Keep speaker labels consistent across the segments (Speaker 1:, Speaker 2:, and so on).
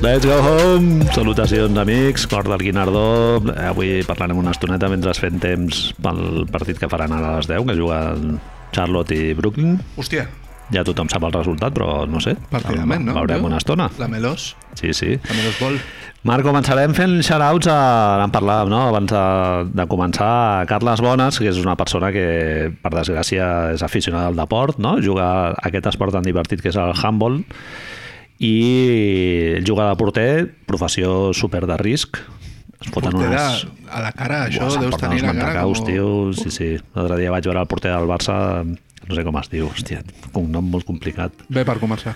Speaker 1: Let's go home! Salutacions, amics, cor del Guinardó. Avui parlarem una estoneta mentre es fent temps pel partit que faran ara a les 10, que juguen Charlotte i Brooklyn.
Speaker 2: Hòstia,
Speaker 1: Ja tothom sap el resultat, però no sé.
Speaker 2: partidament, no?
Speaker 1: Veurem
Speaker 2: Jo?
Speaker 1: una estona.
Speaker 2: La Melós,
Speaker 1: Sí, sí.
Speaker 2: la Melós Ball.
Speaker 1: Marc, començarem fent shoutouts a... En parlàvem, no?, abans de, de començar, a Carles Bones, que és una persona que, per desgràcia, és aficionada al deport, no?, juga a aquest esport tan divertit que és el handball, i ell juga de porter, professió super de risc, es foten
Speaker 2: Porter a,
Speaker 1: unes...
Speaker 2: a la cara, això,
Speaker 1: Buah, se'n
Speaker 2: deus
Speaker 1: porten
Speaker 2: tenir
Speaker 1: uns
Speaker 2: la cara
Speaker 1: mantecaus,
Speaker 2: com...
Speaker 1: tio. Sí, sí. L'altre dia vaig veure el porter del Barça, no sé com es diu, hòstia, un nom molt complicat
Speaker 2: Bé per començar.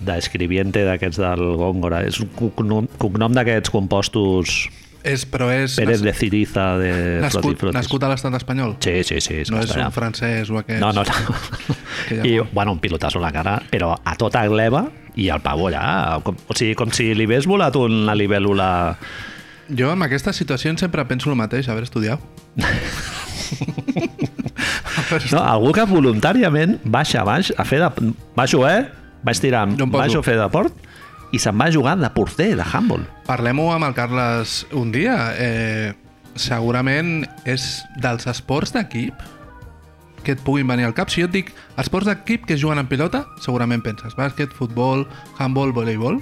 Speaker 1: d'escriviente d'aquests del Góngora. És un cognom, cognom d'aquests compostos
Speaker 2: És, però és
Speaker 1: Pérez de
Speaker 2: nas-
Speaker 1: Ciriza de Froti
Speaker 2: nascut,
Speaker 1: Frotis.
Speaker 2: nascut a l'estat espanyol.
Speaker 1: Sí, sí, sí, és
Speaker 2: no és
Speaker 1: castellà.
Speaker 2: un francès o aquest.
Speaker 1: No, no, no.
Speaker 2: Que ja
Speaker 1: I,
Speaker 2: no.
Speaker 1: bueno, un pilotazo a la cara, però a tota gleba i el pavó allà. Com, o sigui, com si li hagués volat una libèl·lula...
Speaker 2: Jo en aquestes situacions sempre penso el mateix, haver estudiat.
Speaker 1: No, algú que voluntàriament baixa a baix a fer de... Baixo, eh? Vaig tirar,
Speaker 2: Jo em poso.
Speaker 1: baixo a fer de port i se'n va jugar de porter, de handball.
Speaker 2: Parlem-ho amb el Carles un dia. Eh, segurament és dels esports d'equip que et puguin venir al cap. Si jo et dic esports d'equip que es juguen en pilota, segurament penses bàsquet, futbol, handball, voleibol.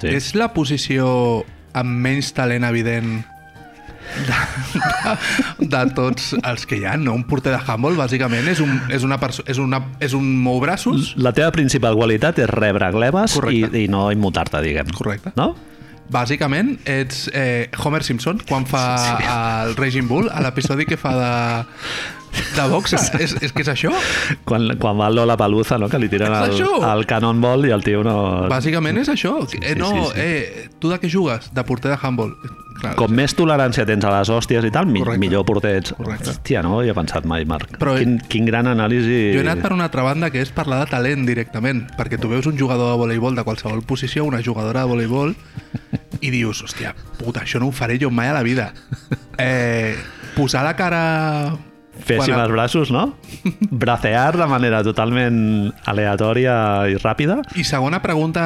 Speaker 2: Sí. És la posició amb menys talent evident de, de, de tots els que hi ha, no? Un porter de handball, bàsicament, és un, és una perso- és, una, és un mou braços
Speaker 1: La teva principal qualitat és rebre glebes i,
Speaker 2: Correcte.
Speaker 1: i no immutar-te, diguem.
Speaker 2: Correcte.
Speaker 1: No?
Speaker 2: Bàsicament, ets eh, Homer Simpson quan fa sí. el Raging Bull a l'episodi que fa de, de boxa. és, és que és això?
Speaker 1: Quan, quan va Lola Paluza, no? que li tiren
Speaker 2: És
Speaker 1: el,
Speaker 2: això!
Speaker 1: el cannonball i el tio no...
Speaker 2: Bàsicament és això.
Speaker 1: sí,
Speaker 2: eh, no,
Speaker 1: sí, sí.
Speaker 2: Eh, tu de què jugues? De porter de handball. Clar,
Speaker 1: Com més tolerància tens a les hòsties i tal, mi,
Speaker 2: Correcte.
Speaker 1: millor porter ets.
Speaker 2: Correcte.
Speaker 1: Hòstia, no hi he pensat mai, Marc.
Speaker 2: Però-
Speaker 1: quin, quin gran anàlisi...
Speaker 2: Jo he anat per una altra banda que és parlar de talent directament, perquè tu veus un jugador de voleibol de qualsevol posició, una jugadora de voleibol, i dius, hòstia, puta, això no ho faré jo mai a la vida. Eh, posar la cara...
Speaker 1: Féssim
Speaker 2: quan-
Speaker 1: els braços, no? Bracear de manera totalment aleatòria i ràpida.
Speaker 2: I segona pregunta,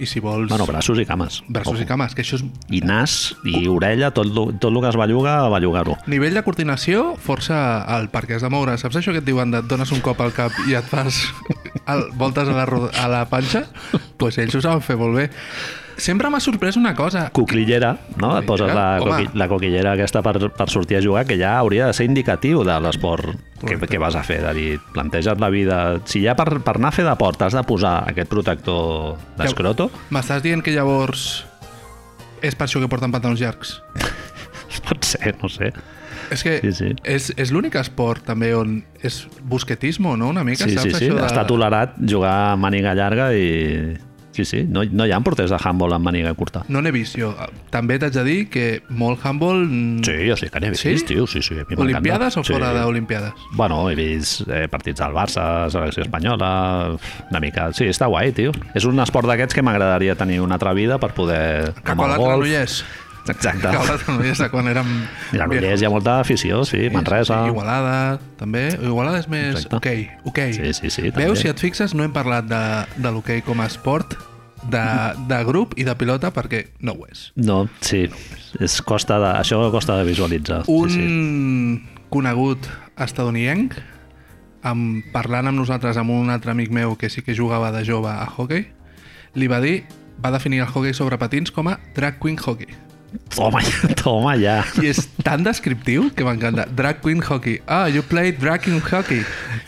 Speaker 2: i si vols...
Speaker 1: Bueno, braços i cames.
Speaker 2: Braços i cames, que això és
Speaker 1: I nas i orella, tot, lo- tot el que es belluga, bellugar-ho.
Speaker 2: Nivell de coordinació, força al perquè has de moure. Saps això que et diuen de et dones un cop al cap i et fas al, voltes a la, roda- a la panxa? Doncs pues ells ho saben fer molt bé. Sempre m'ha sorprès una cosa.
Speaker 1: Coquillera, no? Et poses la,
Speaker 2: Home.
Speaker 1: coqui, la coquillera aquesta per, per sortir a jugar, que ja hauria de ser indicatiu de l'esport que,
Speaker 2: Correcte.
Speaker 1: que vas a fer, de dir, planteja't la vida... Si ja per, per anar a fer deport has de posar aquest protector d'escroto,
Speaker 2: M'estàs dient que llavors és per això que porten pantalons llargs?
Speaker 1: pot ser, no sé.
Speaker 2: És que
Speaker 1: Sí, sí.
Speaker 2: és, és l'únic esport també on és busquetismo, no? Una mica,
Speaker 1: Sí, sí,
Speaker 2: saps
Speaker 1: sí,
Speaker 2: això de...
Speaker 1: està tolerat jugar amb màniga llarga i... Sí, sí, no, no hi ha porters de handball amb màniga curta.
Speaker 2: No n'he vist jo. També t'haig de dir que molt handball... mm,
Speaker 1: Sí, jo sí que n'he vist,
Speaker 2: Sí?
Speaker 1: tio, sí, sí. a mi m'encanta.
Speaker 2: Olimpiades o
Speaker 1: Sí.
Speaker 2: fora d'Olimpiades?
Speaker 1: Bueno, he vist eh, partits del Barça, selecció espanyola, una mica... Sí, està guai, tio. És un esport d'aquests que m'agradaria tenir una altra vida per poder...
Speaker 2: Cap a l'altre Granollers.
Speaker 1: Exacte.
Speaker 2: Cap a l'altre Granollers de quan érem...
Speaker 1: Granollers hi ha molta afició, sí, Manresa.
Speaker 2: Sí, Igualada, també. Igualada és més...
Speaker 1: Exacte.
Speaker 2: Ok, ok.
Speaker 1: Sí, sí, sí, també.
Speaker 2: Veus, si et fixes, no hem parlat de, de l'hoquei com a esport, de, de grup i de pilota, perquè no ho és.
Speaker 1: No, sí, és costa de, això costa de visualitzar.
Speaker 2: Un
Speaker 1: Sí, sí.
Speaker 2: conegut estatunidenc, amb, parlant amb nosaltres amb un altre amic meu que sí que jugava de jove a hockey, li va dir va definir el hockey sobre patins com a drag queen hockey.
Speaker 1: Toma, toma ja.
Speaker 2: I és tan descriptiu que m'encanta. Drag Queen Hockey. Ah, you played Drag Queen Hockey.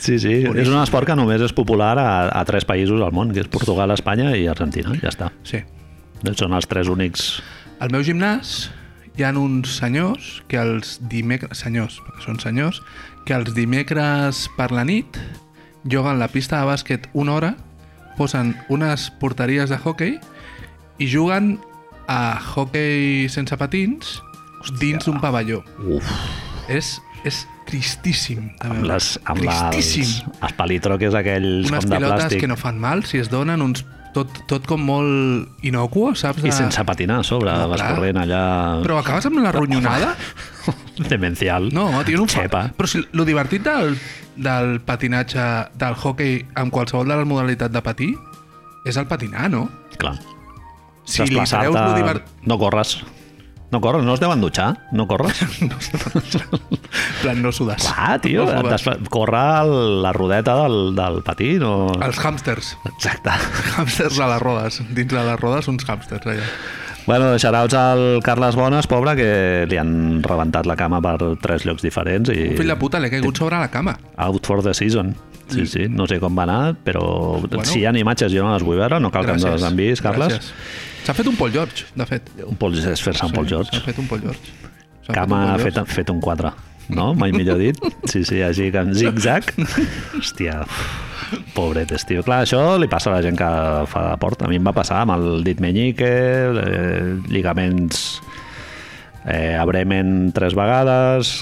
Speaker 1: Sí, sí, és un esport que només és popular a, a tres països al món, que és Portugal, Espanya i Argentina, ja està. Eh,
Speaker 2: Sí.
Speaker 1: Són els tres únics...
Speaker 2: Al meu gimnàs hi han uns senyors que els dimecres... Senyors, perquè són senyors, que els dimecres per la nit juguen la pista de bàsquet una hora, posen unes porteries de hockey i juguen a hockey sense patins dins d'un pavelló.
Speaker 1: Uf,
Speaker 2: És, és tristíssim. de
Speaker 1: amb
Speaker 2: veure.
Speaker 1: les, amb els,
Speaker 2: Ah, tristíssim.
Speaker 1: els palitroques aquells
Speaker 2: unes
Speaker 1: com de
Speaker 2: pilotes
Speaker 1: plàstic.
Speaker 2: que no fan mal, si es donen uns... Tot, tot com molt inocuo, saps?
Speaker 1: I sense patinar a sobre,
Speaker 2: No,
Speaker 1: no, vas
Speaker 2: clar.
Speaker 1: corrent allà...
Speaker 2: Però acabes amb la ronyonada?
Speaker 1: Demencial.
Speaker 2: No, tio, no em fa...
Speaker 1: Xepa.
Speaker 2: Però si lo divertit del, del patinatge, del hockey, amb qualsevol de les modalitats de patir, és el patinar, no?
Speaker 1: Clar.
Speaker 2: Si li treus lo divert...
Speaker 1: No corres. No corres, no es deuen dutxar? No corres?
Speaker 2: En plan, no sudes.
Speaker 1: Clar, tio,
Speaker 2: No
Speaker 1: et
Speaker 2: sudes.
Speaker 1: desfa... corre el- la rodeta del, del patí, no...
Speaker 2: Els hàmsters.
Speaker 1: Exacte.
Speaker 2: Hàmsters a les rodes. Dins de les rodes, uns hàmsters, allà.
Speaker 1: Bueno, xarauts al Carles Bones, pobre, que li han rebentat la cama per tres llocs diferents i...
Speaker 2: Un fill de puta, l'he caigut sobre la cama.
Speaker 1: Out for the season. Sí, sí, no sé com va anar, però
Speaker 2: Bueno.
Speaker 1: bueno. si hi ha imatges jo no les vull veure, no cal que ens les enviïs, Carles.
Speaker 2: Gràcies. S'ha fet un Paul George, de fet.
Speaker 1: Un Paul, és fer-se Ah, un Paul George.
Speaker 2: S'ha fet un Paul George. S'ha fet un
Speaker 1: Cama
Speaker 2: Paul
Speaker 1: fet,
Speaker 2: George.
Speaker 1: fet un quadre, no? Mai millor dit. Sí, sí, així que en zig-zag. Hòstia, pobretes, tio. Clar, això li passa a la gent que fa port. A mi em va passar amb el dit menyique, eh, lligaments eh, a Bremen tres vegades...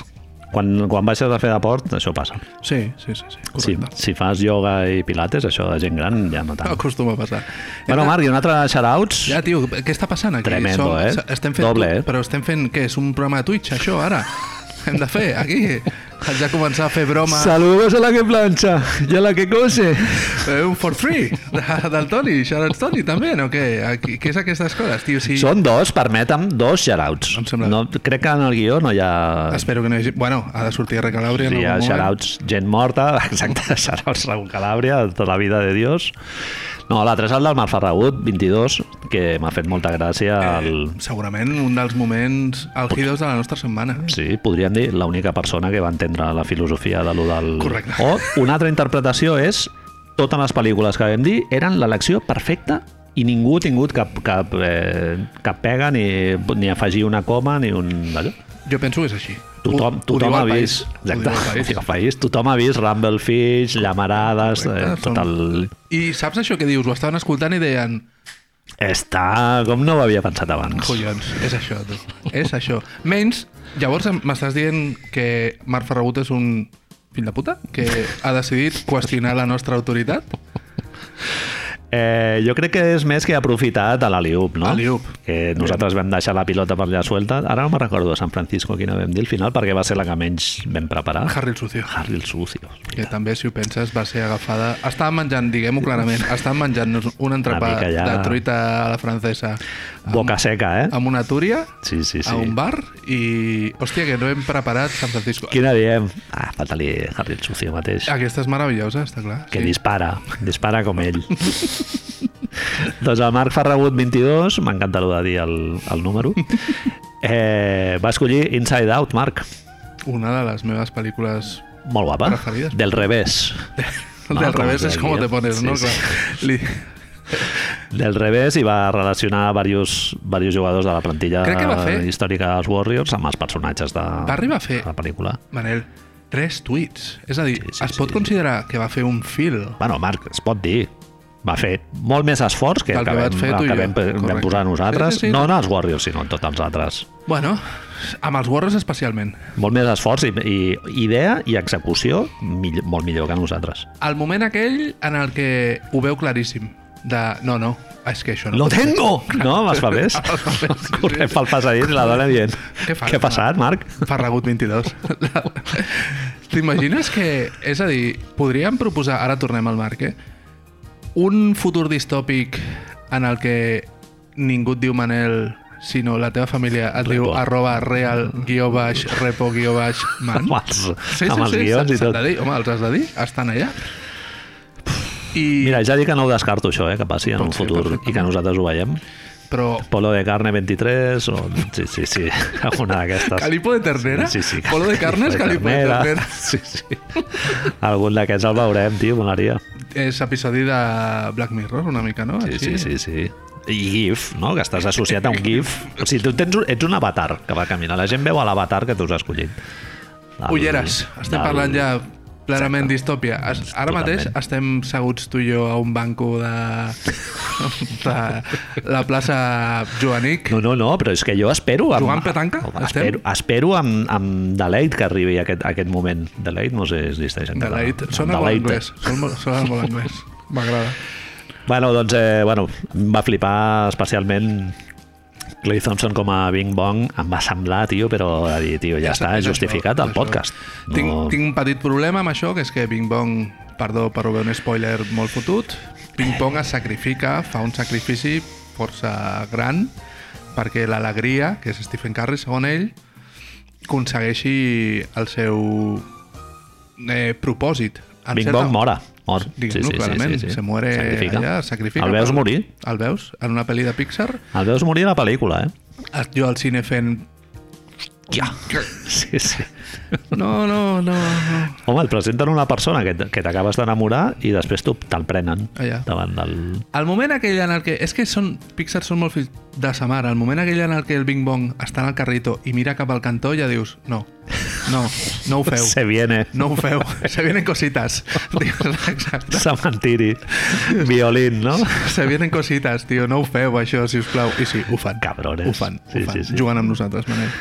Speaker 1: Quan, quan baixes a fer deport, això passa.
Speaker 2: Sí, sí, sí, sí,
Speaker 1: Si,
Speaker 2: correcte.
Speaker 1: si fas ioga i pilates, això de gent gran ja no tant.
Speaker 2: Acostuma a passar.
Speaker 1: Bueno, Marc, i un altre shoutouts.
Speaker 2: Ja, tio, què està passant aquí?
Speaker 1: Tremendo, eh?
Speaker 2: Estem fent
Speaker 1: Doble, eh?
Speaker 2: Però estem fent, què, és un programa de Twitch, això, ara? Hem de fer, aquí? Haig de començar a fer broma.
Speaker 1: Saludos a la que planxa i a la que cose.
Speaker 2: Eh, un for free de- del Toni, Shoutouts Toni, també, no? Què, aquí, què és aquestes coses, tio? Si...
Speaker 1: Són dos, permetem, dos xarauts.
Speaker 2: Em sembla
Speaker 1: No, crec que en el guió no hi ha...
Speaker 2: Espero que no hi hagi... Bueno, ha de sortir Recalabria en
Speaker 1: Hi ha
Speaker 2: algun moment.
Speaker 1: xarauts gent morta, exacte, xarauts Raúl Calàbria, tota la vida de Dios. No, l'altre és el del Malfarragut, 22, que m'ha fet molta gràcia.
Speaker 2: Eh.
Speaker 1: El...
Speaker 2: Segurament un dels moments algidos de la nostra setmana.
Speaker 1: Sí, podríem dir l'única persona que va entendre la filosofia de lo del...
Speaker 2: Correcte.
Speaker 1: O una altra interpretació és totes les pel·lícules que vam dir eren l'elecció perfecta i ningú ha tingut cap, cap, eh, cap pega ni, ni afegir una coma ni un... Allò.
Speaker 2: Jo penso que és així.
Speaker 1: Tothom,
Speaker 2: Ho- ho
Speaker 1: tothom
Speaker 2: diu
Speaker 1: ha
Speaker 2: el país.
Speaker 1: vist,
Speaker 2: Ho diu
Speaker 1: exacte,
Speaker 2: el
Speaker 1: ho
Speaker 2: país.
Speaker 1: diu el país, tothom ha vist Rumblefish, Llamarades, eh,
Speaker 2: Correcte,
Speaker 1: tot el...
Speaker 2: I saps això que dius? Ho estaven escoltant i deien
Speaker 1: Està... Com no ho havia pensat abans?
Speaker 2: collons, és això, tu. És això. Menys, llavors em- m'estàs dient que Marc Ferragut és un fill de puta? Que ha decidit qüestionar la nostra autoritat?
Speaker 1: Eh, jo crec que és més que ha aprofitat a l'Aliup, no?
Speaker 2: Alley-oop.
Speaker 1: Que nosaltres vam deixar la pilota per allà suelta. Ara no me'n recordo de San Francisco quina vam dir al final, perquè va ser la que menys vam preparar.
Speaker 2: Harry el Sucio.
Speaker 1: Harry el Sucio.
Speaker 2: Que també, si ho penses, va ser agafada... Estava menjant, diguem-ho clarament, estava menjant-nos un entrepà
Speaker 1: mica ja.
Speaker 2: de truita a la francesa
Speaker 1: Boca seca, eh?
Speaker 2: amb una túria
Speaker 1: Sí, sí, sí.
Speaker 2: a un bar i... Hòstia, que no hem preparat San Francisco.
Speaker 1: Quina diem? Ah, falta-li Harry el Sucio mateix.
Speaker 2: Aquesta és meravellosa, està clar.
Speaker 1: que dispara, dispara com ell. doncs el Marc Ferragut 22, m'encanta allò de dir el, el número, eh, va escollir Inside Out, Marc.
Speaker 2: Una de les meves pel·lícules
Speaker 1: Molt guapa.
Speaker 2: Preferides.
Speaker 1: Del revés.
Speaker 2: del
Speaker 1: No, com
Speaker 2: revés
Speaker 1: es
Speaker 2: és com
Speaker 1: deia.
Speaker 2: te pones,
Speaker 1: Sí,
Speaker 2: no?
Speaker 1: sí.
Speaker 2: Clar. Li...
Speaker 1: Del revés i va relacionar varios, varios jugadors de la plantilla
Speaker 2: Crec que va fer-
Speaker 1: històrica dels Warriors amb els personatges de,
Speaker 2: Va arribar a fer,
Speaker 1: de la pel·lícula.
Speaker 2: Manel, tres tuits. És a dir,
Speaker 1: Sí,
Speaker 2: sí,
Speaker 1: sí,
Speaker 2: sí, es pot
Speaker 1: sí.
Speaker 2: sí. considerar que va fer un fil?
Speaker 1: Bueno, Marc, es pot dir va fer molt més esforç que
Speaker 2: Del
Speaker 1: el
Speaker 2: que
Speaker 1: que,
Speaker 2: vas
Speaker 1: vam,
Speaker 2: fer
Speaker 1: el
Speaker 2: tu i
Speaker 1: que
Speaker 2: jo.
Speaker 1: vam, vam
Speaker 2: Correcte.
Speaker 1: posar nosaltres,
Speaker 2: Sí, sí, sí.
Speaker 1: no en els Warriors, sinó en tots els altres.
Speaker 2: Bueno, amb els Warriors especialment.
Speaker 1: Molt més esforç i, i idea i execució millor, molt millor que nosaltres.
Speaker 2: El moment aquell en el que ho veu claríssim. De, no, no, és que això no...
Speaker 1: ¡Lo tengo! No, amb els papers.
Speaker 2: Amb els papers, sí, sí.
Speaker 1: Corrent pel passadís i la dona dient
Speaker 2: Què fas,
Speaker 1: què ha passat, Marc?
Speaker 2: Ferragut 22. T'imagines que... És a dir, podríem proposar... Ara tornem al Marc, eh? Un futur distòpic en el que ningú et diu Manel, sinó la teva família et diu
Speaker 1: Repo.
Speaker 2: arroba real guió baix repo guió baix man.
Speaker 1: Amb els, amb els guions
Speaker 2: s'ha-
Speaker 1: i
Speaker 2: s'han
Speaker 1: tot.
Speaker 2: De dir, home, els has de dir, estan allà. I,
Speaker 1: Mira, ja dic que no ho descarto això, eh, que passi en
Speaker 2: Pot
Speaker 1: un
Speaker 2: ser,
Speaker 1: futur
Speaker 2: perfectament.
Speaker 1: i que nosaltres ho veiem.
Speaker 2: però
Speaker 1: Polo de carne 23 o... Sí, sí, sí, alguna d'aquestes.
Speaker 2: Calipo de ternera?
Speaker 1: Sí, sí.
Speaker 2: Polo de carnes, calipo de ternera.
Speaker 1: Sí, sí. Algun d'aquests el veurem, tio, molaria.
Speaker 2: és episodi de Black Mirror, una mica, no?
Speaker 1: Sí, sí,
Speaker 2: Així.
Speaker 1: sí, sí. I GIF, no? Que estàs associat a un GIF. O sigui, tu tens, un- ets un avatar que va caminar. La gent veu a l'avatar que tu has escollit. El-
Speaker 2: Ulleres, estem
Speaker 1: del-
Speaker 2: parlant ja plenament distòpia. Es, ara mateix
Speaker 1: Totalment.
Speaker 2: estem seguts tu i jo a un banco de, de la plaça Joanic.
Speaker 1: No, no, no, però és que jo espero...
Speaker 2: Jugant petanca?
Speaker 1: Espero, espero amb, amb deleit que arribi aquest, aquest moment. Deleit no sé si existeix en català.
Speaker 2: Delight. Sona molt
Speaker 1: Deleite.
Speaker 2: anglès. Sona molt, sona molt anglès. M'agrada.
Speaker 1: Bueno, doncs, eh, bueno, em va flipar especialment Clay Thompson com a Bing Bong em va semblar, tio, però a dir, tio, ja, està, és
Speaker 2: és això,
Speaker 1: justificat
Speaker 2: és
Speaker 1: el
Speaker 2: això.
Speaker 1: podcast.
Speaker 2: Tinc, tinc un petit problema amb això, que és que Bing Bong, perdó per obrir un spoiler molt fotut, Bing Bong es sacrifica, fa un sacrifici força gran perquè l'alegria, que és Stephen Curry, segons ell, aconsegueixi el seu eh, propòsit. En
Speaker 1: Big
Speaker 2: certa-
Speaker 1: Bog mora. Mor.
Speaker 2: Diguem-ho clarament, se muere
Speaker 1: Sacrifica.
Speaker 2: allà, es sacrifica.
Speaker 1: El veus
Speaker 2: pel-
Speaker 1: morir.
Speaker 2: El veus? En una pel·li de Pixar,
Speaker 1: El veus morir a la pel·lícula, eh?
Speaker 2: jo al cine fent...
Speaker 1: Ja. Sí, sí.
Speaker 2: No, no, no, no.
Speaker 1: Home, et presenten una persona que, t- que t'acabes d'enamorar i després tu te'l prenen
Speaker 2: Ah, ja.
Speaker 1: davant del...
Speaker 2: El moment aquell en el que... És que són, Pixar són molt fills de sa mare. El moment aquell en el que el Bing Bong està en el carrito i mira cap al cantó ja dius, no, no, no ho feu.
Speaker 1: Se viene.
Speaker 2: No ho feu. Se vienen cositas. Dius, Exacte.
Speaker 1: Cementiri. Violín, no?
Speaker 2: Se vienen cositas, tio. No ho feu, això, si us plau. I sí, ho fan.
Speaker 1: Cabrones.
Speaker 2: Ho fan, ho
Speaker 1: Sí,
Speaker 2: fan.
Speaker 1: sí, sí.
Speaker 2: Jugant amb nosaltres, Manel.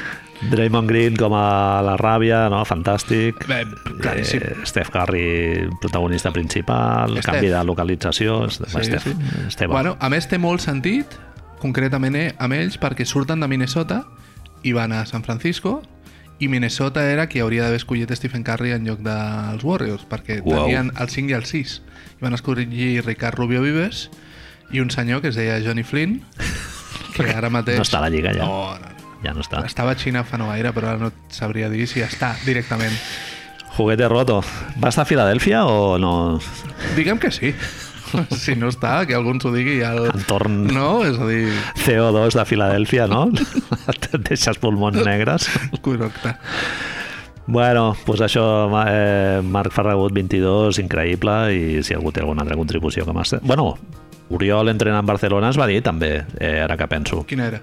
Speaker 1: Draymond Green com a la ràbia, no? Fantàstic.
Speaker 2: Bé, claríssim.
Speaker 1: Eh, Steph Curry, protagonista principal,
Speaker 2: Steph.
Speaker 1: Steph. canvi de localització. Sí, Steph. Sí. Esteve.
Speaker 2: Bueno, a més té molt sentit, concretament eh, amb ells, perquè surten de Minnesota i van a San Francisco i Minnesota era qui hauria d'haver escollit Stephen Curry en lloc dels Warriors, perquè
Speaker 1: Uau.
Speaker 2: tenien el 5 i el 6. I van escollir Ricard Rubio Vives i un senyor que es deia Johnny Flynn, que ara mateix...
Speaker 1: No està a la lliga, ja.
Speaker 2: No, no, no.
Speaker 1: Ja no està.
Speaker 2: Estava a Xina fa no gaire, però ara no et sabria dir si està directament.
Speaker 1: Juguete roto. Va estar a Filadèlfia o no?
Speaker 2: Diguem que sí. Si no està, que algú ens ho digui al...
Speaker 1: Entorn
Speaker 2: No, és a dir,
Speaker 1: CO2 de Filadèlfia, no? Et deixes pulmons negres.
Speaker 2: correcte.
Speaker 1: Bueno, doncs això, ma- eh, Marc Ferragut 22, increïble, i si algú té alguna altra contribució que m'has... Bueno, Oriol entrena en Barcelona ens va dir també, eh, ara que penso.
Speaker 2: Quina era?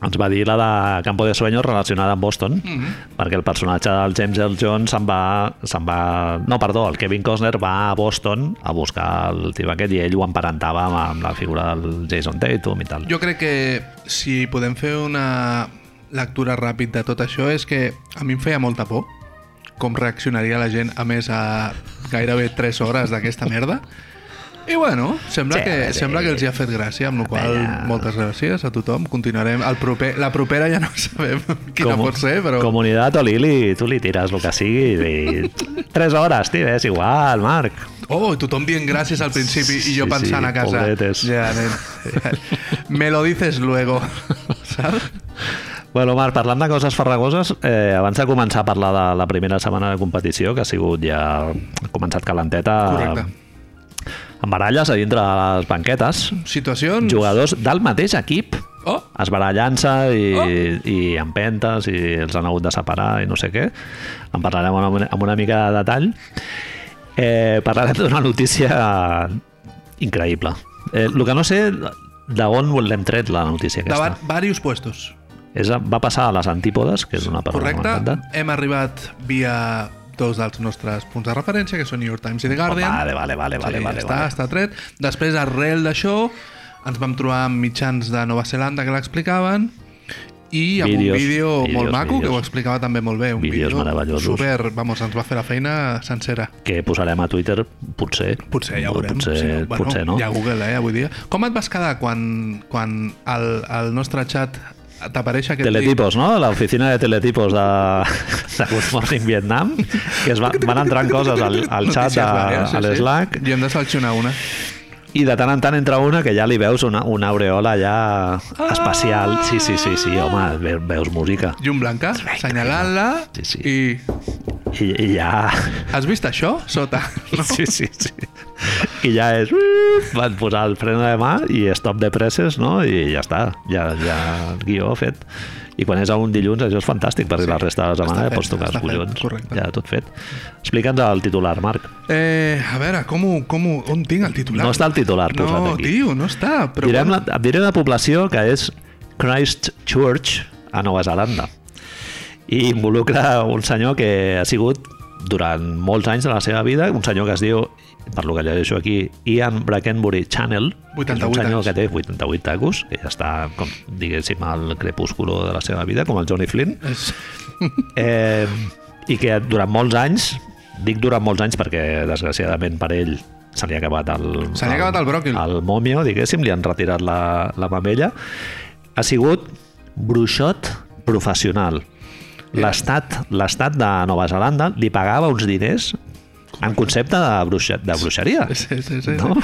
Speaker 1: Ens va dir la de Campo de Sueños relacionada amb Boston,
Speaker 2: Mhm.
Speaker 1: perquè el personatge del James Earl Jones se'n va, se'n va... No, perdó, el Kevin Costner va a Boston a buscar el tio aquest i ell ho emparentava amb, amb la figura del Jason Tatum i tal.
Speaker 2: Jo crec que si podem fer una lectura ràpid de tot això és que a mi em feia molta por com reaccionaria la gent a més a gairebé 3 hores d'aquesta merda i bueno, sembla,
Speaker 1: Sí,
Speaker 2: que,
Speaker 1: sí.
Speaker 2: sembla que els hi ha fet gràcia amb la qual
Speaker 1: veure.
Speaker 2: moltes gràcies a tothom continuarem, el proper, la propera ja no sabem quina
Speaker 1: Comu-
Speaker 2: pot ser però
Speaker 1: Comunidad o Lili, tu li tires el que sigui. I... Tres hores, tio, és igual, Marc.
Speaker 2: Oh, i tothom dient gràcies al principi i jo
Speaker 1: Sí,
Speaker 2: pensant
Speaker 1: sí,
Speaker 2: a casa.
Speaker 1: pobretes.
Speaker 2: Ja, nen, ja. Me lo dices luego, saps?
Speaker 1: Bueno, Marc, parlant de coses farragoses, eh, abans de començar a parlar de la primera setmana de competició, que ha sigut ja... Ha començat calenteta... eh,
Speaker 2: Correcte.
Speaker 1: Amb baralles a dintre de les banquetes.
Speaker 2: Situacions...
Speaker 1: Jugadors del mateix equip
Speaker 2: Oh,
Speaker 1: es barallant-se i,
Speaker 2: Oh.
Speaker 1: oh. i empentes i els han hagut de separar i no sé què. En parlarem amb una, amb una mica de detall. Eh, parlarem d'una notícia increïble. Eh, el que no sé d'on l'hem tret, la notícia
Speaker 2: davant
Speaker 1: aquesta.
Speaker 2: diversos puestos.
Speaker 1: És, a- va passar a les antípodes, que és una paraula que
Speaker 2: Correcte,
Speaker 1: m'encanta.
Speaker 2: hem arribat via dos dels nostres punts de referència, que són New York Times i The Guardian.
Speaker 1: Vale, vale, vale, vale,
Speaker 2: sí,
Speaker 1: vale,
Speaker 2: està,
Speaker 1: vale.
Speaker 2: està tret. Després, arrel d'això, ens vam trobar amb mitjans de Nova Zelanda que l'explicaven i amb
Speaker 1: Vídeos,
Speaker 2: un vídeo
Speaker 1: vídeos,
Speaker 2: molt maco que
Speaker 1: vídeos.
Speaker 2: ho explicava també molt bé. Un
Speaker 1: Vídeos
Speaker 2: vídeo
Speaker 1: meravellosos.
Speaker 2: Super, vamos, ens va fer la feina sencera.
Speaker 1: Que posarem a Twitter, potser.
Speaker 2: Potser ja ho veurem.
Speaker 1: Potser,
Speaker 2: si
Speaker 1: no, bueno, potser no.
Speaker 2: Hi ha Google, eh, avui dia. Com et vas quedar quan, quan el, el nostre xat t'apareix aquest
Speaker 1: Teletipos, no? L'oficina de teletipos de, de Good Morning Vietnam, que es va, van entrant coses al, al xat, de, a l'Slack,
Speaker 2: I hem de seleccionar una.
Speaker 1: i de tant en tant entra una que ja li veus una, una aureola ja
Speaker 2: Ah!
Speaker 1: espacial. Sí, sí, sí, sí, home, ve- veus música.
Speaker 2: Llum blanca, assenyalant-la
Speaker 1: Sí, sí.
Speaker 2: i...
Speaker 1: I, i ja...
Speaker 2: Has vist això? Sota. No?
Speaker 1: Sí, sí, sí. I ja és... Van posar el fren de mà i stop de presses, no? I ja està, ja, ja el guió fet. I quan és a un dilluns això és fantàstic, perquè
Speaker 2: Sí,
Speaker 1: sí, la resta de la setmana
Speaker 2: està
Speaker 1: ja pots
Speaker 2: fet,
Speaker 1: tocar els
Speaker 2: està fet,
Speaker 1: collons.
Speaker 2: correcte.
Speaker 1: Ja tot fet. Explica'ns el titular, Marc.
Speaker 2: Eh, a veure, com, ho, com ho, on tinc el titular?
Speaker 1: No està el titular posat
Speaker 2: No,
Speaker 1: aquí.
Speaker 2: tio, no està. Però
Speaker 1: Direm la, et diré la població que és Christchurch, a Nova Zelanda. I involucra un senyor que ha sigut durant molts anys de la seva vida, un senyor que es diu, per lo que llegeixo aquí, Ian Brackenbury Channel, que és
Speaker 2: 88
Speaker 1: un senyor
Speaker 2: anys.
Speaker 1: que té 88 tacos, que ja està, com, diguéssim, al crepúsculo de la seva vida, com el Johnny Flynn,
Speaker 2: És...
Speaker 1: eh, i que durant molts anys, dic durant molts anys perquè desgraciadament per ell se li ha acabat el...
Speaker 2: Se li ha acabat el bròquil.
Speaker 1: El momio, diguéssim, li han retirat la, la mamella. Ha sigut bruixot professional. L'estat l'estat de Nova Zelanda li pagava uns diners En concepte de, bruixa, de bruixeria.
Speaker 2: Sí, sí, sí.
Speaker 1: No?
Speaker 2: No?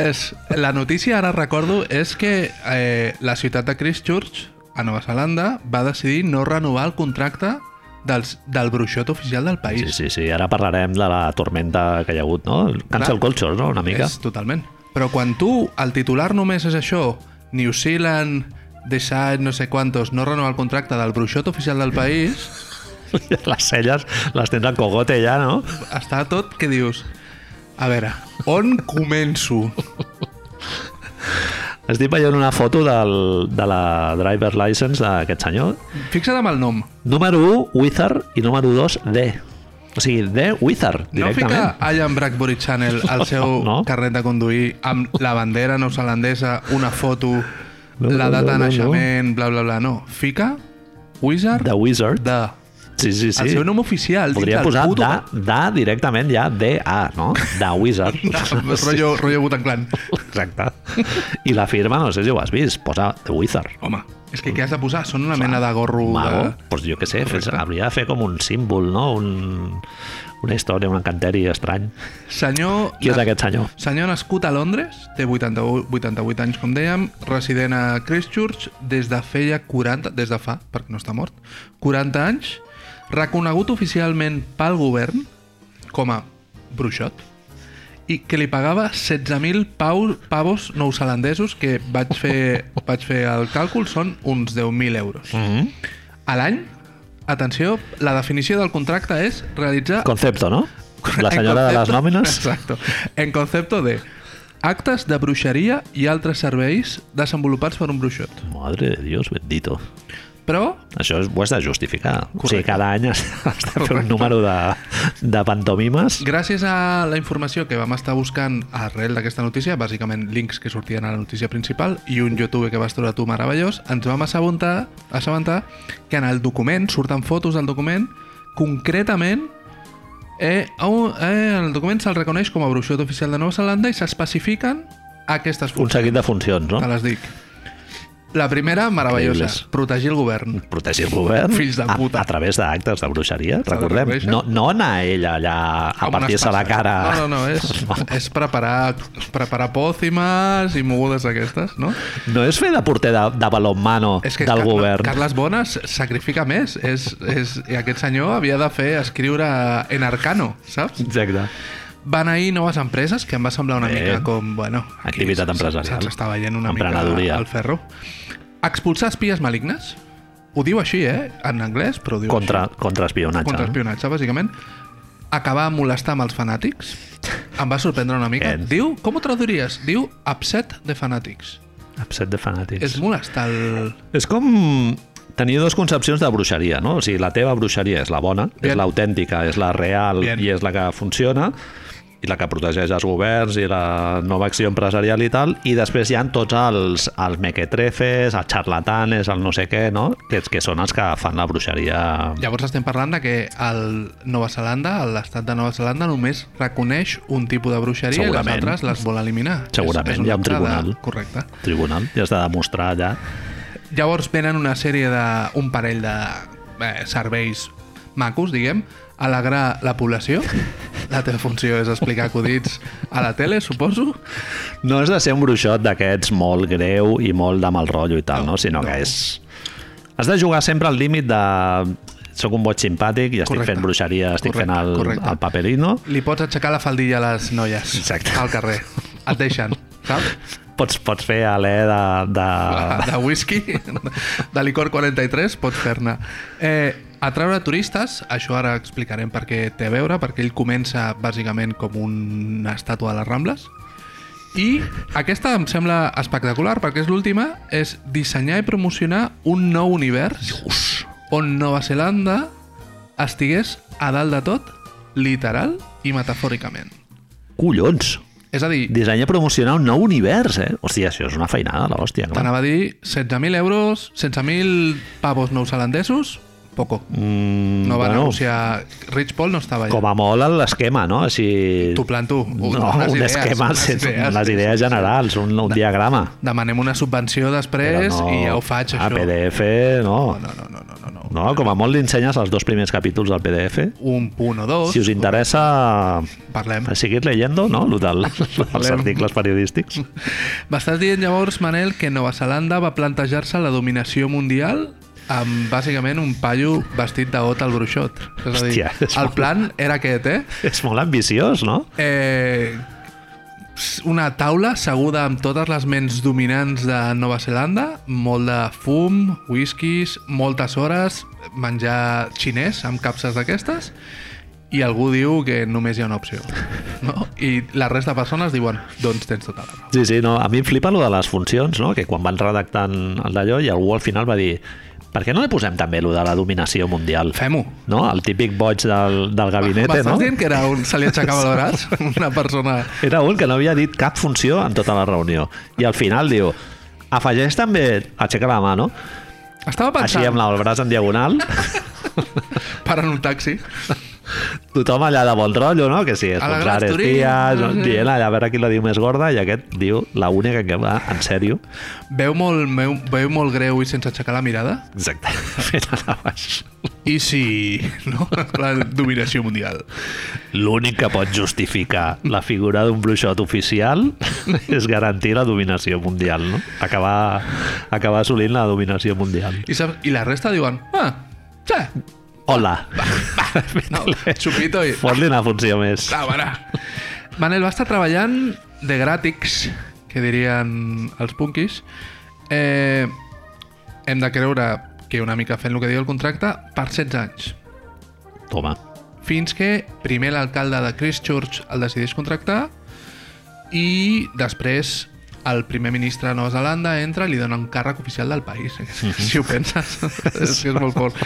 Speaker 2: És, la notícia, ara recordo, és que eh, la ciutat de Christchurch, a Nova Zelanda, va decidir no renovar el contracte dels, del bruixot oficial del país.
Speaker 1: Sí, sí, sí. Ara parlarem de la tormenta que hi ha hagut, no? El Cancel
Speaker 2: Clar.
Speaker 1: culture, no? Una mica.
Speaker 2: És, totalment. Però quan tu, el titular només és això, New Zealand, Decide, no sé quantos, no renovar el contracte del bruixot oficial del país,
Speaker 1: Les celles les tens en cogote ja, no?
Speaker 2: està tot que dius... A veure, on començo?
Speaker 1: Estic veient una foto del, de la driver license d'aquest senyor.
Speaker 2: Fixa't amb el nom.
Speaker 1: Número 1, Wizard, i número 2, D. O sigui, D, Wizard,
Speaker 2: No
Speaker 1: directament.
Speaker 2: fica allà en Blackberry Channel el seu
Speaker 1: No.
Speaker 2: no? carnet de conduir amb la bandera neozelandesa, una foto,
Speaker 1: No,
Speaker 2: la
Speaker 1: no, no, no,
Speaker 2: data de naixement, bla, bla, bla. No, fica Wizard
Speaker 1: The Wizard.
Speaker 2: de...
Speaker 1: Sí, sí, sí.
Speaker 2: El seu nom oficial. dins
Speaker 1: Podria
Speaker 2: del
Speaker 1: posar
Speaker 2: puto-
Speaker 1: da, da directament ja, D-A, no? Da Wizard.
Speaker 2: No, rotllo, rotllo Wu-Tang Clan.
Speaker 1: Exacte. I la firma, no sé si ho has vist, posa The Wizard.
Speaker 2: Home, és que què has de posar? Són una mena de gorro...
Speaker 1: Mago,
Speaker 2: De...
Speaker 1: doncs jo què sé, fes, hauria de fer com un símbol, no? Un, una història, un encanteri estrany.
Speaker 2: Senyor...
Speaker 1: Qui és aquest senyor?
Speaker 2: Senyor nascut a Londres, té 88, 88 anys, com dèiem, resident a Christchurch des de feia 40, des de fa, perquè no està mort, 40 anys, reconegut oficialment pel govern com a bruixot, i que li pagava 16.000 pau- pavos nouzelandesos, que vaig fer, vaig fer el càlcul, són uns 10.000 euros.
Speaker 1: Mm -hmm.
Speaker 2: A l'any, atenció, la definició del contracte és realitzar
Speaker 1: Concepto, no? La
Speaker 2: en
Speaker 1: senyora de les
Speaker 2: concepto-
Speaker 1: nòmines?
Speaker 2: Exacto. En concepto de actes de bruixeria i altres serveis desenvolupats per un bruixot.
Speaker 1: Madre de Dios, bendito.
Speaker 2: Però,
Speaker 1: Això és, ho has de justificar. O sigui,
Speaker 2: Correcte.
Speaker 1: cada any has, has de fer un número de, de pantomimes.
Speaker 2: gràcies a la informació que vam estar buscant arrel d'aquesta notícia, bàsicament links que sortien a la notícia principal i un YouTube que vas trobar tu meravellós, ens vam assabentar, assabentar que en el document, surten fotos del document, concretament Eh, a un- eh, el document se'l reconeix com a bruixot oficial de Nova Zelanda i s'especifiquen aquestes
Speaker 1: Un seguit de funcions, no?
Speaker 2: Te les dic. La primera, meravellosa.
Speaker 1: Increïbles.
Speaker 2: Protegir el govern.
Speaker 1: protegir el govern
Speaker 2: Fills de
Speaker 1: a-
Speaker 2: puta.
Speaker 1: A, través d'actes de bruixeria,
Speaker 2: de
Speaker 1: recordem.
Speaker 2: reconèixer.
Speaker 1: No, no anar ella allà a
Speaker 2: Amb unes
Speaker 1: partir-se la
Speaker 2: passes.
Speaker 1: cara.
Speaker 2: No, no, no, és, és preparar, preparar pòcimes i mogudes aquestes, no?
Speaker 1: No és fer de porter de, de balonmano
Speaker 2: És que
Speaker 1: del
Speaker 2: Carla-
Speaker 1: govern.
Speaker 2: Carles Bones sacrifica més. És, és, I aquest senyor havia de fer escriure en arcano, saps?
Speaker 1: Exacte.
Speaker 2: Van ahir noves empreses, que em va semblar una
Speaker 1: Bé.
Speaker 2: mica com, bueno...
Speaker 1: Eh. Activitat
Speaker 2: se'ns-
Speaker 1: empresarial.
Speaker 2: Se'ns està veient una mica
Speaker 1: Emprenedoria.
Speaker 2: al ferro. Expulsar espies malignes. Ho diu així, eh? En anglès, però ho diu així.
Speaker 1: Contra, contra espionatge. eh?
Speaker 2: contra espionatge, bàsicament. Acabar molestar amb els fanàtics. Em va sorprendre una mica.
Speaker 1: Aquest.
Speaker 2: Diu, com ho traduiries? Diu upset de fanàtics.
Speaker 1: No? Upset de fanàtics.
Speaker 2: És molestar el...
Speaker 1: És com tenir dues concepcions de bruixeria, no? O sigui, la teva bruixeria és la bona, Bien.
Speaker 2: Bien.
Speaker 1: és l'autèntica, és la real
Speaker 2: Bien.
Speaker 1: Bien. i és la que funciona i la que protegeix els governs i la nova acció empresarial i tal, i després hi ha tots els, els mequetrefes, els xarlatanes, el no sé què, no? Que, que són els que fan la bruixeria...
Speaker 2: Llavors estem parlant de que el Nova Zelanda, l'estat de Nova Zelanda, només reconeix un tipus de bruixeria i les
Speaker 1: Segurament.
Speaker 2: altres les vol eliminar. És-
Speaker 1: Segurament,
Speaker 2: una
Speaker 1: hi ha un
Speaker 2: altra de-
Speaker 1: tribunal.
Speaker 2: Correcte.
Speaker 1: Tribunal, i has de demostrar allà...
Speaker 2: Llavors venen una sèrie de... un parell de eh, serveis macos, diguem, alegrar la població. La teva funció és explicar acudits a la tele, suposo.
Speaker 1: No has de ser un bruixot d'aquests molt greu i molt de mal rotllo i tal, no? Sinó
Speaker 2: no.
Speaker 1: que és... Has de jugar sempre al límit de... Soc un boig simpàtic i estic
Speaker 2: Correcte.
Speaker 1: fent bruixeria, estic fent
Speaker 2: Correcte,
Speaker 1: el,
Speaker 2: correcte.
Speaker 1: el paperino.
Speaker 2: Li pots aixecar la faldilla a les noies
Speaker 1: Exacte.
Speaker 2: al carrer. Et deixen, saps?
Speaker 1: Pots, pots fer alè de... de...
Speaker 2: De whisky, de licor 43, pots fer-ne. Eh, atraure turistes, això ara explicarem per què té a veure, perquè ell comença bàsicament com una estàtua de les Rambles. I aquesta em sembla espectacular perquè és l'última, és dissenyar i promocionar un nou univers on Nova Zelanda estigués a dalt de tot, literal i metafòricament.
Speaker 1: Collons!
Speaker 2: És a dir,
Speaker 1: Dissenya promocionar un nou univers, eh? Hòstia, això és una feinada, l'hòstia, clar.
Speaker 2: T'anava a dir 16.000 euros, 16.000 pavos neozelandesos, poco.
Speaker 1: Mm,
Speaker 2: No va
Speaker 1: bueno,
Speaker 2: negociar... Rich Paul no estava allà.
Speaker 1: Com a molt l'esquema, no? Així...
Speaker 2: T'ho planto.
Speaker 1: No,
Speaker 2: Un, unes
Speaker 1: un
Speaker 2: idees,
Speaker 1: esquema,
Speaker 2: unes idees.
Speaker 1: les idees generals, un, un diagrama.
Speaker 2: Demanem una subvenció després
Speaker 1: Però
Speaker 2: i ja ho faig,
Speaker 1: Ah,
Speaker 2: això.
Speaker 1: PDF, no.
Speaker 2: No, no, no, no, no, no.
Speaker 1: No? Com a molt li ensenyes els dos primers capítols del PDF.
Speaker 2: un punt o dos,
Speaker 1: Si us interessa,
Speaker 2: parlem.
Speaker 1: seguir leyendo, no?, lo del, els articles periodístics.
Speaker 2: M'estàs dient llavors, Manel, que Nova Zelanda va plantejar-se la dominació mundial amb, bàsicament, un paio vestit de got al bruixot. És a dir,
Speaker 1: Hòstia, és
Speaker 2: el
Speaker 1: molt-
Speaker 2: plan era aquest, eh?
Speaker 1: És molt ambiciós, no?
Speaker 2: eh? Una taula seguda amb totes les ments dominants de Nova Zelanda, molt de fum, whiskies, moltes hores, menjar xinès amb capses d'aquestes, i algú diu que només hi ha una opció. No? I la resta de persones diuen, doncs tens tota la raó.
Speaker 1: Sí, sí, no. A mi em flipa lo de les funcions, no? Que quan van redactant el d'allò i algú al final va dir per què no li posem també lo de la dominació mundial?
Speaker 2: Fem-ho.
Speaker 1: No? El típic boig del, del gabinete,
Speaker 2: M'estàs
Speaker 1: no?
Speaker 2: dient que era un, se li aixecava el braç? Una persona...
Speaker 1: Era un que no havia dit cap funció en tota la reunió. I al final diu, afegeix també, aixeca la mà, no?
Speaker 2: Estava
Speaker 1: Així
Speaker 2: pensant,
Speaker 1: amb la- el braç en diagonal,
Speaker 2: parant un taxi.
Speaker 1: tothom allà de bon rotllo, no? Que sí,
Speaker 2: A la
Speaker 1: esponsar
Speaker 2: Gran
Speaker 1: els
Speaker 2: Turisme,
Speaker 1: dies, no?
Speaker 2: sí.
Speaker 1: dient allà a veure qui la diu més gorda, i aquest diu la única que va, en sèrio.
Speaker 2: Veu molt, meu, veu molt greu i sense aixecar la mirada?
Speaker 1: Exacte. Fent a la baix.
Speaker 2: I si... No? En plan, dominació mundial.
Speaker 1: L'únic que pot justificar la figura d'un bruixot oficial és garantir la dominació mundial, no? Acabar, acabar assolint la dominació mundial.
Speaker 2: I, saps, I la resta diuen... Ah, sí,
Speaker 1: Hola.
Speaker 2: no, xupito i...
Speaker 1: Fot-li una funció més.
Speaker 2: Ah, bueno. Manel va estar treballant de gràtics, que dirien els punquis. Eh, hem de creure que una mica fent el que diu el contracte, per 16 anys.
Speaker 1: Toma.
Speaker 2: fins que primer l'alcalde de Christchurch el decideix contractar i després el primer ministre de Nova Zelanda entra i li dona un càrrec oficial del país. Si ho penses, és que és molt fort.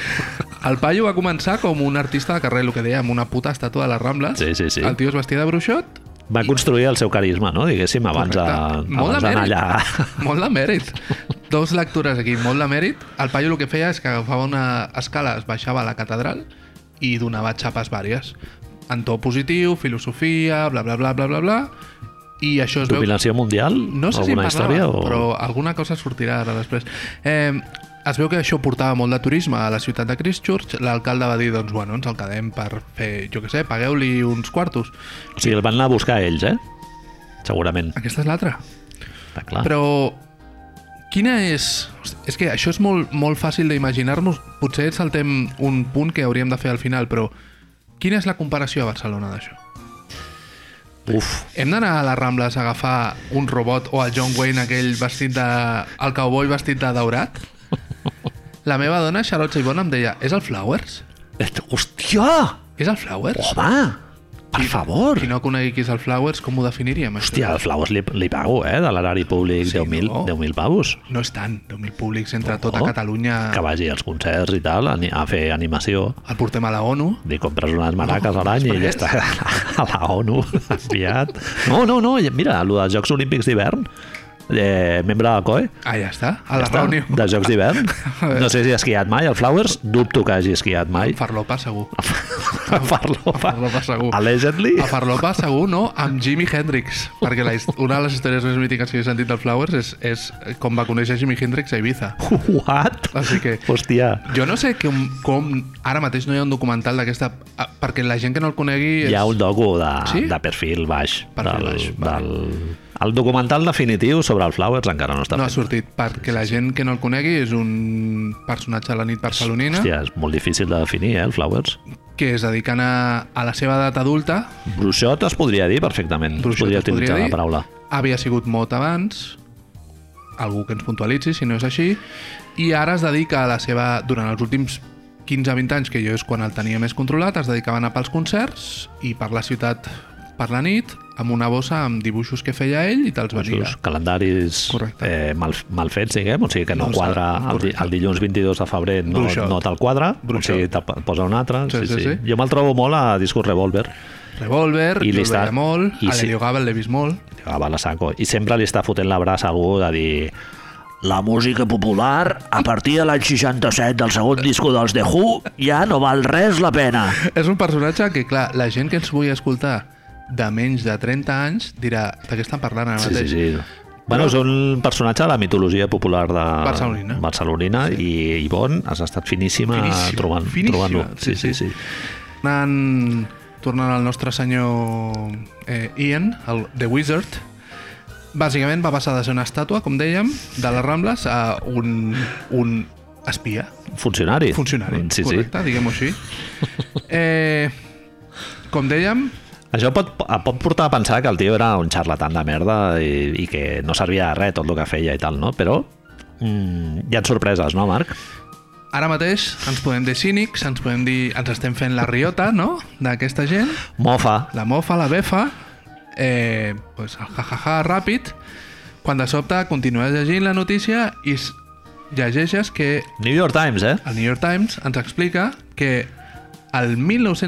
Speaker 2: El paio va començar com un artista de carrer, el que deia, amb una puta estàtua de les Rambles.
Speaker 1: Sí, sí, sí.
Speaker 2: El tio es vestia de bruixot.
Speaker 1: Va construir el seu carisma, no? Diguéssim, abans de-
Speaker 2: Correcte. Molt
Speaker 1: abans
Speaker 2: de
Speaker 1: d'anar
Speaker 2: mèrit.
Speaker 1: allà.
Speaker 2: Molt de mèrit. Dos lectures aquí, molt de mèrit. El paio el que feia és que agafava una escala, es baixava a la catedral i donava xapes vàries. En to positiu, filosofia, bla, bla, bla, bla, bla, bla. I això es veu...
Speaker 1: Dominació mundial?
Speaker 2: No sé si en
Speaker 1: Alguna
Speaker 2: parlava,
Speaker 1: història? O...
Speaker 2: però alguna cosa sortirà ara després. Eh, es veu que això portava molt de turisme a la ciutat de Christchurch. L'alcalde va dir, doncs, bueno, ens el quedem per fer, jo què sé, pagueu-li uns quartos.
Speaker 1: O sigui, el van anar a buscar ells, eh? Segurament.
Speaker 2: Aquesta és l'altra.
Speaker 1: Està clar.
Speaker 2: Però quina és... Hosti, És que això és molt, molt fàcil d'imaginar-nos. Potser saltem un punt que hauríem de fer al final, però quina és la comparació a Barcelona d'això?
Speaker 1: Uf.
Speaker 2: Hem d'anar a les Rambles a agafar un robot o a John Wayne aquell vestit de... el cowboy vestit de daurat? La meva dona, Charlotte Saibon, em deia és el Flowers?
Speaker 1: Hòstia!
Speaker 2: És el Flowers?
Speaker 1: Home! Oh, Per favor!
Speaker 2: Qui no conegui qui és el Flowers, com ho definiríem, això?
Speaker 1: Hòstia, el Flaus li, li pago, eh? De l'erari públic,
Speaker 2: Sí,
Speaker 1: sí, 10.000
Speaker 2: no?
Speaker 1: no? 10 pavos.
Speaker 2: No és tant, 10.000 públics entre tota
Speaker 1: No.
Speaker 2: Catalunya...
Speaker 1: Oh. Que vagi als concerts i tal, a, ni- a fer animació.
Speaker 2: El portem a la ONU.
Speaker 1: Li compres unes maraques a l'any i ja està
Speaker 2: després.
Speaker 1: a la ONU enviat. No, no, no, i mira, el dels Jocs Olímpics d'hivern, eh, membre del COE,
Speaker 2: Ah, ja està. A la
Speaker 1: està,
Speaker 2: reunió.
Speaker 1: de Jocs d'hivern. No sé si ha esquiat mai, el Flowers, dubto que hagi esquiat mai.
Speaker 2: Farlopa, segur.
Speaker 1: Farlopa.
Speaker 2: Farlopa, segur.
Speaker 1: Allegedly.
Speaker 2: A Farlopa, segur, no? Amb Jimi Hendrix. Perquè la, his- una de les històries més mítiques que he sentit del Flowers és, és com va conèixer Jimi Hendrix a Ibiza.
Speaker 1: What?
Speaker 2: Així que...
Speaker 1: Hòstia.
Speaker 2: Jo no sé com, com ara mateix no hi ha un documental d'aquesta... ah, Perquè la gent que no el conegui... És,
Speaker 1: Hi ha un docu de,
Speaker 2: Sí?
Speaker 1: sí? de perfil baix.
Speaker 2: Perfil
Speaker 1: del,
Speaker 2: baix, vale.
Speaker 1: del, el documental definitiu sobre el Flowers encara no està
Speaker 2: no ha
Speaker 1: fet.
Speaker 2: sortit, perquè la gent que no el conegui és un personatge de la nit barcelonina
Speaker 1: Hòstia, és molt difícil de definir, eh, el Flowers.
Speaker 2: que es dediquen a, a la seva edat adulta
Speaker 1: Bruixot es podria dir perfectament.
Speaker 2: Bruixot
Speaker 1: Bruixot podria
Speaker 2: es podria
Speaker 1: utilitzar
Speaker 2: dir.
Speaker 1: la paraula.
Speaker 2: havia sigut mot abans, algú que ens puntualitzi, si no és així, i ara es dedica a la seva... Durant els últims 15-20 anys, que jo és quan el tenia més controlat, es dedicava a anar pels concerts i per la ciutat per la nit, amb una bossa amb dibuixos que feia ell i te'ls venia.
Speaker 1: Bruixos, calendaris
Speaker 2: Correcte.
Speaker 1: eh, mal, mal fets, diguem, o sigui que no,
Speaker 2: No,
Speaker 1: quadra el, di- el dilluns 22 de febrer no,
Speaker 2: Bruixot.
Speaker 1: no te'l quadra,
Speaker 2: Bruixot.
Speaker 1: o sigui, te p- posa un altre. Sí, sí, sí.
Speaker 2: sí.
Speaker 1: Jo me'l trobo molt a Discos Revolver,
Speaker 2: Revolver,
Speaker 1: I
Speaker 2: I jo el
Speaker 1: l'està-
Speaker 2: veia molt,
Speaker 1: i
Speaker 2: a
Speaker 1: si-
Speaker 2: l'Elio Gabel l'he vist molt.
Speaker 1: que "Ah, va a la saco, i sempre li està fotent la braça a algú de dir
Speaker 3: La música popular, a partir de l'any 67 del segon disco dels The Who, ja no val res la pena.
Speaker 2: És un personatge que, clar, la gent que ens vull escoltar de menys de 30 anys dirà de què estan parlant ara
Speaker 1: sí, sí,
Speaker 2: mateix.
Speaker 1: sí, Bueno, és un personatge de la mitologia popular de
Speaker 2: Barcelonina.
Speaker 1: Barcelonina sí. i Ivonne has estat finíssima,
Speaker 2: Finíssima,
Speaker 1: trobant-
Speaker 2: finíssima,
Speaker 1: trobant-lo.
Speaker 2: sí,
Speaker 1: sí,
Speaker 2: sí.
Speaker 1: sí, sí.
Speaker 2: Anant, tornant al nostre senyor eh, Ian, el The Wizard, bàsicament va passar de ser una estàtua, com dèiem, de les Rambles a un, un espia,
Speaker 1: Funcionari.
Speaker 2: funcionari,
Speaker 1: Sí, sí.
Speaker 2: correcte, diguem-ho així. Eh, com dèiem,
Speaker 1: Això pot, pot portar a pensar que el tio era un xarlatan de merda i, i que no servia de res tot el que feia i tal, no? Però mm, hi ha sorpreses, no, Marc?
Speaker 2: ara mateix ens podem dir cínics, ens podem dir ens estem fent la riota, no?, d'aquesta gent,
Speaker 1: Mofa.
Speaker 2: la mofa, la befa, eh, pues, el jajaja ràpid, quan de sobte continues llegint la notícia i s- llegeixes que
Speaker 1: New York Times, eh?
Speaker 2: el New York Times ens explica que el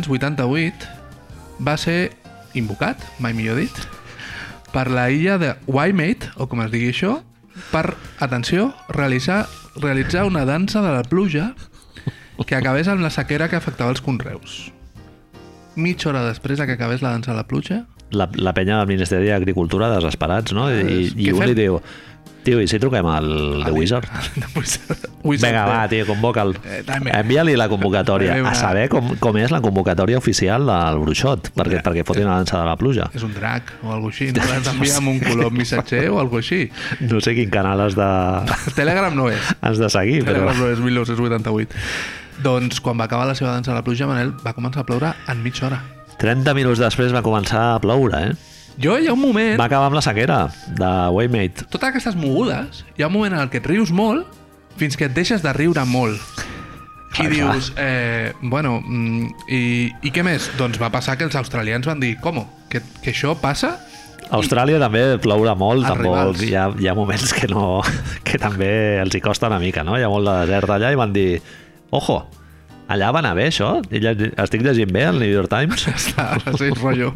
Speaker 2: 1988 va ser invocat, mai millor dit, per la illa de Waimate, o com es digui això, per, atenció, realitzar, realitzar una dansa de la pluja que acabés amb la sequera que afectava els conreus. Mitja hora després de que acabés la dansa de la pluja,
Speaker 1: La, la penya del Ministeri d'Agricultura desesperats, no? I,
Speaker 2: Doncs,
Speaker 1: i
Speaker 2: què
Speaker 1: un li
Speaker 2: fem?
Speaker 1: diu, tio, i si truquem al The Wizard?
Speaker 2: Wizard- Wizard eh?
Speaker 1: Vinga,
Speaker 2: de-
Speaker 1: va, tio, convoca'l.
Speaker 2: Eh, dame.
Speaker 1: Envia-li la convocatòria.
Speaker 2: Dame
Speaker 1: A
Speaker 2: una-
Speaker 1: saber com, com és la convocatòria oficial del bruixot, perquè, perquè fotin la dansa de la pluja.
Speaker 2: És un drac o alguna cosa així, no l'has d'enviar amb un color missatger o alguna cosa així.
Speaker 1: No sé quin canal has de,
Speaker 2: Telegram no és.
Speaker 1: has de seguir, però...
Speaker 2: Telegram no és 1988. Doncs quan va acabar la seva dansa a la pluja, Manel, va començar a ploure en mitja hora.
Speaker 1: 30 minuts després va començar a ploure, eh?
Speaker 2: Jo hi ha un moment,
Speaker 1: Va acabar amb la sequera de Waymate.
Speaker 2: totes aquestes mogudes, hi ha un moment en el que et rius molt fins que et deixes de riure molt. I
Speaker 1: Clar, clar.
Speaker 2: dius, eh, bueno, mm, i, i què més? Doncs va passar que els australians van dir, com? Que, que això passa?
Speaker 1: A Austràlia també ploure molt,
Speaker 2: Els
Speaker 1: tampoc,
Speaker 2: rivals.
Speaker 1: hi ha, hi ha moments que, no, que també els hi costa una mica, no? Hi ha molt de desert allà i van dir, ojo, allà va anar bé això? I lle- Estic llegint bé el New York Times?
Speaker 2: Està, sí, rotllo.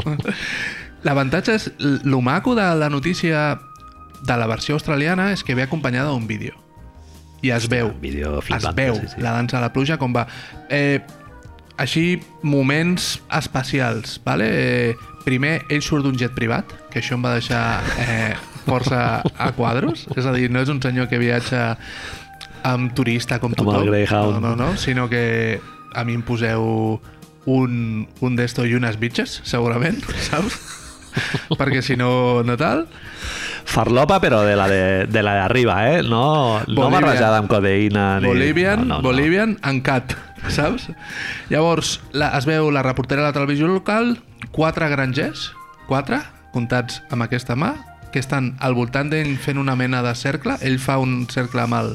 Speaker 2: L'avantatge és, l- lo maco de la notícia de la versió australiana és que ve acompanyada d'un vídeo. I es veu.
Speaker 1: Un vídeo
Speaker 2: es
Speaker 1: flipant.
Speaker 2: veu
Speaker 1: sí, sí.
Speaker 2: la dansa a la pluja com va eh, així moments especials vale? eh, primer ell surt d'un jet privat que això em va deixar eh, força a quadros és a dir, no és un senyor que viatja amb turista com
Speaker 1: el
Speaker 2: tothom
Speaker 1: Greyhound.
Speaker 2: no, no, no, sinó que a mi em poseu un, un d'esto i unes bitxes segurament, saps? perquè si no, no tal
Speaker 1: Farlopa, però de la de, de, la de arriba, eh? No, no
Speaker 2: Bolivian.
Speaker 1: barrejada amb codeïna. Ni...
Speaker 2: Bolivian,
Speaker 1: no, no, no.
Speaker 2: Bolivian en cat, saps? Llavors, la, es veu la reportera de la televisió local, quatre grangers, quatre, comptats amb aquesta mà, que estan al voltant d'ell fent una mena de cercle. Ell fa un cercle amb el,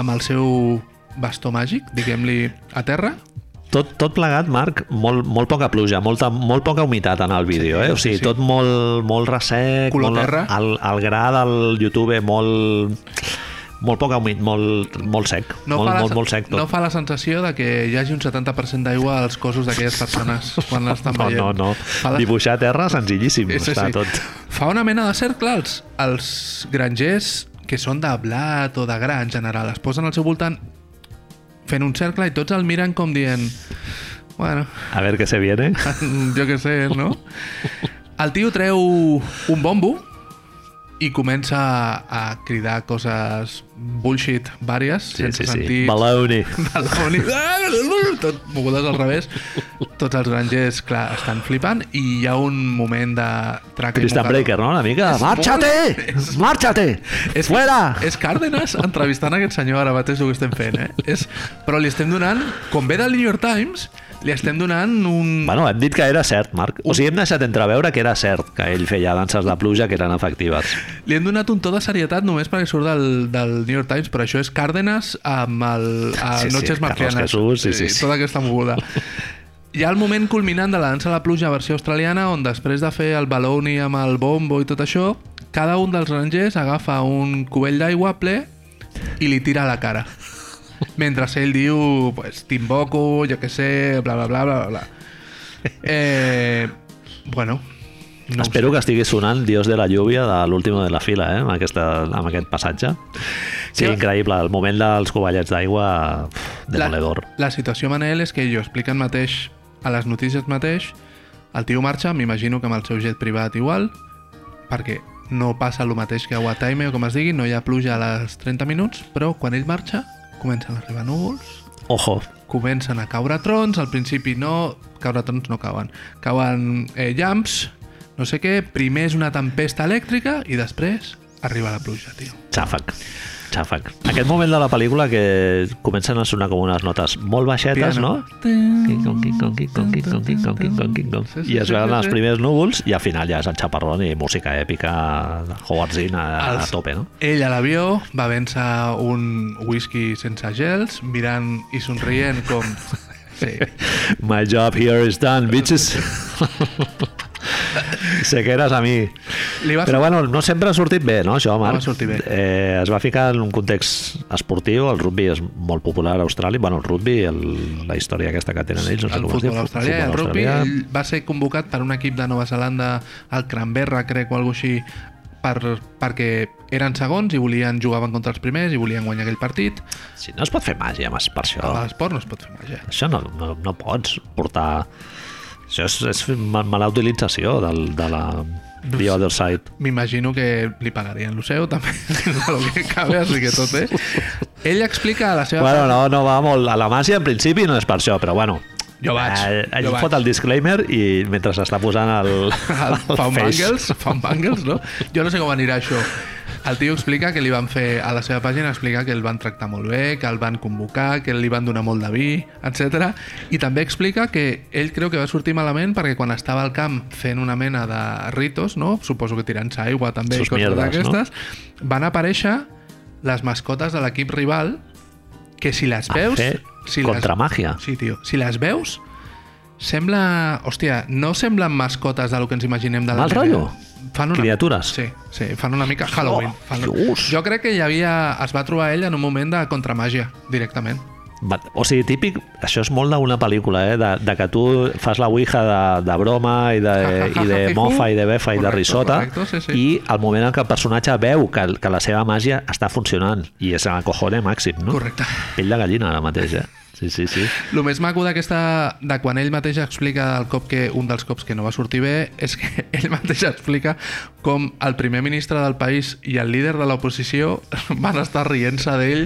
Speaker 2: amb el seu bastó màgic, diguem-li, a terra.
Speaker 1: Tot, tot plegat, Marc, molt, molt poca pluja, molta, molt poca humitat en el vídeo, eh? O sigui,
Speaker 2: sí.
Speaker 1: tot molt, molt ressec,
Speaker 2: Color
Speaker 1: molt,
Speaker 2: terra.
Speaker 1: El, el gra del YouTube molt, molt poca humit, molt, molt sec, molt,
Speaker 2: fa la
Speaker 1: molt,
Speaker 2: sen-
Speaker 1: molt sec tot.
Speaker 2: no fa la sensació de que hi hagi un 70% d'aigua als cossos d'aquelles persones quan l'estan
Speaker 1: no,
Speaker 2: veient.
Speaker 1: no, no.
Speaker 2: Fa la
Speaker 1: Dibuixar terra senzillíssim,
Speaker 2: És
Speaker 1: està
Speaker 2: així.
Speaker 1: tot.
Speaker 2: Fa una mena de cercle els, els grangers que són de blat o de gra en general. Es posen al seu voltant fent un cercle i tots el miren com dient bueno,
Speaker 1: A veure què se viene.
Speaker 2: jo què sé, no? El tio treu un bombo i comença a cridar coses bullshit vàries,
Speaker 1: Sí,
Speaker 2: sense
Speaker 1: sí, sí.
Speaker 2: sentit.
Speaker 1: Baloney.
Speaker 2: Baloni. Tot mogudes al revés. Tots els grangers, clar, estan flipant i hi ha un moment de traca i
Speaker 1: Tristan
Speaker 2: mocador.
Speaker 1: Breaker, no? Una mica.
Speaker 3: ¡Márchate! ¡Márchate!
Speaker 2: És,
Speaker 3: ¡Fuera!
Speaker 2: és Cárdenas entrevistant aquest senyor ara mateix el que estem fent, eh? És, però li estem donant, com ve del New York Times, li estem donant un...
Speaker 1: Bueno, hem dit que era cert, Marc. O sigui, hem deixat entreveure que era cert que ell feia danses de pluja que eren efectives.
Speaker 2: Li hem donat un to de serietat només perquè surt del, del New York Times, però això és Cárdenas amb el, a
Speaker 1: Sí, sí,
Speaker 2: Noches
Speaker 1: Carlos
Speaker 2: Marcianas.
Speaker 1: Jesús, sí, sí,
Speaker 2: I
Speaker 1: sí.
Speaker 2: Tota aquesta moguda. Hi ha el moment culminant de la dansa a la pluja versió australiana on després de fer el baloni amb el bombo i tot això, cada un dels grangers agafa un cubell d'aigua ple i li tira a la cara. Mentre ell diu, pues, t'invoco, jo què sé, bla, bla, bla, bla, bla. Eh, bueno, no ho sé.
Speaker 1: Espero que estigui sonant Dios de la lluvia de l'última de la fila, eh, amb, aquesta, amb aquest passatge. Sí,
Speaker 2: Sí.
Speaker 1: increïble. El moment dels covallets d'aigua, pf, demoledor.
Speaker 2: La, la situació, Manel, és que jo expliquen mateix, a les notícies mateix, el tio marxa, m'imagino que amb el seu jet privat igual, perquè no passa el mateix que a Wataime o com es digui, no hi ha pluja a les 30 minuts, però quan ell marxa comencen a arribar núvols,
Speaker 1: Ojo,
Speaker 2: comencen a caure trons, al principi no, caure trons no cauen, cauen eh, llamps, no sé què, primer és una tempesta elèctrica i després arriba la pluja, tio.
Speaker 1: xàfec. Xàfec. Aquest moment de la pel·lícula que comencen a sonar com unes notes molt baixetes,
Speaker 2: Piano.
Speaker 1: no? Quin, com, quin, com, quin, com, quin, com, quin, com, quin, com, quin, com.
Speaker 2: Sí, sí,
Speaker 1: I es
Speaker 2: sí,
Speaker 1: veuen
Speaker 2: sí,
Speaker 1: els
Speaker 2: sí.
Speaker 1: primers núvols i al final ja és el xaparrón i música èpica de Howard Zinn a, a
Speaker 2: Els-
Speaker 1: tope, no?
Speaker 2: Ell a l'avió va vèncer un whisky sense gels, mirant i somrient com... Sí,
Speaker 1: My job here is done, bitches. Sequeres a mi.
Speaker 2: Li va
Speaker 1: Però bueno, no sempre ha sortit bé, no, això, Marc?
Speaker 2: va sortir bé.
Speaker 1: Eh, es va ficar en un context esportiu, el rugby és molt popular a Austràlia, bueno, el rugby, el, la història aquesta que tenen ells, no sé
Speaker 2: el
Speaker 1: com es diu,
Speaker 2: futbol
Speaker 1: fu-
Speaker 2: australià i el
Speaker 1: futbol
Speaker 2: rugby.
Speaker 1: australià.
Speaker 2: Ell va ser convocat per un equip de Nova Zelanda, al Canberra, crec, o alguna així, per, perquè eren segons i volien jugaven contra els primers i volien guanyar aquell partit.
Speaker 1: Sí, no es pot fer màgia, mas, per això.
Speaker 2: A l'esport no es pot fer eh? màgia.
Speaker 1: Això no, no, no pots portar... Això és, és ma- mala utilització del, de la... The other side.
Speaker 2: M'imagino que li pagarien el seu, també, el que cabe, així que tot bé. Ell explica a la seva...
Speaker 1: Bueno, no, no va molt... A la màgia, en principi, no és per això, però bueno...
Speaker 2: Jo vaig,
Speaker 1: Eh, Ell
Speaker 2: jo
Speaker 1: fot
Speaker 2: vaig.
Speaker 1: el disclaimer i mentre s'està posant el,
Speaker 2: el Fan
Speaker 1: face.
Speaker 2: Bangles, Fan Bangles, no? Jo no sé com anirà això. El tio explica que li van fer, a la seva pàgina explica que el van tractar molt bé, que el van convocar, que li van donar molt de vi, etc. I també explica que ell creu que va sortir malament perquè quan estava al camp fent una mena de ritos, no? Suposo que tirant-se aigua també
Speaker 1: Sus
Speaker 2: i coses
Speaker 1: mierdas,
Speaker 2: d'aquestes, no? van aparèixer les mascotes de l'equip rival que si les
Speaker 1: A
Speaker 2: veus...
Speaker 1: fer
Speaker 2: Si les,
Speaker 1: contramàgia.
Speaker 2: Sí, tio. Si les veus, sembla... Hòstia, no semblen mascotes del que ens imaginem de la
Speaker 1: Mal
Speaker 2: tele.
Speaker 1: rotllo?
Speaker 2: Fan una...
Speaker 1: Criatures?
Speaker 2: Sí, sí, fan una mica Halloween.
Speaker 1: Oh,
Speaker 2: fan...
Speaker 1: Dios.
Speaker 2: Jo crec que hi havia... Es va trobar ell en un moment de contramàgia, directament.
Speaker 1: Va- O sigui, típic, això és molt d'una pel·lícula, eh? De, de que tu fas la ouija de, de broma i de, i de mofa i de befa i de
Speaker 2: Correcte,
Speaker 1: risota
Speaker 2: correcte, sí, sí.
Speaker 1: i al moment en què el personatge veu que, que la seva màgia està funcionant i és el cojone màxim, no?
Speaker 2: Correcte.
Speaker 1: Pell de gallina ara mateix, eh? Sí, sí, sí.
Speaker 2: El més maco d'aquesta... de quan ell mateix explica el cop que un dels cops que no va sortir bé és que ell mateix explica com el primer ministre del país i el líder de l'oposició van estar rient-se d'ell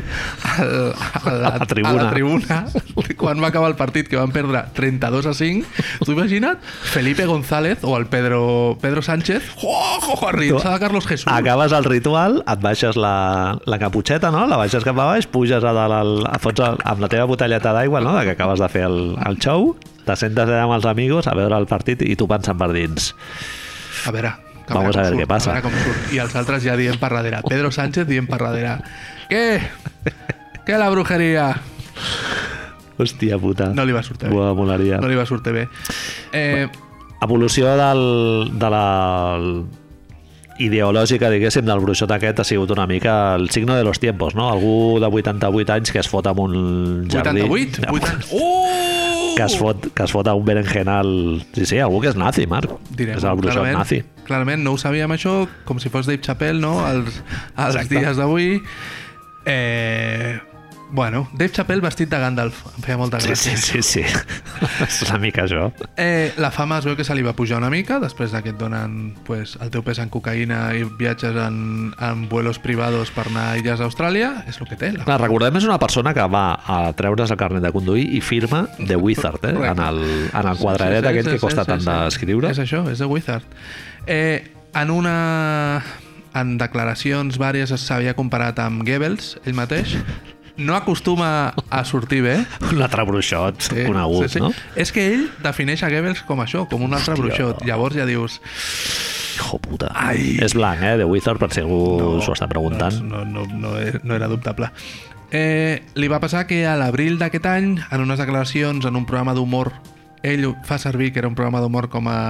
Speaker 2: al- a, la-
Speaker 1: A la tribuna.
Speaker 2: a la tribuna quan va acabar el partit que van perdre 32 a 5. Tu imagina't Felipe González o el Pedro, Pedro Sánchez oh, oh, rient-se de Carlos Jesús.
Speaker 1: Acabes el ritual, et baixes la, la caputxeta, no? La baixes cap a baix, puges a dalt, al, a fots el, amb la teva botelleta d'aigua, no? De que acabes de fer el, el show, te sentes allà amb els amigos a veure el partit i tu pensant per dins.
Speaker 2: A veure, que
Speaker 1: Vamos
Speaker 2: veure
Speaker 1: a ver
Speaker 2: com
Speaker 1: qué
Speaker 2: surt,
Speaker 1: pasa.
Speaker 2: A veure com surt. I els altres ja dient per darrere. Pedro Sánchez dient per darrere. Què? Què la brujeria?
Speaker 1: Hòstia puta.
Speaker 2: No li va sortir bé.
Speaker 1: Buah, molaria.
Speaker 2: No li va sortir bé. Eh,
Speaker 1: Evolució del, de la ideològica, diguéssim, del bruixot aquest ha sigut una mica el signo de los tiempos, no? Algú de 88 anys que es fot amb un jardí...
Speaker 2: 88? 80... Uh!
Speaker 1: Que es, fot, que es fot a un berenjenal... Sí, sí, algú que és nazi, Marc.
Speaker 2: Direm,
Speaker 1: és el bruixot
Speaker 2: clarament,
Speaker 1: nazi.
Speaker 2: Clarament, no ho sabíem això, com si fos Dave Chappelle, no? Els, els
Speaker 1: Exacte.
Speaker 2: dies d'avui. Eh, bueno, Dave Chappelle vestit de Gandalf. Em feia molta
Speaker 1: Sí,
Speaker 2: gràcia.
Speaker 1: sí, sí, sí. és una mica això.
Speaker 2: Eh, la fama es veu que se li va pujar una mica després de que et donen pues, el teu pes en cocaïna i viatges en, en vuelos privados per anar a illes d'Austràlia, és el que té. La...
Speaker 1: Clar, recordem, és una persona que va a treure's el carnet de conduir i firma The Wizard, eh? En el, en el quadradet aquell que costa tant d'escriure.
Speaker 2: És això, és de Wizard. Eh, en una... En declaracions vàries s'havia comparat amb Goebbels, ell mateix. No acostuma a sortir bé.
Speaker 1: Un altre bruixot conegut, no?
Speaker 2: És que ell defineix a Goebbels com això, com un altre bruixot. Llavors ja dius...
Speaker 1: Hijo puta.
Speaker 2: Ai.
Speaker 1: És blanc, eh? The Wizard, per si algú no, s'ho està preguntant.
Speaker 2: No, no, no, no, era- no era dubtable. Eh, li va passar que a l'abril d'aquest any, en unes declaracions en un programa d'humor, ell ho fa servir que era un programa d'humor com a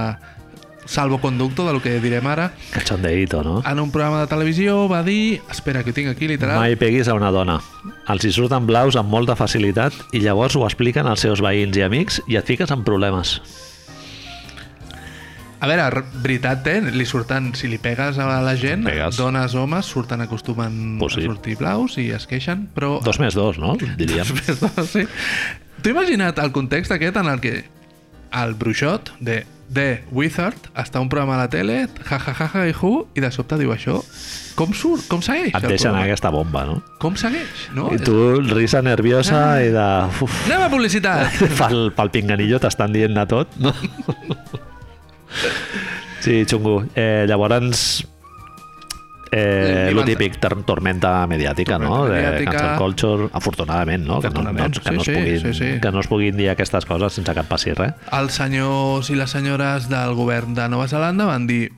Speaker 2: salvoconducto del que direm ara,
Speaker 1: Cachondeito, no?
Speaker 2: en un programa de televisió va dir... Espera, que ho tinc aquí, literal.
Speaker 1: Mai peguis a una dona. Els hi surten blaus amb molta facilitat i llavors ho expliquen als seus veïns i amics i et fiques en problemes.
Speaker 2: A veure, r- veritat, eh? Li surten, si li pegues a la gent,
Speaker 1: Pegues.
Speaker 2: dones, homes, surten, acostumen
Speaker 1: Pues sí.
Speaker 2: a sortir blaus i es queixen, però...
Speaker 1: Dos més dos, no? Diríem.
Speaker 2: Després de- sí. T'ho he imaginat el context aquest en el que el bruixot de de Wizard, està un programa a la tele, ja, ja, ja, ja, i hu, i de sobte diu això. Com surt? Com segueix?
Speaker 1: Et
Speaker 2: el
Speaker 1: deixen
Speaker 2: programa?
Speaker 1: aquesta bomba, no?
Speaker 2: Com segueix? No?
Speaker 1: I tu, risa nerviosa i de... Uf,
Speaker 2: Anem a publicitat!
Speaker 1: pel, pel pinganillo t'estan dient de tot, no? Sí, xungo. Eh, llavors, eh,
Speaker 2: I
Speaker 1: lo
Speaker 2: van-
Speaker 1: típic, tor- tormenta mediàtica, no?
Speaker 2: Tormenta
Speaker 1: De
Speaker 2: mediàtica.
Speaker 1: cancel culture, afortunadament, no? Que no,
Speaker 2: Afortunadament,
Speaker 1: doncs, que, no
Speaker 2: sí,
Speaker 1: es puguin,
Speaker 2: sí, sí, sí.
Speaker 1: que no es puguin dir aquestes coses sense que et passi res.
Speaker 2: Els senyors i les senyores del govern de Nova Zelanda van dir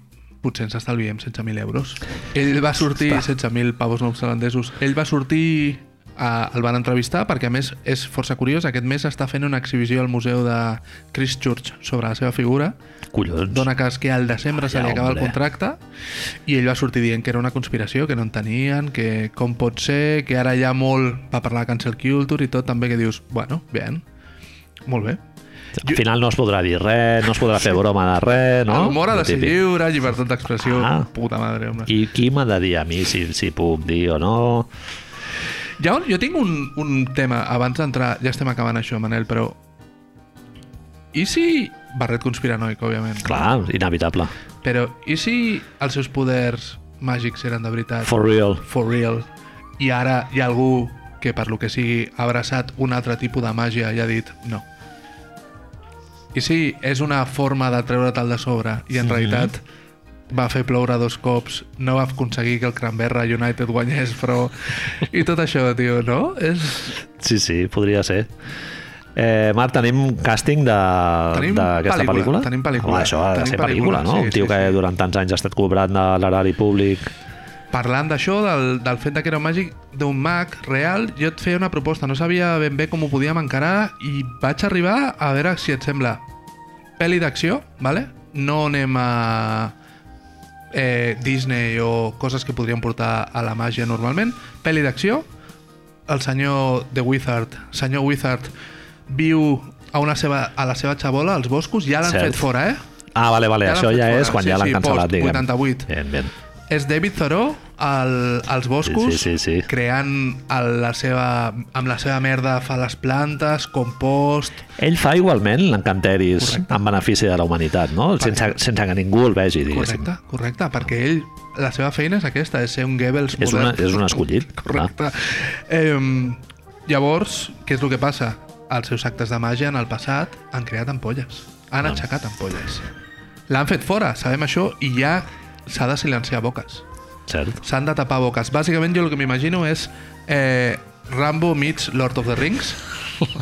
Speaker 2: potser ens estalviem 16.000 euros. Ell va sortir, 16.000 pavos neozelandesos, ell va sortir, a, el van entrevistar, perquè a més és força curiós, aquest mes està fent una exhibició al Museu de Christchurch sobre la seva figura,
Speaker 1: Collons.
Speaker 2: dona cas que al desembre se li
Speaker 1: Vaya
Speaker 2: acaba el
Speaker 1: hombre.
Speaker 2: contracte i ell va sortir dient que era una conspiració, que no en tenien, que com pot ser, que ara hi ha molt... Va parlar de cancel culture i tot, també que dius, bueno, bé, molt bé.
Speaker 1: Al final no es podrà dir res, no es podrà fer broma de res, no?
Speaker 2: No? L'humor ha
Speaker 1: Lo
Speaker 2: de ser
Speaker 1: típic.
Speaker 2: lliure, llibertat d'expressió,
Speaker 1: Ah.
Speaker 2: puta madre, home. I...
Speaker 1: I qui m'ha de dir a mi si, si puc dir o no?
Speaker 2: Ja, jo tinc un, un tema, abans d'entrar, ja estem acabant això, Manel, però... I si... Barret conspiranoic, òbviament.
Speaker 1: Clar, inevitable.
Speaker 2: Però i si els seus poders màgics eren de veritat?
Speaker 1: For real.
Speaker 2: for real. I ara hi ha algú que, per lo que sigui, ha abraçat un altre tipus de màgia i ha dit no. I sí, és una forma de treure-te'l de sobre i en realitat va fer ploure dos cops, no va aconseguir que el Canberra United guanyés, però... I tot això, tio, no? És...
Speaker 1: Sí, sí, podria ser. Eh, Marc, tenim càsting de-
Speaker 2: Tenim
Speaker 1: d'aquesta
Speaker 2: pel·lícula,
Speaker 1: pel·lícula?
Speaker 2: tenim pel·lícula.
Speaker 1: Home, això ha de
Speaker 2: Tenim
Speaker 1: ser pel·lícula,
Speaker 2: pel·lícula,
Speaker 1: no?
Speaker 2: sí,
Speaker 1: Un tio
Speaker 2: sí,
Speaker 1: que
Speaker 2: sí.
Speaker 1: durant tants anys ha estat cobrant de l'erari públic.
Speaker 2: Parlant d'això, del, del fet de que era un màgic d'un mag real, jo et feia una proposta, no sabia ben bé com ho podíem encarar i vaig arribar a veure si et sembla pel·li d'acció, vale? no anem a eh, Disney o coses que podríem portar a la màgia normalment, pel·li d'acció, el senyor The Wizard, senyor Wizard, viu a, una seva, a la seva xabola, als boscos, ja l'han
Speaker 1: Cert.
Speaker 2: fet fora, eh?
Speaker 1: Ah, vale, vale,
Speaker 2: Ja l'han
Speaker 1: això
Speaker 2: fet
Speaker 1: ja
Speaker 2: fora,
Speaker 1: és quan
Speaker 2: sí,
Speaker 1: ja l'han
Speaker 2: sí,
Speaker 1: cancel·lat,
Speaker 2: post
Speaker 1: diguem.
Speaker 2: 88.
Speaker 1: Ben, ben.
Speaker 2: És David Thoreau al, als boscos,
Speaker 1: Sí, sí, sí, sí.
Speaker 2: creant el, la seva, amb la seva merda fa les plantes, compost...
Speaker 1: Ell fa igualment l'encanteris en benefici de la humanitat, no? Sense, sense que ningú el vegi, diguéssim.
Speaker 2: Correcte, correcte, perquè ell, la seva feina és aquesta, és ser un Goebbels
Speaker 1: És, una, és un escollit. clar.
Speaker 2: Correcte. Eh, llavors, què és el que passa? Els seus actes de màgia en el passat han creat ampolles. Han
Speaker 1: Doncs.
Speaker 2: aixecat ampolles. L'han fet fora, sabem això, i ja s'ha de silenciar boques.
Speaker 1: Cert.
Speaker 2: s'han de tapar boques. Bàsicament jo el que m'imagino és eh, Rambo meets Lord of the Rings,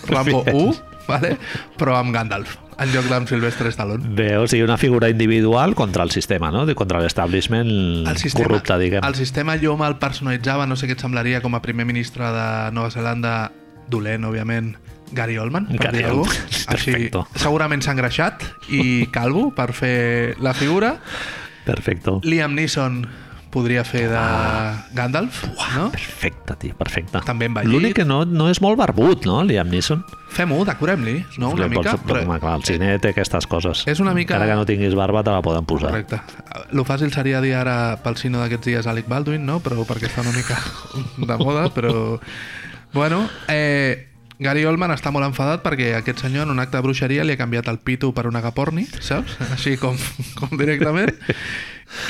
Speaker 2: Rambo 1, vale? però amb Gandalf, en lloc d'amb Silvestre Stallone.
Speaker 1: Bé, o sigui, una figura individual contra el sistema, no? De- Contra l'establishment
Speaker 2: El
Speaker 1: Mm,
Speaker 2: sistema,
Speaker 1: corrupte, diguem.
Speaker 2: el sistema jo me'l personalitzava, no sé què et semblaria com a primer ministre de Nova Zelanda, dolent, òbviament, Gary Oldman, per
Speaker 1: Gary
Speaker 2: dir alguna
Speaker 1: Oldman,
Speaker 2: cosa. Així,
Speaker 1: perfecto.
Speaker 2: segurament s'engreixat i calvo per fer la figura.
Speaker 1: Perfecto.
Speaker 2: Liam Neeson podria fer de Gandalf, no?
Speaker 1: Perfecte, tio, perfecte.
Speaker 2: També envellit.
Speaker 1: L'únic que no, no és molt barbut, no, Liam Neeson?
Speaker 2: Fem-ho, decorem-li, no? Una
Speaker 1: Li
Speaker 2: mica.
Speaker 1: pots- Home, clar, el cine té aquestes coses.
Speaker 2: És una mica-
Speaker 1: Encara que no tinguis barba, te la poden posar.
Speaker 2: Correcte. Lo fàcil seria dir ara pel sino d'aquests dies Alec Baldwin, no? Però perquè està una mica de moda, però... Bueno, eh, Gary Oldman està molt enfadat perquè aquest senyor en un acte de bruixeria li ha canviat el pito per una agaporni, saps? Així com, com directament.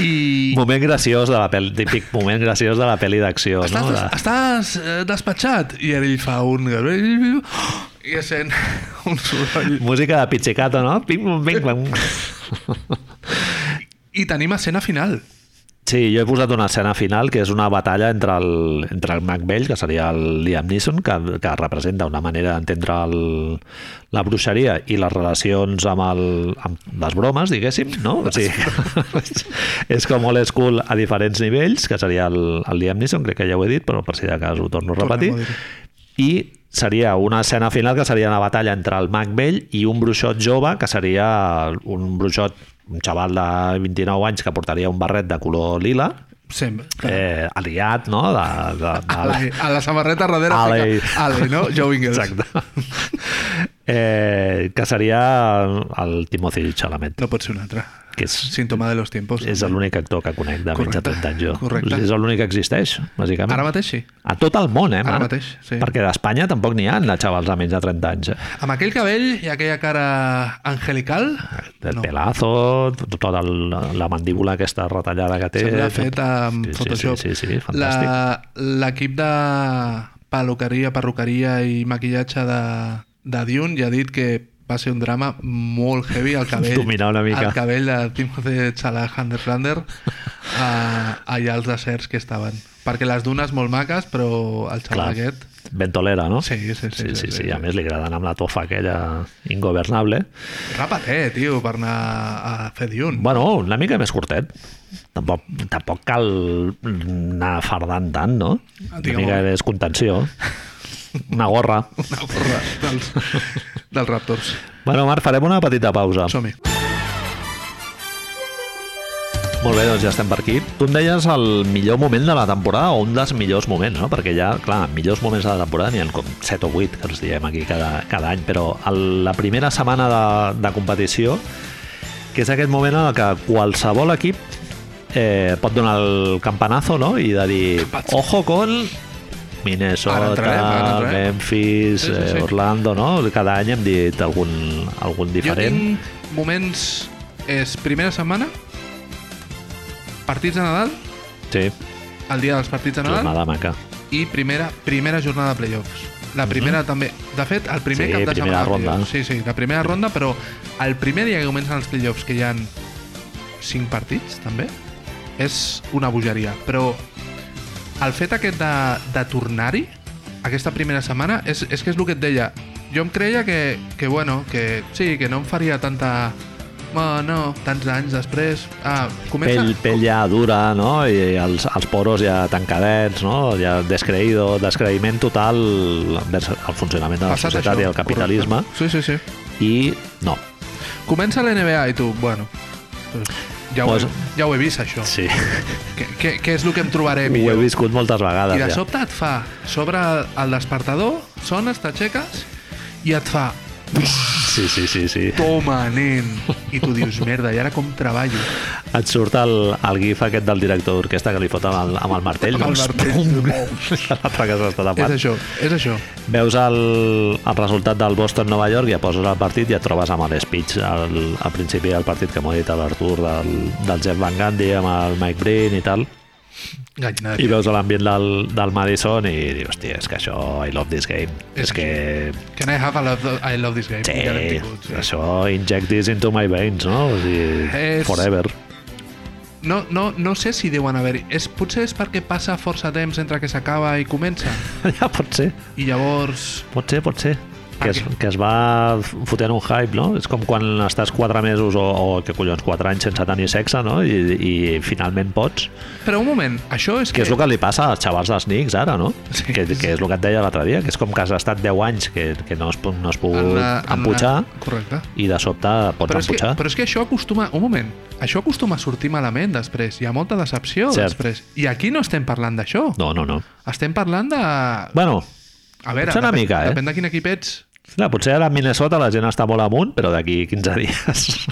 Speaker 2: I...
Speaker 1: Moment graciós de la pel·li, típic moment graciós de la pel·li d'acció,
Speaker 2: Estàs,
Speaker 1: no?
Speaker 2: des,
Speaker 1: De...
Speaker 2: estàs eh, despatxat? I ara ell fa un... I sent un soroll.
Speaker 1: Música de pizzicato, no? Pim, pum, pim, pam.
Speaker 2: I tenim escena final.
Speaker 1: Sí, jo he posat una escena final que és una batalla entre el, entre el mag vell, que seria el Liam Neeson, que, que representa una manera d'entendre el- la bruixeria i les relacions amb, el, amb les bromes, diguéssim, no? O sigui, és, és com old school a diferents nivells, que seria el, el Liam Neeson, crec que ja ho he dit, però per si de cas ho torno a repetir.
Speaker 2: Tornem a
Speaker 1: I seria una escena final que seria una batalla entre el mag vell i un bruixot jove, que seria un bruixot, un xaval de 29 anys que portaria un barret de color lila,
Speaker 2: Sempre.
Speaker 1: eh, aliat, no? De, de, de,
Speaker 2: Ah, A la, a la samarreta darrere
Speaker 1: Ale.
Speaker 2: fica Ale, no? Joe Ingles.
Speaker 1: Exacte. eh, que seria el Timothy Chalamet,
Speaker 2: No pot ser un altre.
Speaker 1: que és,
Speaker 2: Símptoma de los tiempos.
Speaker 1: és l'únic actor que conec de menys de
Speaker 2: Correcte,
Speaker 1: 30 anys jo.
Speaker 2: correcte.
Speaker 1: És l'únic que existeix, bàsicament.
Speaker 2: Ara mateix sí.
Speaker 1: A tot el món, eh,
Speaker 2: Ara
Speaker 1: Marc?
Speaker 2: mateix, sí.
Speaker 1: Perquè d'Espanya tampoc n'hi ha, de xavals de menys de 30 anys. Eh?
Speaker 2: Amb aquell cabell i aquella cara angelical,
Speaker 1: El
Speaker 2: no.
Speaker 1: pelazo, tota el, la mandíbula aquesta retallada que té.
Speaker 2: Sembla fet amb
Speaker 1: Sí, sí,
Speaker 2: Photoshop.
Speaker 1: Sí, sí, sí, fantàstic.
Speaker 2: La- L'equip de peluqueria, perruqueria i maquillatge de, de Dune ja ha dit que va ser un drama molt heavy al cabell.
Speaker 1: Dominar una mica.
Speaker 2: El cabell de Timothy Chalamet-Hunderlander a, allà als deserts que estaven. Perquè les dunes molt maques, però el xaval
Speaker 1: Clar.
Speaker 2: aquest...
Speaker 1: Ventolera, no?
Speaker 2: Sí, sí, sí.
Speaker 1: Sí, sí, sí,
Speaker 2: sí.
Speaker 1: a més li agraden amb la tofa aquella ingovernable.
Speaker 2: Rapa-te, eh, tio, per anar a fer Dune.
Speaker 1: Bueno, una mica més curtet. Tampoc, tampoc cal anar fardant tant, no? Una
Speaker 2: Digue'm.
Speaker 1: mica de descontenció. Una gorra.
Speaker 2: Una gorra dels, dels Raptors.
Speaker 1: Bueno, Marc, farem una petita pausa.
Speaker 2: Som-hi.
Speaker 1: Molt bé, doncs ja estem per aquí. Tu em deies el millor moment de la temporada o un dels millors moments, no? Perquè ja, clar, millors moments de la temporada n'hi ha com 7 o 8 que els diem aquí cada, cada any, però el, la primera setmana de, de competició, que és aquest moment en el que qualsevol equip eh, pot donar el campanazo, no? I de dir,
Speaker 2: Campanazo.
Speaker 1: ojo con
Speaker 2: Ara
Speaker 1: Minnesota,
Speaker 2: entrarem, ara entrarem.
Speaker 1: Memphis,
Speaker 2: Sí, sí,
Speaker 1: eh,
Speaker 2: sí.
Speaker 1: Orlando, no? Cada any hem dit algun, algun diferent.
Speaker 2: Jo tinc moments... És primera setmana, partits de Nadal,
Speaker 1: Sí,
Speaker 2: el dia dels partits de Nadal,
Speaker 1: jornada maca.
Speaker 2: i primera, primera jornada de playoffs. La primera també... De fet, el primer
Speaker 1: Sí,
Speaker 2: cap de
Speaker 1: primera
Speaker 2: setmana... de
Speaker 1: ronda.
Speaker 2: playoffs. Sí, sí, la primera ronda, però el primer dia que comencen els playoffs, que hi han cinc partits, també, és una bogeria. Però el fet aquest de, de tornar-hi aquesta primera setmana és, és que és el que et deia jo em creia que, que bueno que sí, que no em faria tanta no, no, tants anys després ah, comença...
Speaker 1: pell, pell ja dura, no? I els, els poros ja tancadets, no? Ja descreïdo, descreïment total vers el funcionament de la
Speaker 2: Passat
Speaker 1: societat
Speaker 2: això,
Speaker 1: i el capitalisme.
Speaker 2: correcte. Sí, sí, sí.
Speaker 1: I no.
Speaker 2: Comença la NBA i tu, bueno, doncs ja, ho,
Speaker 1: Pues-
Speaker 2: he, ja ho he vist, això.
Speaker 1: Sí,
Speaker 2: Què, què, què és el que em trobaré
Speaker 1: ho he
Speaker 2: millor?
Speaker 1: viscut moltes
Speaker 2: I
Speaker 1: vegades.
Speaker 2: de
Speaker 1: ja.
Speaker 2: sobte et fa, sobre el despertador, sones, t'aixeques i et fa,
Speaker 1: Sí, sí, sí, sí.
Speaker 2: toma, nen. I tu dius, merda, i ara com treballo?
Speaker 1: Et surt el, el gif aquest del director d'orquestra que li fot amb el, amb el martell.
Speaker 2: Amb el
Speaker 1: doncs,
Speaker 2: martell.
Speaker 1: pum, L'altre que s'està
Speaker 2: És
Speaker 1: tapant.
Speaker 2: això, és això.
Speaker 1: Veus el, el resultat del Boston-Nova York, ja poses el partit i et trobes amb l'speech al, al principi del partit que m'ho ha dit l'Artur del, del Jeff Van Gundy amb el Mike Breen i tal.
Speaker 2: Gallina de
Speaker 1: I veus l'ambient del, del Madison i dius, hòstia, és que això, I love this game. És que,
Speaker 2: Can I have a love, I love this game?
Speaker 1: sí,
Speaker 2: Ja l'hem tingut, sí.
Speaker 1: això, inject this into my veins, no? O sigui,
Speaker 2: És-
Speaker 1: forever.
Speaker 2: No, no, no sé si deuen haver-hi. És- Potser és perquè passa força temps entre que s'acaba i comença.
Speaker 1: ja pot ser,
Speaker 2: I llavors...
Speaker 1: pot ser, pot ser. Que es, que es va fotent un hype, no? És com quan estàs 4 mesos o, o que collons, 4 anys sense tenir sexe, no? I, i finalment pots.
Speaker 2: Però un moment, això és
Speaker 1: Que és el
Speaker 2: que...
Speaker 1: que li passa als xavals dels Knicks ara, no?
Speaker 2: Sí.
Speaker 1: Que, que és el que et deia l'altre dia, que és com que has estat 10 anys que, que no has, no has pogut empujar
Speaker 2: Correcte.
Speaker 1: i de sobte pots
Speaker 2: Però és, que,
Speaker 1: empujar.
Speaker 2: però és que això acostuma... Un moment. Això acostuma a sortir malament després. Hi ha molta decepció
Speaker 1: Cert.
Speaker 2: després. I aquí no estem parlant d'això.
Speaker 1: No, no, no.
Speaker 2: Estem parlant de...
Speaker 1: Bueno,
Speaker 2: A veure,
Speaker 1: potser una mica, eh?
Speaker 2: depèn de quin equip ets.
Speaker 1: clar, potser ara a Minnesota la gent està molt amunt, però d'aquí 15 dies...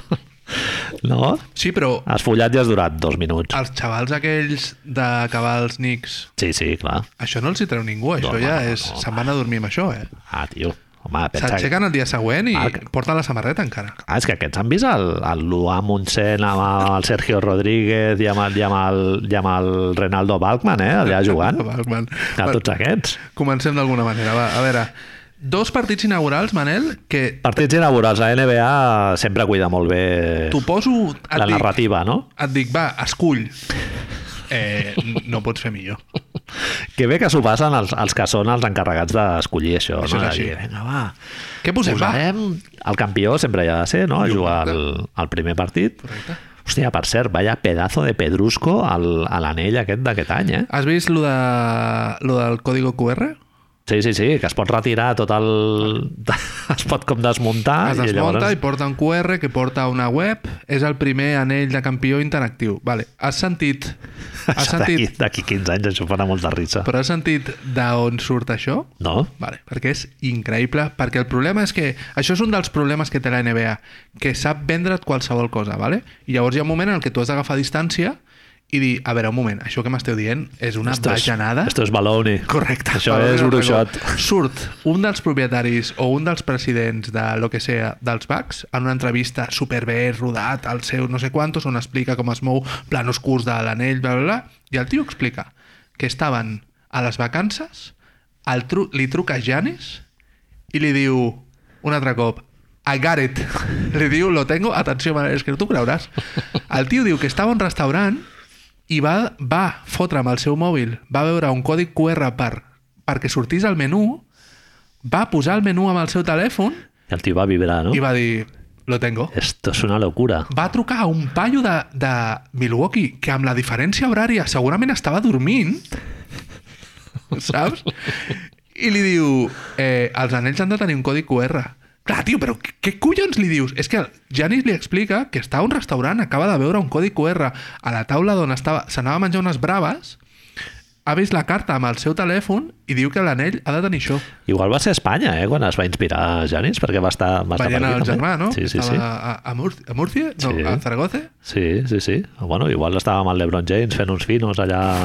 Speaker 1: no?
Speaker 2: Sí, però
Speaker 1: Has follat i has durat dos minuts.
Speaker 2: els xavals aquells d'acabar els Knicks,
Speaker 1: Sí, sí, clar.
Speaker 2: això no els hi treu ningú, això
Speaker 1: home,
Speaker 2: ja
Speaker 1: no,
Speaker 2: és...
Speaker 1: no,
Speaker 2: Se'n van a dormir amb això, eh?
Speaker 1: Ah, tio. Home, pensa que...
Speaker 2: S'aixequen el dia següent i
Speaker 1: Marc.
Speaker 2: porten la samarreta encara.
Speaker 1: Ah, és que aquests han vist el, el Luà Montsent amb el Sergio Rodríguez i amb el, i amb el, i amb el Renaldo Balkman, eh? Allà jugant.
Speaker 2: Val, val.
Speaker 1: A
Speaker 2: Val,
Speaker 1: tots aquests.
Speaker 2: Comencem d'alguna manera, va. A veure, dos partits inaugurals, Manel, que
Speaker 1: Partits inaugurals. La NBA sempre cuida molt bé
Speaker 2: t'ho poso... Et
Speaker 1: la
Speaker 2: dic,
Speaker 1: narrativa, no?
Speaker 2: Et dic, va, escull. Eh, no pots fer millor.
Speaker 1: Que bé que s'ho passen els, els que són els encarregats d'escollir això.
Speaker 2: Això
Speaker 1: no?
Speaker 2: és
Speaker 1: De
Speaker 2: així.
Speaker 1: dir, Vinga, va,
Speaker 2: Què posem, va?
Speaker 1: posarem... El campió sempre hi ha de ser, no? A jugar el, el primer partit.
Speaker 2: Correcte.
Speaker 1: Hòstia, per cert, vaya pedazo de pedrusco al, a l'anell aquest d'aquest any, eh?
Speaker 2: Has vist lo, de, lo del código QR?
Speaker 1: Sí, sí, sí, que es pot retirar tot el... Es pot com desmuntar.
Speaker 2: es desmunta i, porta un QR que porta una web. És el primer anell de campió interactiu. Vale. Has sentit... Has
Speaker 1: Això d'aquí
Speaker 2: sentit...
Speaker 1: d'aquí 15 anys això farà molta risa.
Speaker 2: Però has sentit d'on surt això?
Speaker 1: No?
Speaker 2: Vale, perquè és increïble, perquè el problema és que això és un dels problemes que té la NBA, que sap vendre't qualsevol cosa, vale? i llavors hi ha un moment en què tu has d'agafar distància i dir, a veure, un moment, això que m'esteu dient és una
Speaker 1: Esto és,
Speaker 2: bajanada...
Speaker 1: esto és baloney.
Speaker 2: Correcte.
Speaker 1: Això
Speaker 2: Perdó,
Speaker 1: és
Speaker 2: no
Speaker 1: bruixot.
Speaker 2: recordo. Surt un dels propietaris o un dels presidents de lo que sea dels Bucks en una entrevista superbé rodat al seu no sé quantos on explica com es mou planos curts de l'anell, bla, bla, bla, i el tio explica que estaven a les vacances, el tru li truca Janis i li diu un altre cop I got it. Li diu, lo tengo. Atenció, és que tu creuràs. El tio diu que estava a un restaurant i va, va fotre amb el seu mòbil, va veure un codi QR per, perquè sortís al menú, va posar el menú amb el seu telèfon
Speaker 1: I el tio va vibrar, no?
Speaker 2: i va dir, lo tengo.
Speaker 1: Esto es una locura.
Speaker 2: Va trucar a un paio de, de Milwaukee que amb la diferència horària segurament estava dormint, saps? I li diu, eh, els anells han de tenir un codi QR. Clar, tio, però què- què collons li dius? És que el Janis li explica que està a un restaurant, acaba de veure un codi QR a la taula d'on estava, s'anava a menjar unes braves, ha vist la carta amb el seu telèfon i diu que l'anell ha de tenir això.
Speaker 1: Igual va ser a Espanya, eh, quan es va inspirar Janis, perquè va estar, va estar per
Speaker 2: Veient
Speaker 1: aquí,
Speaker 2: el
Speaker 1: també.
Speaker 2: germà, no?
Speaker 1: Sí, sí,
Speaker 2: estava
Speaker 1: sí.
Speaker 2: A, a, Mur a Múrcia? No,
Speaker 1: Sí.
Speaker 2: a Zaragoza?
Speaker 1: Sí, sí, sí. Bueno, igual estava amb el LeBron James fent uns finos allà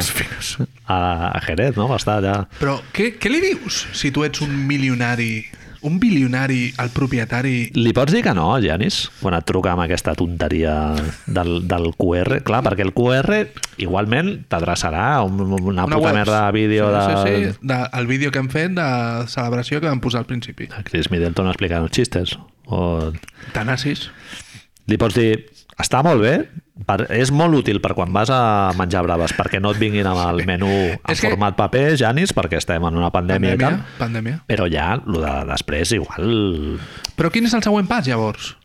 Speaker 1: a, a Jerez, no? Va estar allà...
Speaker 2: Però què, què li dius si tu ets un milionari, un bilionari, el propietari?
Speaker 1: Li pots dir que no, Janis, quan et truca amb aquesta tonteria del, del QR? Clar, perquè el QR igualment t'adreçarà a un- una,
Speaker 2: Una
Speaker 1: puta
Speaker 2: web.
Speaker 1: merda de vídeo
Speaker 2: sí,
Speaker 1: de...
Speaker 2: Sí, sí, de, el vídeo que hem fet de celebració que vam posar al principi.
Speaker 1: de Chris Middleton explicant els xistes. O...
Speaker 2: Tanasis.
Speaker 1: Li pots dir, està molt bé, per, és molt útil per quan vas a menjar braves, perquè no et vinguin amb el menú en
Speaker 2: És que-
Speaker 1: format paper, Janis, perquè estem en una pandèmia,
Speaker 2: Pandèmia,
Speaker 1: i tal.
Speaker 2: pandèmia.
Speaker 1: Però ja, el de després, igual...
Speaker 2: Però quin és el següent pas, llavors?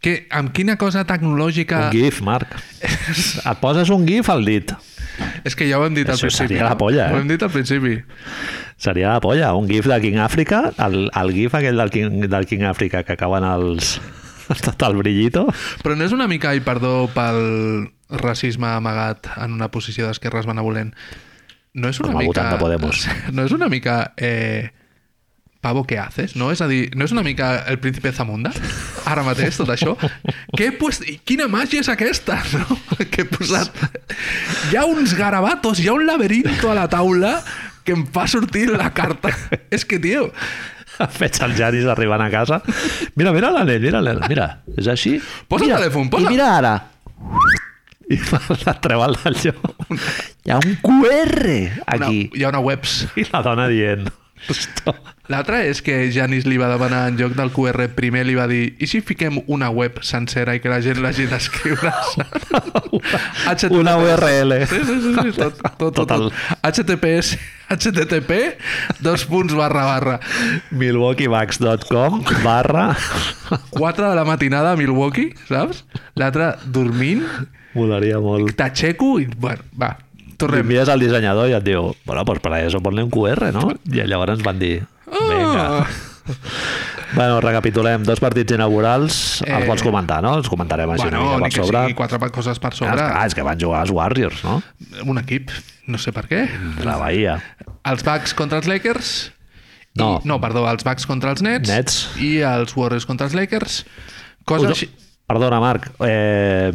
Speaker 2: Que, amb quina cosa tecnològica...
Speaker 1: Un GIF, Marc. Et poses un GIF al dit.
Speaker 2: És que ja ho hem dit al
Speaker 1: Això
Speaker 2: principi.
Speaker 1: seria la
Speaker 2: no?
Speaker 1: polla, eh?
Speaker 2: Ho hem dit al principi.
Speaker 1: Seria la polla, un gif de King Africa, el, el gif aquell del King, del King Africa que acaben els... tot el brillito.
Speaker 2: Però no és una mica, i perdó pel racisme amagat en una posició d'esquerres benevolent, no és una
Speaker 1: Com a
Speaker 2: mica...
Speaker 1: votant de Podemos.
Speaker 2: No és una mica... Eh, pavo, què haces? No? És a dir, no és una mica el príncipe Zamunda? Ara mateix, tot això? Què he pues, quina màgia és aquesta? No? Que he posat... Hi ha uns garabatos, hi ha un laberinto a la taula que em fa sortir la carta. És que, tio,
Speaker 1: Veig el Janis arribant a casa. Mira, mira l'anell, mira l'anell. Mira, és així.
Speaker 2: Posa el
Speaker 1: mira,
Speaker 2: telèfon, posa.
Speaker 1: I mira ara. I la treu al d'allò. Hi ha un QR
Speaker 2: una,
Speaker 1: aquí.
Speaker 2: hi ha una webs
Speaker 1: I la dona dient... "Hosto,
Speaker 2: L'altre és que Janis li va demanar en lloc del QR primer li va dir i si fiquem una web sencera i que la gent l'hagi d'escriure HTTPS.
Speaker 1: Una URL.
Speaker 2: Sí, sí, sí, sí, tot, tot, tot,
Speaker 1: Total.
Speaker 2: tot. HTTPS, HTTP, dos punts barra barra.
Speaker 1: milwaukeebucks.com barra
Speaker 2: 4 de la matinada a Milwaukee, saps? L'altre dormint,
Speaker 1: molaria molt
Speaker 2: t'aixeco i, bueno, va,
Speaker 1: Li
Speaker 2: tornem.
Speaker 1: envies al dissenyador i et diu bueno, doncs pues para eso ponle un QR, no? I llavors ens van dir venga
Speaker 2: Ah.
Speaker 1: Bueno, recapitulem, dos partits inaugurals, eh... els
Speaker 2: Eh,
Speaker 1: vols comentar, no? Els comentarem així
Speaker 2: Bueno,
Speaker 1: una
Speaker 2: ni
Speaker 1: mica
Speaker 2: que
Speaker 1: per sobre.
Speaker 2: sigui quatre coses per
Speaker 1: Clar,
Speaker 2: sobre.
Speaker 1: clar, és que van jugar els Warriors, no?
Speaker 2: Un equip, no sé per què.
Speaker 1: La Bahia.
Speaker 2: Els Bucks contra els Lakers.
Speaker 1: No.
Speaker 2: I, no, perdó, els Bucks contra els Nets.
Speaker 1: Nets.
Speaker 2: I els Warriors contra els Lakers. Cosa
Speaker 1: Us-
Speaker 2: així...
Speaker 1: Perdona, Marc. Eh...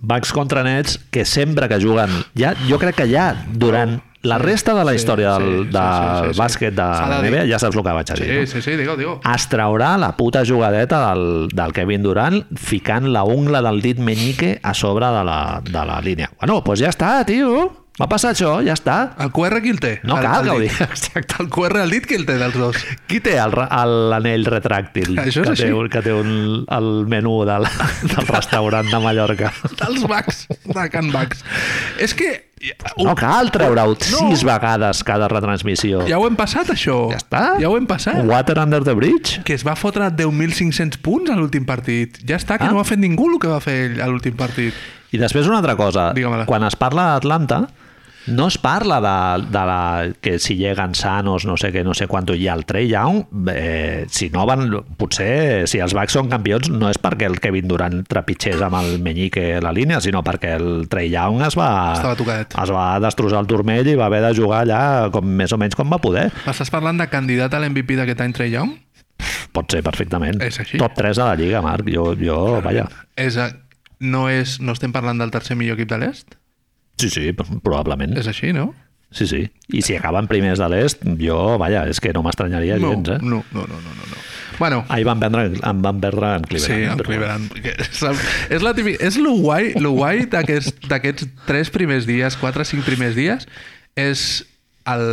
Speaker 1: Bucks contra Nets, que sempre que juguen, ja, jo crec que ja durant la resta de la història
Speaker 2: Oh. sí,
Speaker 1: del,
Speaker 2: sí,
Speaker 1: del
Speaker 2: sí, sí, sí.
Speaker 1: bàsquet de
Speaker 2: S'ha de
Speaker 1: la
Speaker 2: dir.
Speaker 1: NBA, ja saps el que vaig a dir.
Speaker 2: Sí,
Speaker 1: no?
Speaker 2: sí, sí, digue-ho, digue-ho.
Speaker 1: es traurà la puta jugadeta del, del Kevin Durant ficant la ungla del dit menyique a sobre de la, de la línia. Bueno, doncs pues ja està, tio. Va passar això, ja està.
Speaker 2: El QR qui el té?
Speaker 1: No
Speaker 2: el,
Speaker 1: cal
Speaker 2: el
Speaker 1: que ho
Speaker 2: dit.
Speaker 1: digui. Exacte.
Speaker 2: El QR al dit qui el té dels dos?
Speaker 1: Qui té el re- el- l'anell retràctil
Speaker 2: Això és
Speaker 1: que té,
Speaker 2: així.
Speaker 1: un- que té un, el menú del, del restaurant de Mallorca?
Speaker 2: dels Bucks, de Can Bucks. És que...
Speaker 1: No cal treure-ho sis
Speaker 2: No.
Speaker 1: vegades cada retransmissió.
Speaker 2: Ja ho hem passat, això.
Speaker 1: Ja està.
Speaker 2: Ja ho hem passat.
Speaker 1: Water under the bridge?
Speaker 2: Que es va fotre 10.500 punts a l'últim partit. Ja està, que
Speaker 1: Ah.
Speaker 2: no ha fet ningú el que va fer ell a l'últim partit.
Speaker 1: I després una altra cosa.
Speaker 2: Digue-me-la.
Speaker 1: Quan es parla d'Atlanta, No es parla de, de la, que si llegan sanos, no sé què, no sé quant, i el Trey Young, eh, si no van, potser, si els Bucks són campions, no és perquè el Kevin Durant trepitgés amb el menyique la línia, sinó perquè el Trey Young es va...
Speaker 2: Estava tocadet.
Speaker 1: Es va destrossar el turmell i va haver de jugar allà com, més o menys com va poder.
Speaker 2: M'estàs parlant de candidat a l'MVP d'aquest any, Trey Young?
Speaker 1: Pot ser perfectament.
Speaker 2: És així.
Speaker 1: Top 3 de la Lliga, Marc. Jo, jo vaja.
Speaker 2: És a... no, és... no estem parlant del tercer millor equip de l'est?
Speaker 1: Sí, sí, probablement.
Speaker 2: És així, no?
Speaker 1: Sí, sí. I si acaben primers de l'est, jo, vaja, és que no m'estranyaria
Speaker 2: No,
Speaker 1: gens, eh?
Speaker 2: no, no, no, no, no, no. Bueno,
Speaker 1: Ahir van perdre, en van perdre en
Speaker 2: sí,
Speaker 1: Cleveland.
Speaker 2: en
Speaker 1: però-
Speaker 2: Cleveland. perquè És, el, és, la típica, és lo guai, lo guai d'aquests d'aquests tres primers dies, quatre, cinc primers dies, és el,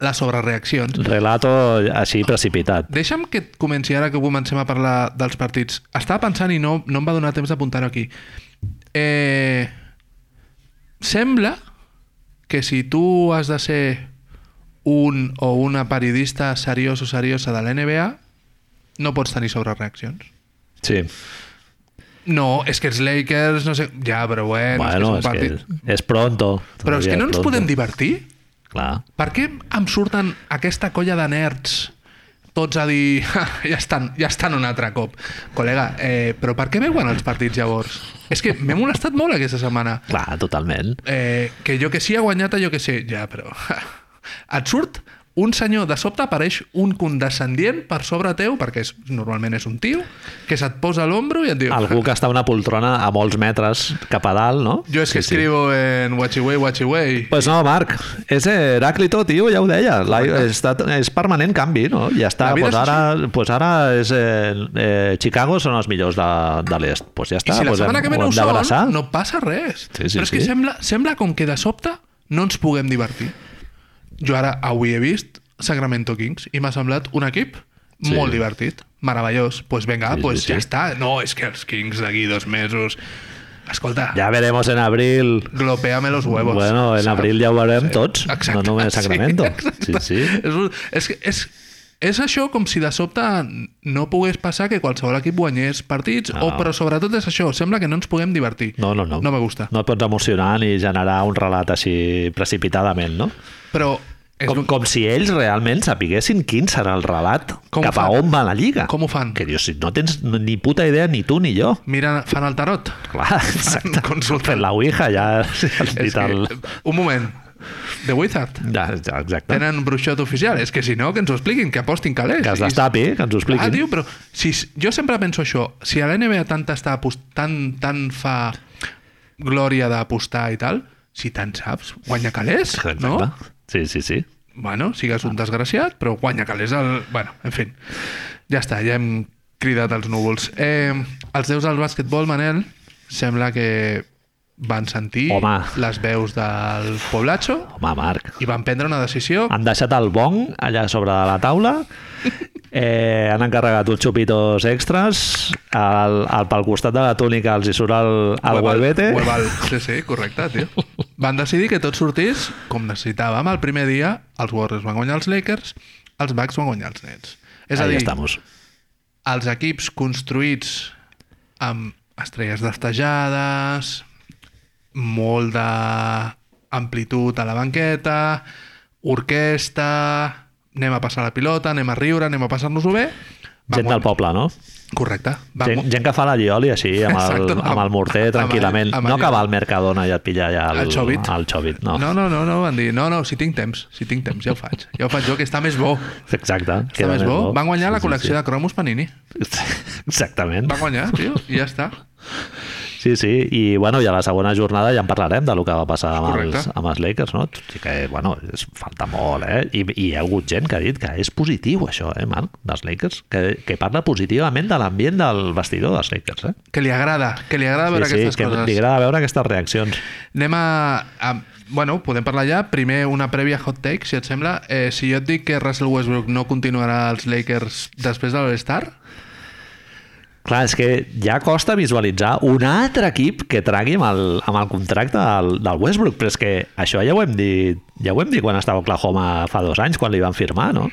Speaker 2: les sobrereaccions.
Speaker 1: Relato així precipitat.
Speaker 2: Deixa'm que et comenci ara que comencem a parlar dels partits. Estava pensant i no, no em va donar temps d'apuntar-ho aquí. Eh, sembla que si tu has de ser un o una periodista seriós o seriosa de la NBA, no pots tenir sobrereaccions.
Speaker 1: Sí.
Speaker 2: No, és que els Lakers, no sé... Ja, però bueno,
Speaker 1: Bueno,
Speaker 2: és
Speaker 1: és
Speaker 2: que
Speaker 1: que
Speaker 2: és un partit...
Speaker 1: és pronto.
Speaker 2: Però és
Speaker 1: Todavía
Speaker 2: que no ens
Speaker 1: pronto.
Speaker 2: podem divertir?
Speaker 1: Clar.
Speaker 2: Per què em surten aquesta colla de nerds tots a dir "Ja, ja estan, ja estan un altre cop col·lega, eh, però per què veuen els partits llavors? és que m'he molestat molt aquesta setmana
Speaker 1: Clar, totalment.
Speaker 2: eh, que jo que sí ha guanyat jo que sé, ja però ja. et surt un senyor, de sobte apareix un condescendient per sobre teu, perquè és, normalment és un tio, que se't posa a l'ombro i et diu...
Speaker 1: Algú que està a una poltrona a molts metres cap a dalt, no?
Speaker 2: Jo és que sí, escribo sí. en Watchiway, Watchiway.
Speaker 1: Pues no, Marc, és eh, Heràclito, tio, ja ho deia. La, eh, està, és permanent canvi, no? Ja està,
Speaker 2: La vida
Speaker 1: pues
Speaker 2: és
Speaker 1: ara, pues ara és, eh, eh, Chicago són els millors de, de l'est. Pues ja
Speaker 2: I
Speaker 1: està,
Speaker 2: si la
Speaker 1: pues
Speaker 2: setmana que ve no ho
Speaker 1: d'abraçar.
Speaker 2: són, no passa res.
Speaker 1: Sí, sí,
Speaker 2: Però és que
Speaker 1: sí.
Speaker 2: sembla, sembla com que de sobte no ens puguem divertir. Jo ara avui he vist Sacramento Kings i m'ha semblat un equip
Speaker 1: Sí.
Speaker 2: molt divertit, meravellós. Doncs pues vinga,
Speaker 1: Sí, sí,
Speaker 2: pues ja
Speaker 1: sí.
Speaker 2: està. No, és que els Kings d'aquí dos mesos... Escolta, ja.
Speaker 1: Ja veremos en abril.
Speaker 2: glopeame los huevos.
Speaker 1: bueno, en
Speaker 2: saps?
Speaker 1: abril ja ho veurem tots,
Speaker 2: Exacte,
Speaker 1: no només
Speaker 2: sí,
Speaker 1: Sacramento. Sí,
Speaker 2: exacte.
Speaker 1: sí.
Speaker 2: És, un- és, que- és, és això com si de sobte no pogués passar que qualsevol equip guanyés partits, no. o,
Speaker 1: No.
Speaker 2: però sobretot és això, sembla que no ens puguem divertir.
Speaker 1: Ah. No, no, no.
Speaker 2: No me gusta.
Speaker 1: No et pots emocionar ni generar un relat així precipitadament, no?
Speaker 2: Però és
Speaker 1: Com,
Speaker 2: lo-
Speaker 1: com si ells realment sapiguessin quin serà el relat, com
Speaker 2: Com
Speaker 1: cap a
Speaker 2: ho fan?
Speaker 1: on va la Lliga.
Speaker 2: Com ho fan?
Speaker 1: Que dius, si no tens ni puta idea ni tu ni jo.
Speaker 2: Mira, fan el tarot.
Speaker 1: Clar, exacte.
Speaker 2: consulten.
Speaker 1: Fent la Ouija, ja has
Speaker 2: És
Speaker 1: dit
Speaker 2: que, eh,
Speaker 1: el...
Speaker 2: un moment. The Wizard.
Speaker 1: Ja, ja, exacte.
Speaker 2: Tenen un bruixot oficial. És que si no, que ens ho expliquin, que apostin calés.
Speaker 1: Que es
Speaker 2: I-
Speaker 1: destapi, que ens ho
Speaker 2: Ah,
Speaker 1: expliquin.
Speaker 2: tio, però si, jo sempre penso això. Si a la NBA tant, està apost- tant, tant fa glòria d'apostar i tal, si tant saps, guanya calés,
Speaker 1: Exacte.
Speaker 2: no?
Speaker 1: Sí, sí, sí.
Speaker 2: Bueno, sigues un desgraciat, però guanya calés el... Bueno, en fi. Ja està, ja hem cridat els núvols. Eh, els déus del bàsquetbol, Manel, sembla que van sentir
Speaker 1: Home.
Speaker 2: les veus del Poblacho
Speaker 1: Home, Marc,
Speaker 2: i van prendre una decisió
Speaker 1: han deixat el bong allà sobre de la taula eh, han encarregat uns xupitos extras el, el, pel costat de la túnica els hi surt el, el huevete
Speaker 2: Hueval. Sí, sí, correcte, tio. Van decidir que tot sortís com necessitàvem el primer dia. Els Warriors van guanyar els Lakers, els Bucks van guanyar els Nets. És a
Speaker 1: Ahí
Speaker 2: dir,
Speaker 1: estamos.
Speaker 2: els equips construïts amb estrelles destejades, molt d'amplitud a la banqueta, orquestra, anem a passar la pilota, anem a riure, anem a passar-nos-ho bé. Van
Speaker 1: gent del
Speaker 2: guanyar-
Speaker 1: poble, no?
Speaker 2: Correcte. Van,
Speaker 1: Gent, gent que fa la lioli així, amb el,
Speaker 2: Exacte, amb-
Speaker 1: amb el morter,
Speaker 2: amb-
Speaker 1: tranquil·lament.
Speaker 2: amb- amb
Speaker 1: no
Speaker 2: allò.
Speaker 1: que va al Mercadona i et pilla ja el,
Speaker 2: el Chobit.
Speaker 1: El Chobit, no.
Speaker 2: no, no, no, no, van dir, no, no, si tinc temps, si tinc temps, ja ho faig. Ja ho faig jo, que està més bo.
Speaker 1: Exacte.
Speaker 2: Està més bo. Van guanyar la col·lecció
Speaker 1: sí,
Speaker 2: de cromos Panini.
Speaker 1: sí, sí. Exactament.
Speaker 2: Van guanyar, tio, i ja està.
Speaker 1: Sí, sí. I, bueno, i a la segona jornada ja en parlarem de lo que va passar amb
Speaker 2: Correcte.
Speaker 1: els, amb els Lakers, no? Tot i que, bueno, és, falta molt, eh? I, I hi ha hagut gent que ha dit que és positiu això, eh, Marc, dels Lakers, que, que parla positivament de l'ambient del vestidor dels Lakers, eh?
Speaker 2: Que li agrada, que li agrada veure
Speaker 1: sí, sí,
Speaker 2: aquestes
Speaker 1: que li
Speaker 2: coses.
Speaker 1: agrada veure aquestes reaccions.
Speaker 2: Anem a, a... Bueno, podem parlar ja. Primer, una prèvia hot take, si et sembla. Eh, si jo et dic que Russell Westbrook no continuarà als Lakers després de l'All-Star,
Speaker 1: Clar, és que ja costa visualitzar un altre equip que tragui amb el, amb el contracte del, del Westbrook, però és que això ja ho hem dit, ja ho hem dit quan estava a Oklahoma fa dos anys, quan li van firmar, no?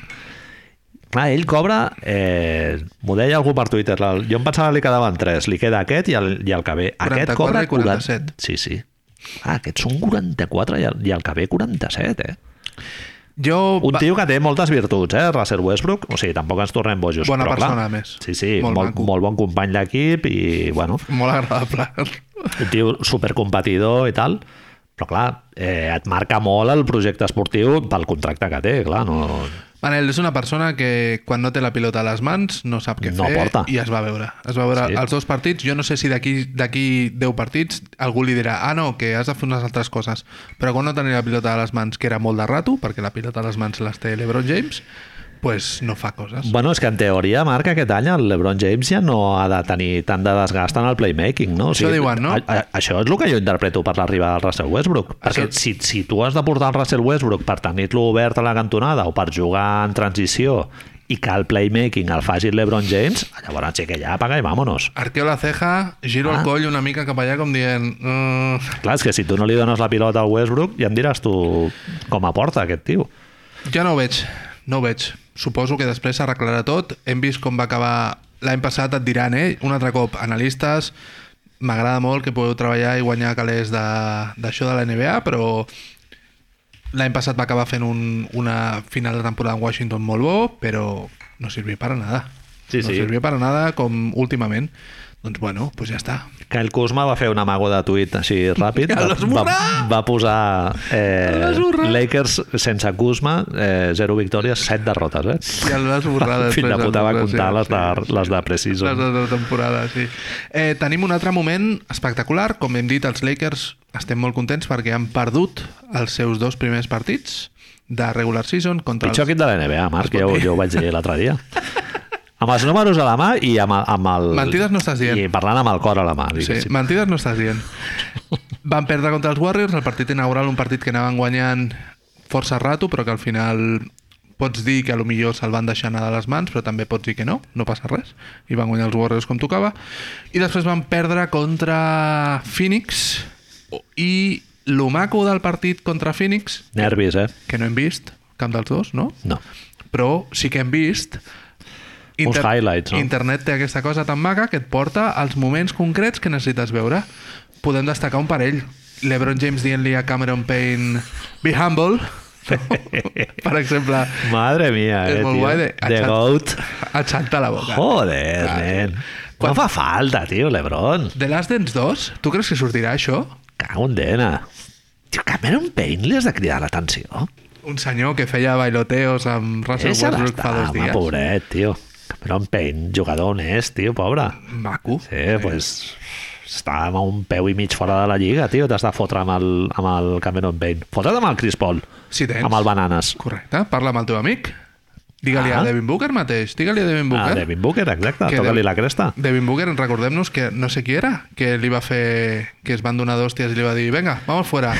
Speaker 1: Clar, ell cobra, eh, m'ho deia algú per Twitter, el- jo em pensava que li quedaven tres, li queda aquest i el, i el que ve. Aquest
Speaker 2: 44
Speaker 1: cobra
Speaker 2: i 47.
Speaker 1: Sí, sí. Ah, aquests són 44 i el, i el que ve 47, eh?
Speaker 2: Jo...
Speaker 1: Un
Speaker 2: va-
Speaker 1: tio que té moltes virtuts, eh? Russell Westbrook. O sigui, tampoc ens tornem bojos.
Speaker 2: Bona
Speaker 1: però, clar,
Speaker 2: persona, a més.
Speaker 1: Sí, sí,
Speaker 2: Molt
Speaker 1: molt, molt,
Speaker 2: maco.
Speaker 1: bon company d'equip i, bueno,
Speaker 2: Molt agradable.
Speaker 1: un tio supercompetidor i tal. Però, clar, eh, et marca molt el projecte esportiu pel contracte que té, clar. No...
Speaker 2: Manel és una persona que quan no té la pilota a les mans no sap què
Speaker 1: No
Speaker 2: fer
Speaker 1: porta.
Speaker 2: i es va veure. Es va veure
Speaker 1: Sí.
Speaker 2: sí. els dos partits. Jo no sé si d'aquí d'aquí 10 partits algú li dirà ah no, que has de fer unes altres coses. Però quan no tenia la pilota a les mans, que era molt de rato, perquè la pilota a les mans les té l'Ebron James, pues no fa coses.
Speaker 1: Bueno, és que en teoria, Marc, aquest any el LeBron James ja no ha de tenir tant de desgast en el playmaking, no? O
Speaker 2: Això diuen, no?
Speaker 1: A, a, això és el que jo interpreto per l'arribada del Russell Westbrook. Perquè
Speaker 2: Això-
Speaker 1: si, si tu has de portar el Russell Westbrook per tenir-lo obert a la cantonada o per jugar en transició i que el playmaking el faci el LeBron James, llavors sí que ja apaga i vámonos.
Speaker 2: Arqueo la ceja, giro ah.
Speaker 1: Ah.
Speaker 2: el coll una mica cap allà com dient... Mm,
Speaker 1: Clar, és que si tu no li dones la pilota al Westbrook, ja em diràs tu com aporta aquest tio.
Speaker 2: Jo no ho veig, no ho veig. Suposo que després s'arreglarà tot. Hem vist com va acabar l'any passat, et diran, eh? Un altre cop, analistes, m'agrada molt que podeu treballar i guanyar calés de- d'això de, de la NBA, però l'any passat va acabar fent un, una final de temporada en Washington molt bo, però no sirvió per a nada.
Speaker 1: Sí,
Speaker 2: no
Speaker 1: sí.
Speaker 2: sirvió per a nada com últimament. Doncs bueno, pues ja està.
Speaker 1: Kyle Kuzma va fer un amago de tuit així ràpid.
Speaker 2: El
Speaker 1: Va, va, va posar eh,
Speaker 2: esborrar!
Speaker 1: Lakers sense Kuzma, eh, 0 victòries, 7 derrotes. Eh?
Speaker 2: Ja el vas borrar després.
Speaker 1: Fins la puta va
Speaker 2: després,
Speaker 1: comptar les de, les de
Speaker 2: Les
Speaker 1: Precision.
Speaker 2: de la temporada, sí. Eh, tenim un altre moment espectacular. Com hem dit, els Lakers estem molt contents perquè han perdut els seus dos primers partits de regular season contra
Speaker 1: Pitjor
Speaker 2: els...
Speaker 1: equip de la NBA, Marc, jo, jo ho vaig dir l'altre dia. Amb els números a la mà i amb, el- amb el...
Speaker 2: Mentides no estàs dient.
Speaker 1: I parlant amb el cor a la mà.
Speaker 2: Sí,
Speaker 1: diguéssim.
Speaker 2: mentides no estàs dient. Van perdre contra els Warriors, el partit inaugural, un partit que anaven guanyant força rato, però que al final pots dir que a lo millor se'l van deixar anar de les mans, però també pots dir que no, no passa res. I van guanyar els Warriors com tocava. I després van perdre contra Phoenix i lo maco del partit contra Phoenix,
Speaker 1: Nervis, eh?
Speaker 2: que no hem vist, cap dels dos, no?
Speaker 1: No.
Speaker 2: Però sí que hem vist...
Speaker 1: Uns highlights, no?
Speaker 2: Internet té aquesta cosa tan maca que et porta als moments concrets que necessites veure. Podem destacar un parell. LeBron James dient-li a Cameron Payne Be humble, per exemple.
Speaker 1: Madre mia, eh,
Speaker 2: és molt
Speaker 1: tio.
Speaker 2: guai de...
Speaker 1: The
Speaker 2: aixant-
Speaker 1: Goat.
Speaker 2: Aixanta la boca.
Speaker 1: Joder, nen. No
Speaker 2: Quan-
Speaker 1: fa falta, tio, Lebron.
Speaker 2: The Last Dance 2, tu creus que sortirà això?
Speaker 1: Cago en dena. Tio, Cameron Payne li has de cridar l'atenció.
Speaker 2: Un senyor que feia bailoteos amb Russell
Speaker 1: Ese ara
Speaker 2: Westbrook
Speaker 1: està,
Speaker 2: fa dos
Speaker 1: home,
Speaker 2: dies.
Speaker 1: pobret, tio. Cameron Payne, jugador on és, tio, pobre.
Speaker 2: Maco.
Speaker 1: Sí, doncs... Pues, està amb un peu i mig fora de la lliga, tio. T'has de fotre amb el, amb el Cameron Payne. Fotre't amb el Chris Paul.
Speaker 2: Si tens.
Speaker 1: Amb el Bananes.
Speaker 2: Correcte, parla amb el teu amic. Digue-li
Speaker 1: Ah.
Speaker 2: a Devin Booker mateix, digue-li a Devin
Speaker 1: Ah,
Speaker 2: Booker.
Speaker 1: Devin Booker, exacte.
Speaker 2: Que
Speaker 1: Toca-li
Speaker 2: Devin-
Speaker 1: la cresta.
Speaker 2: Devin Booker, recordem-nos que no sé qui era, que li va fer... que es van donar d'hòsties i li va dir venga, vamos fuera,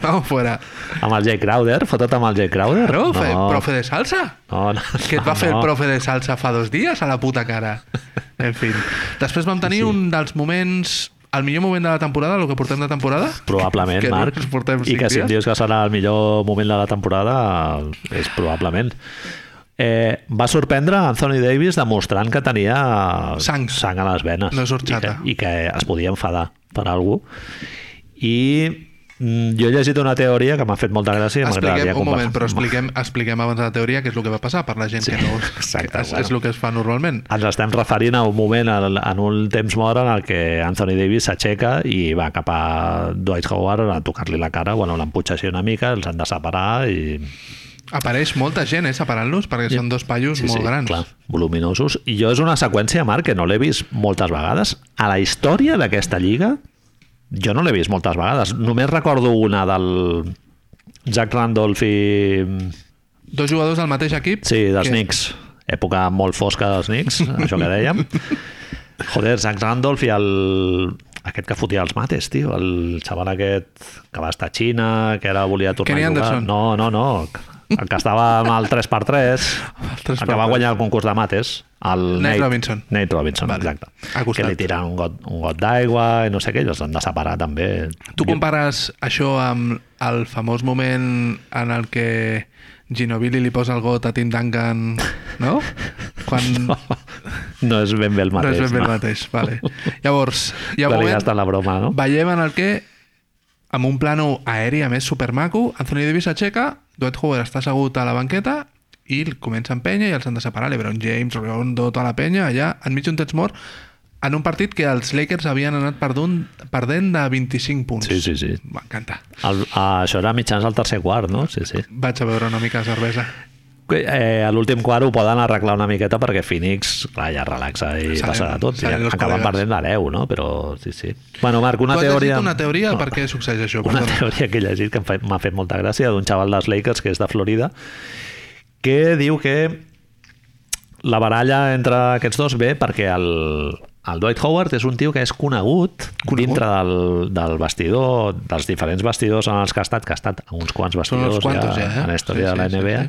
Speaker 2: vamos fuera.
Speaker 1: Amb el Jay Crowder, fotre't amb el Jay Crowder.
Speaker 2: Però, no. fe, profe de salsa?
Speaker 1: No, no,
Speaker 2: Que et va
Speaker 1: no,
Speaker 2: fer
Speaker 1: Ah,
Speaker 2: el
Speaker 1: no.
Speaker 2: profe de salsa fa dos dies a la puta cara. En fi. Després vam tenir sí. un dels moments... El millor moment de la temporada, el que portem de temporada?
Speaker 1: Probablement,
Speaker 2: que
Speaker 1: Marc.
Speaker 2: només portem
Speaker 1: I
Speaker 2: cinc
Speaker 1: que si em
Speaker 2: dies.
Speaker 1: dius que serà el millor moment de la temporada, és probablement. Eh, va sorprendre Anthony Davis demostrant que tenia
Speaker 2: Sang.
Speaker 1: sang a les venes.
Speaker 2: No és horchata.
Speaker 1: I que, I que es podia enfadar per algú. I mm, jo he llegit una teoria que m'ha fet molta gràcia i m'agradaria
Speaker 2: Expliquem, un moment,
Speaker 1: conversar-
Speaker 2: però expliquem, expliquem abans de la teoria què és el que va passar per la gent
Speaker 1: Sí,
Speaker 2: que no...
Speaker 1: exacte,
Speaker 2: que és,
Speaker 1: bueno.
Speaker 2: és el que es fa normalment.
Speaker 1: Ens estem referint a un moment, al- en un temps mort en el que Anthony Davis s'aixeca i va cap a Dwight Howard a tocar-li la cara, bueno, l'emputxa així una mica, els han de separar i
Speaker 2: Apareix molta gent, eh, separant-los, perquè són dos paios molt grans.
Speaker 1: Clar, voluminosos. I jo és una seqüència, Marc, que no l'he vist moltes vegades. A la història d'aquesta lliga, jo no l'he vist moltes vegades. Només recordo una del Jack Randolph i...
Speaker 2: Dos jugadors del mateix equip.
Speaker 1: Sí, dels
Speaker 2: que-
Speaker 1: Knicks. Època molt fosca dels Knicks, això que dèiem. Joder, Zach Randolph i el... aquest que fotia els mates, tio, el xaval aquest que va estar a Xina, que ara volia tornar
Speaker 2: Kenny
Speaker 1: a jugar.
Speaker 2: Anderson.
Speaker 1: No, no, no, el que estava amb el 3x3, el,
Speaker 2: 3x3.
Speaker 1: que va guanyar el concurs de mates, el
Speaker 2: Nate Robinson.
Speaker 1: Nate Robinson,
Speaker 2: Vale.
Speaker 1: vale.
Speaker 2: Ha
Speaker 1: exacte.
Speaker 2: costat.
Speaker 1: Que li tiren un got, un got d'aigua i no sé què, i els han de separar també.
Speaker 2: Tu compares això amb el famós moment en el que Ginobili li posa el got a Tim Duncan, no? Quan... No,
Speaker 1: No és ben bé el mateix.
Speaker 2: no és ben bé el mateix, vale. Llavors, hi
Speaker 1: Ja
Speaker 2: ha un
Speaker 1: li
Speaker 2: moment...
Speaker 1: gasten la broma, no?
Speaker 2: Veiem en el que amb un plano aeri, a més, supermaco. Anthony Davis aixeca, Dwight Howard està assegut a la banqueta i el comença a empènyer i els han de separar LeBron James, Rondo, tota la penya, allà enmig d'un temps mort, en un partit que els Lakers havien anat perdent, perdent de 25 punts.
Speaker 1: Sí, sí, sí.
Speaker 2: M'encanta.
Speaker 1: El, ah, això era mitjans del tercer quart, no? Sí, sí.
Speaker 2: Vaig a beure una mica de cervesa.
Speaker 1: Eh, a l'últim quart ho poden arreglar una miqueta perquè Phoenix, clar, ja relaxa i
Speaker 2: Salen-
Speaker 1: passa de tot. I
Speaker 2: salen els
Speaker 1: acaben
Speaker 2: col·legues.
Speaker 1: perdent de 10, no? Però sí, sí. Bueno, Marc, una
Speaker 2: tu has
Speaker 1: teoria...
Speaker 2: llegit una teoria no. per què succeeix això?
Speaker 1: una
Speaker 2: Perdona.
Speaker 1: teoria que he llegit que em fa- m'ha fet molta gràcia d'un xaval dels Lakers que és de Florida que diu que la baralla entre aquests dos ve perquè el, el Dwight Howard és un tio que és conegut,
Speaker 2: Conegut?
Speaker 1: dintre del, del vestidor, dels diferents vestidors en els que ha estat, que ha estat en uns quants
Speaker 2: Són
Speaker 1: vestidors
Speaker 2: uns quantos ja, eh?
Speaker 1: en la història
Speaker 2: Sí,
Speaker 1: de la
Speaker 2: sí, sí,
Speaker 1: NBA,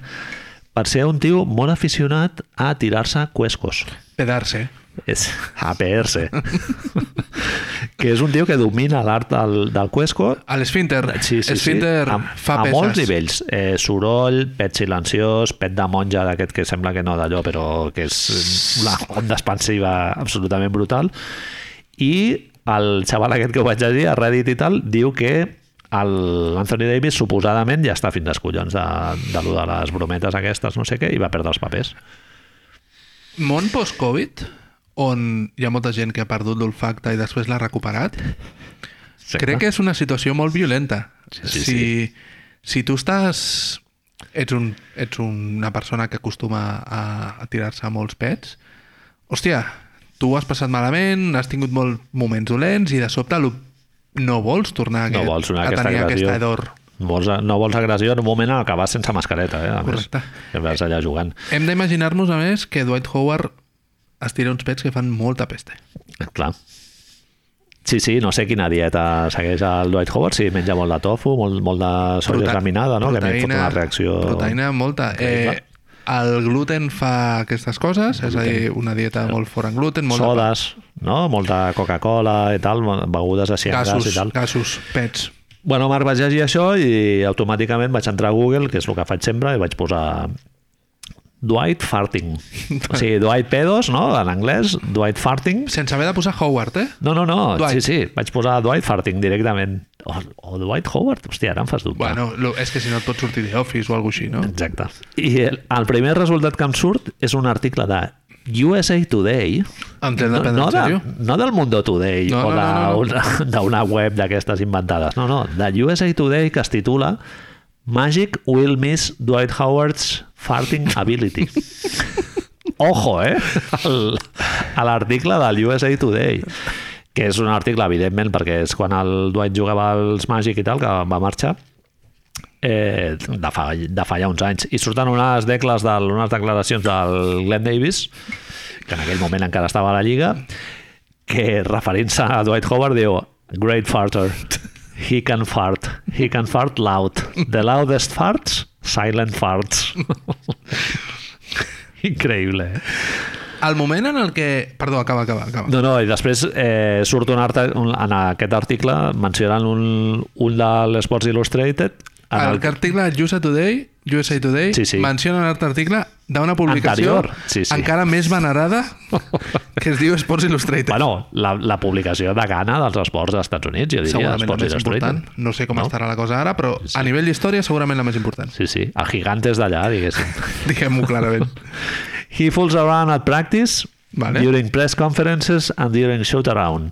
Speaker 1: per ser un tio molt aficionat a tirar-se cuescos
Speaker 2: Pedar-se.
Speaker 1: és APR que és un tio que domina l'art del, del cuesco
Speaker 2: A l'esfínter.
Speaker 1: Sí, sí,
Speaker 2: Esfínter
Speaker 1: sí. A,
Speaker 2: fa
Speaker 1: a
Speaker 2: peces.
Speaker 1: molts nivells. Eh, soroll, pet silenciós, pet de monja d'aquest que sembla que no d'allò, però que és una onda expansiva absolutament brutal. I el xaval aquest que ho vaig llegir a Reddit i tal, diu que el- l'Anthony Davis suposadament ja està fins als collons de, de, lo de les brometes aquestes, no sé què, i va perdre els papers.
Speaker 2: Món post-Covid, on hi ha molta gent que ha perdut l'olfacte i després l'ha recuperat,
Speaker 1: Sí,
Speaker 2: crec que és una situació molt violenta.
Speaker 1: sí,
Speaker 2: si, si tu estàs... Ets, un, ets una persona que acostuma a, a tirar-se molts pets, hòstia, tu ho has passat malament, has tingut molts moments dolents i de sobte lo- no vols tornar a,
Speaker 1: No
Speaker 2: aquest,
Speaker 1: vols una
Speaker 2: a
Speaker 1: aquesta
Speaker 2: tenir
Speaker 1: agressió.
Speaker 2: aquesta hedor.
Speaker 1: Vols, no vols agressió en un moment en el que vas sense mascareta, eh? A més,
Speaker 2: Correcte.
Speaker 1: que vas allà jugant.
Speaker 2: Hem d'imaginar-nos, a més, que Dwight Howard es tira uns pets que fan molta peste.
Speaker 1: Clar. Sí, sí, no sé quina dieta segueix el Dwight Howard, si menja molt de tofu, molt, molt de soia
Speaker 2: Prote-
Speaker 1: laminada, no? que a mi em fot una reacció...
Speaker 2: Proteïna molta. Eh,
Speaker 1: Increïble.
Speaker 2: el gluten fa aquestes coses, és a dir, una dieta molt fora en gluten, molt de
Speaker 1: Sodes, no? Molta Coca-Cola i tal, begudes així amb gas
Speaker 2: gasos,
Speaker 1: i tal.
Speaker 2: gasos, pets.
Speaker 1: Bueno, Marc, vaig llegir això i automàticament vaig entrar a Google, que és el que faig sempre, i vaig posar Dwight Farting. O sigui, Dwight Pedos, no?, en anglès, Dwight Farting.
Speaker 2: Sense haver de posar Howard, eh?
Speaker 1: No, no, no,
Speaker 2: Dwight.
Speaker 1: sí, sí, vaig posar Dwight Farting directament. O, o Dwight Howard, hòstia, ara em fas dubte.
Speaker 2: Bueno, lo, és que si no et pot sortir de Office o alguna així, no?
Speaker 1: Exacte. I el, el primer resultat que em surt és un article de USA Today,
Speaker 2: Em tens de prendre
Speaker 1: no,
Speaker 2: en
Speaker 1: de,
Speaker 2: sèrio?
Speaker 1: no del Mundo Today
Speaker 2: No,
Speaker 1: no, o
Speaker 2: no, no, no.
Speaker 1: d'una no, no, no. web d'aquestes inventades, no, no, de USA Today que es titula Magic will miss Dwight Howard's farting ability. Ojo, eh? El, a l'article del USA Today que és un article, evidentment, perquè és quan el Dwight jugava als Magic i tal, que va marxar, eh, de, fa, de fa ja uns anys. I surten unes, decles del, unes declaracions del Glenn Davis, que en aquell moment encara estava a la Lliga, que referint-se a Dwight Howard diu Great farter. He can fart. He can fart loud. The loudest farts, silent farts. Increïble, eh?
Speaker 2: El moment en el que... Perdó, acaba, acaba, acaba.
Speaker 1: No, no, i després eh, surt un art, un, en aquest article mencionant un, un de l'Sports Illustrated en
Speaker 2: el que article USA Today, USA Today,
Speaker 1: Sí, sí.
Speaker 2: menciona un altre article d'una publicació
Speaker 1: Anterior. Sí, sí.
Speaker 2: encara més venerada que es diu Sports Illustrated.
Speaker 1: Bueno, la, la publicació de Ghana dels esports dels Estats Units, jo diria.
Speaker 2: segurament la
Speaker 1: Sports
Speaker 2: més
Speaker 1: Illustrated.
Speaker 2: important. No sé com
Speaker 1: eh? No?
Speaker 2: no? estarà la cosa ara, però a nivell d'història segurament la més important.
Speaker 1: Sí, sí, el gigante és d'allà, diguéssim.
Speaker 2: Diguem-ho clarament.
Speaker 1: He fools around at practice
Speaker 2: Vale.
Speaker 1: during press conferences and during shoot around,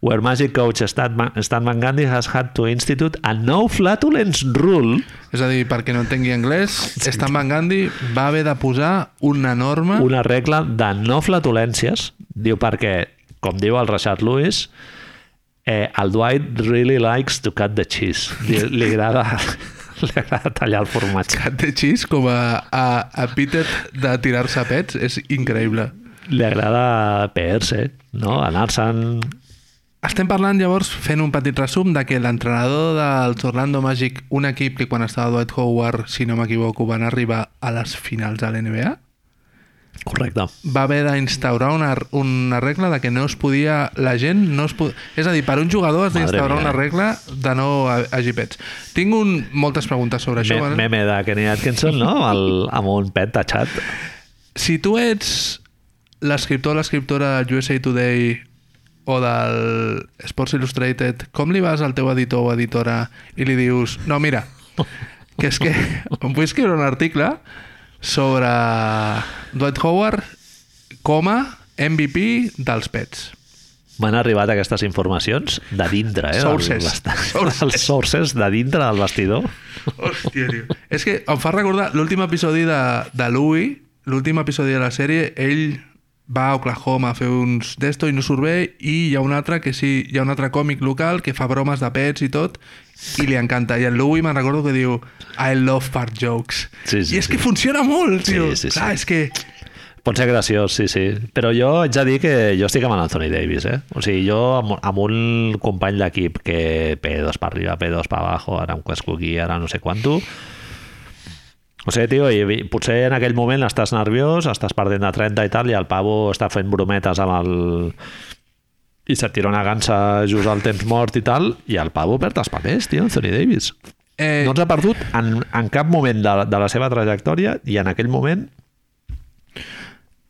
Speaker 1: where Magic coach Stan, Ma- Stan Van Gundy has had to institute a no flatulence rule
Speaker 2: És a dir, perquè no entengui anglès, Stan Van Gandhi va haver de posar una norma... Una...
Speaker 1: una regla de no flatulències, diu perquè, com diu el Richard Lewis, eh, el Dwight really likes to cut the cheese. Li, li, agrada, li agrada tallar el formatge.
Speaker 2: Cat de xis com a, a epítet de tirar-se a pets és increïble.
Speaker 1: Li agrada peer-se, no? Anar-se'n...
Speaker 2: Estem parlant llavors, fent un petit resum, de que l'entrenador dels Orlando Magic, un equip que quan estava Dwight Howard, si no m'equivoco, van arribar a les finals de l'NBA,
Speaker 1: Correcte.
Speaker 2: va haver d'instaurar una, una regla de que no es podia... La gent no es podia... És a dir, per un jugador has
Speaker 1: Madre
Speaker 2: d'instaurar
Speaker 1: mía.
Speaker 2: una regla de no ha- hagi pets. Tinc un, moltes preguntes sobre això.
Speaker 1: Me,
Speaker 2: vale?
Speaker 1: meme de Kenny Atkinson, no? El, amb un pet tachat.
Speaker 2: Si tu ets l'escriptor o l'escriptora de USA Today o del Sports Illustrated, com li vas al teu editor o editora i li dius no, mira, que és que em vull escriure un article sobre Dwight Howard com a MVP dels pets.
Speaker 1: M'han arribat aquestes informacions de dintre, eh? del
Speaker 2: Sources.
Speaker 1: bast-
Speaker 2: Sources.
Speaker 1: Els sources de dintre del vestidor.
Speaker 2: Hòstia, tio. És que em fa recordar l'últim episodi de, de Louis, l'últim episodi de la sèrie, ell va a Oklahoma a fer uns d'esto i no surt bé i hi ha un altre que sí, hi ha un altre còmic local que fa bromes de pets i tot i li encanta. I el Louis me'n recordo que diu I love fart jokes.
Speaker 1: Sí, sí,
Speaker 2: I és
Speaker 1: sí.
Speaker 2: que funciona molt, tio.
Speaker 1: Sí, sí, sí.
Speaker 2: Clar, és que...
Speaker 1: Pot ser graciós, sí, sí. Però jo haig de dir que jo estic amb l'Anthony Davis, eh? O sigui, jo amb, amb un company d'equip que P2 per arriba, P2 per abajo, ara un cuescuquí, ara no sé quanto... O sigui, tio, i vi- potser en aquell moment estàs nerviós, estàs perdent de 30 i tal, i el pavo està fent brometes amb el... i se't tira una gansa just al temps mort i tal, i el pavo perd els papers, tio, Anthony Davis.
Speaker 2: Eh,
Speaker 1: No ens ha perdut en, en cap moment de, de la seva trajectòria i en aquell moment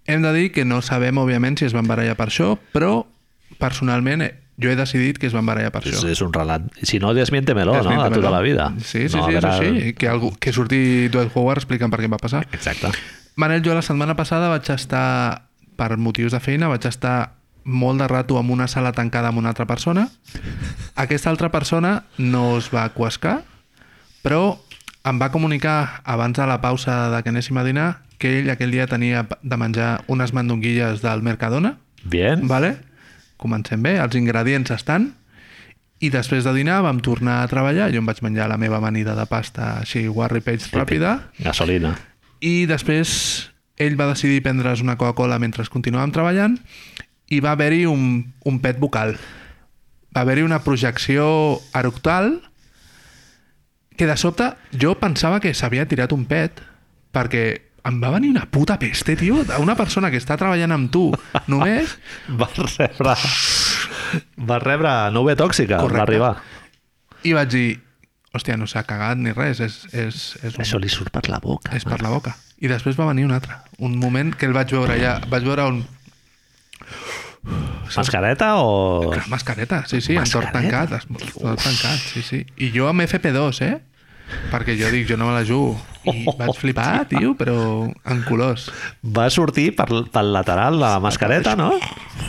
Speaker 2: Hem de dir que no sabem, òbviament, si es van barallar per això, però personalment eh, jo he decidit que es van barallar per
Speaker 1: És,
Speaker 2: això.
Speaker 1: és un relat. Si no, desmiéntemelo, no?
Speaker 2: Desmiéntemelo.
Speaker 1: De tota la vida.
Speaker 2: Sí, sí,
Speaker 1: no,
Speaker 2: no, sí, és
Speaker 1: era-
Speaker 2: així. Que, algú, que surti Dwight Howard explicant per què va passar.
Speaker 1: Exacte.
Speaker 2: Manel, jo la setmana passada vaig estar, per motius de feina, vaig estar molt de rato en una sala tancada amb una altra persona. Aquesta altra persona no es va cuescar, però em va comunicar abans de la pausa de que anéssim a dinar que ell aquell dia tenia de menjar unes mandonguilles del Mercadona,
Speaker 1: Bien.
Speaker 2: Vale? Comencem bé, els ingredients estan i després de dinar vam tornar a treballar jo em vaig menjar la meva amanida de pasta així Warri Page ràpida
Speaker 1: Gasolina.
Speaker 2: i després ell va decidir prendre's una Coca-Cola mentre continuàvem treballant i va haver-hi un, un pet vocal va haver-hi una projecció eructal que de sobte jo pensava que s'havia tirat un pet perquè em va venir una puta peste, tio, d'una persona que està treballant amb tu només
Speaker 1: Va rebre... Va rebre nube tòxica,
Speaker 2: Correcte.
Speaker 1: va arribar.
Speaker 2: I vaig dir, hòstia, no s'ha cagat ni res, és, és, és, un,
Speaker 1: Això li surt per la boca.
Speaker 2: és per la boca. I després va venir un altre, un moment que el vaig veure ja, vaig veure un...
Speaker 1: Mascareta o...
Speaker 2: Mascareta, sí, sí, entorn
Speaker 1: Mascareta?
Speaker 2: tancat, entorn tancat, sí, sí. I jo amb FP2, eh? Perquè jo dic, jo no me la jugo. I
Speaker 1: Oh,
Speaker 2: vaig flipar, tio, però en colors.
Speaker 1: Va sortir per, pel lateral la mascareta, no?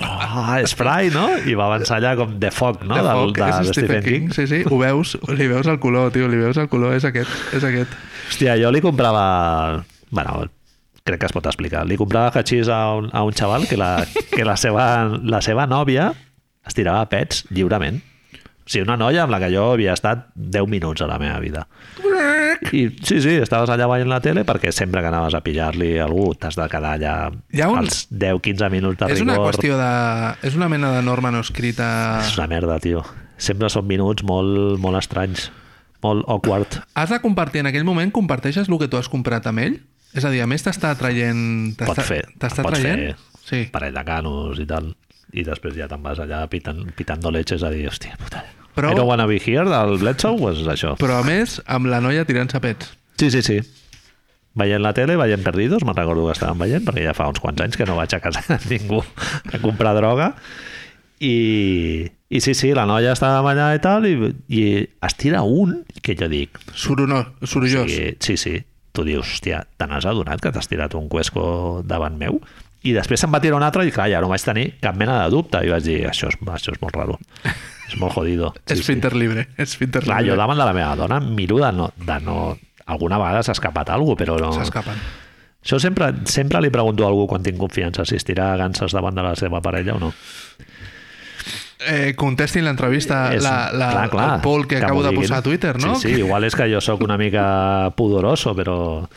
Speaker 1: Ah, spray, no? I va avançar allà com de foc, no?
Speaker 2: De foc,
Speaker 1: Del,
Speaker 2: és
Speaker 1: de Stephen King.
Speaker 2: Sí, sí, ho veus, li veus el color, tio, li veus el color, és aquest, és aquest.
Speaker 1: Hòstia, jo li comprava... bueno, crec que es pot explicar. Li comprava hachís a un, a un xaval que, la, que la, seva, la seva nòvia es tirava pets lliurement. O sigui, una noia amb la que jo havia estat 10 minuts a la meva vida. I sí, sí, estaves allà veient la tele perquè sempre que anaves a pillar-li algú t'has de quedar allà
Speaker 2: Hi ha un-
Speaker 1: els 10-15 minuts de
Speaker 2: És
Speaker 1: rigor.
Speaker 2: una qüestió de... És una mena de norma no escrita...
Speaker 1: És una merda, tio. Sempre són minuts molt, molt estranys, molt awkward.
Speaker 2: Has de compartir, en aquell moment comparteixes el que tu has comprat amb ell? És a dir, a més t'està traient...
Speaker 1: Pots
Speaker 2: t'està-
Speaker 1: fer.
Speaker 2: T'està
Speaker 1: pots
Speaker 2: traient?
Speaker 1: Fer
Speaker 2: Sí.
Speaker 1: sí. parell de canos i tal. I després ja te'n vas allà pitant, pitando leches a dir, hòstia, puta.
Speaker 2: Però-
Speaker 1: Però... I don't wanna be here del Bledsoe, pues és això.
Speaker 2: Però a més, amb la noia tirant-se pets.
Speaker 1: Sí, sí, sí. Veient la tele, veient Perdidos, me'n recordo que estàvem veient, perquè ja fa uns quants anys que no vaig a casa de ningú a comprar droga. I, I sí, sí, la noia estava allà i tal, i, i es tira un que jo dic,
Speaker 2: Sorono, sorollós. Sí.
Speaker 1: Eh, Sí, sí, sí. Tu dius, hòstia, te n'has adonat que t'has tirat un cuesco davant meu? I després se'n va tirar un altre i clar, ja no vaig tenir cap mena de dubte i vaig dir, això és, això és molt raro, és molt jodido.
Speaker 2: Sí, Esfínter libre. Esfínter
Speaker 1: Clar, jo
Speaker 2: libre.
Speaker 1: davant de la meva dona miro de no... De no alguna vegada s'ha escapat alguna però no...
Speaker 2: S'escapen.
Speaker 1: Això sempre, sempre li pregunto a algú quan tinc confiança, si es tira ganses davant de la seva parella o no.
Speaker 2: Eh, contestin l'entrevista,
Speaker 1: És-
Speaker 2: la, la,
Speaker 1: clar, clar,
Speaker 2: el poll que, acabo
Speaker 1: m'ho
Speaker 2: de
Speaker 1: diguin.
Speaker 2: posar a Twitter, no?
Speaker 1: Sí, sí, igual és que jo sóc una mica pudoroso, però...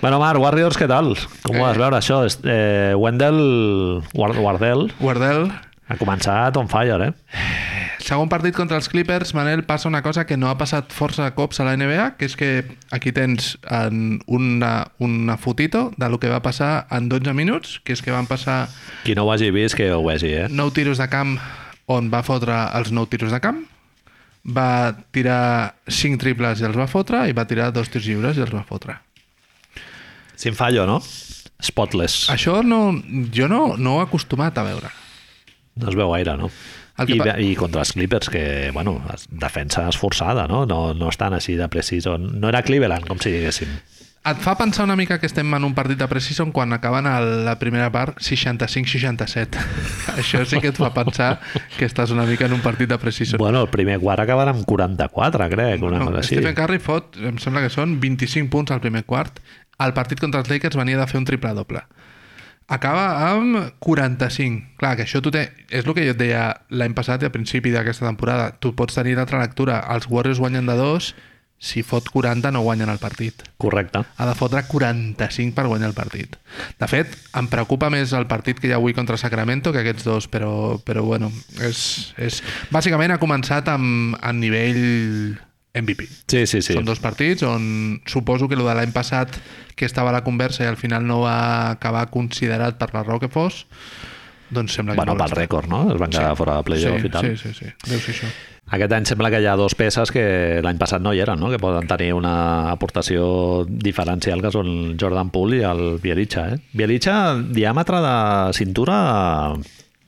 Speaker 1: Bueno, Marc, Warriors, què tal? Com ho vas
Speaker 2: Eh.
Speaker 1: veure, això? Est- Eh, Wendell, Ward- Wardell,
Speaker 2: Guardel,
Speaker 1: ha començat on fire, eh?
Speaker 2: segon partit contra els Clippers, Manel, passa una cosa que no ha passat força cops a la NBA, que és que aquí tens en una, una fotito de lo que va passar en 12 minuts, que és que van passar
Speaker 1: Qui no ho hagi vist, que ho vegi, eh?
Speaker 2: nou tiros de camp on va fotre els nou tiros de camp va tirar cinc triples i els va fotre i va tirar dos tirs lliures i els va fotre
Speaker 1: Sin fallo, no? Spotless.
Speaker 2: això no, jo no, no ho he acostumat a veure
Speaker 1: No es veu gaire, no?
Speaker 2: El que
Speaker 1: I,
Speaker 2: pa-
Speaker 1: I contra els Clippers, que, bueno, es- defensa esforçada, no? No, no estan així de preciso. No era Cleveland, com si diguéssim.
Speaker 2: Et fa pensar una mica que estem en un partit de Precision quan acaben a la primera part 65-67. Això sí que et fa pensar que estàs una mica en un partit de Precision.
Speaker 1: Bueno, el primer quart acaben amb 44, crec, una
Speaker 2: No,
Speaker 1: cosa així.
Speaker 2: Stephen Curry fot, em sembla que són 25 punts al primer quart. El partit contra els Lakers venia de fer un triple doble. Acaba amb 45. Clar, que això tu té... És el que jo et deia l'any passat i al principi d'aquesta temporada. Tu pots tenir l'altra lectura. Els Warriors guanyen de dos, si fot 40 no guanyen el partit.
Speaker 1: Correcte.
Speaker 2: Ha de fotre 45 per guanyar el partit. De fet, em preocupa més el partit que hi ha avui contra Sacramento que aquests dos, però, però bueno, és, és... Bàsicament ha començat amb, en nivell MVP.
Speaker 1: Sí, sí, sí.
Speaker 2: Són dos partits on suposo que el de l'any passat que estava a la conversa i al final no va acabar considerat per la raó que fos, doncs sembla que...
Speaker 1: Bueno,
Speaker 2: no
Speaker 1: pel
Speaker 2: l'estarà.
Speaker 1: rècord, no? Es van quedar sí. fora de playoff
Speaker 2: sí,
Speaker 1: i tal.
Speaker 2: Sí, sí, sí. Deu ser això.
Speaker 1: Aquest any sembla que hi ha dos peces que l'any passat no hi eren, no? que poden tenir una aportació diferencial, que són el Jordan Poole i el Bielitsa. Eh? Bielitsa, diàmetre de cintura,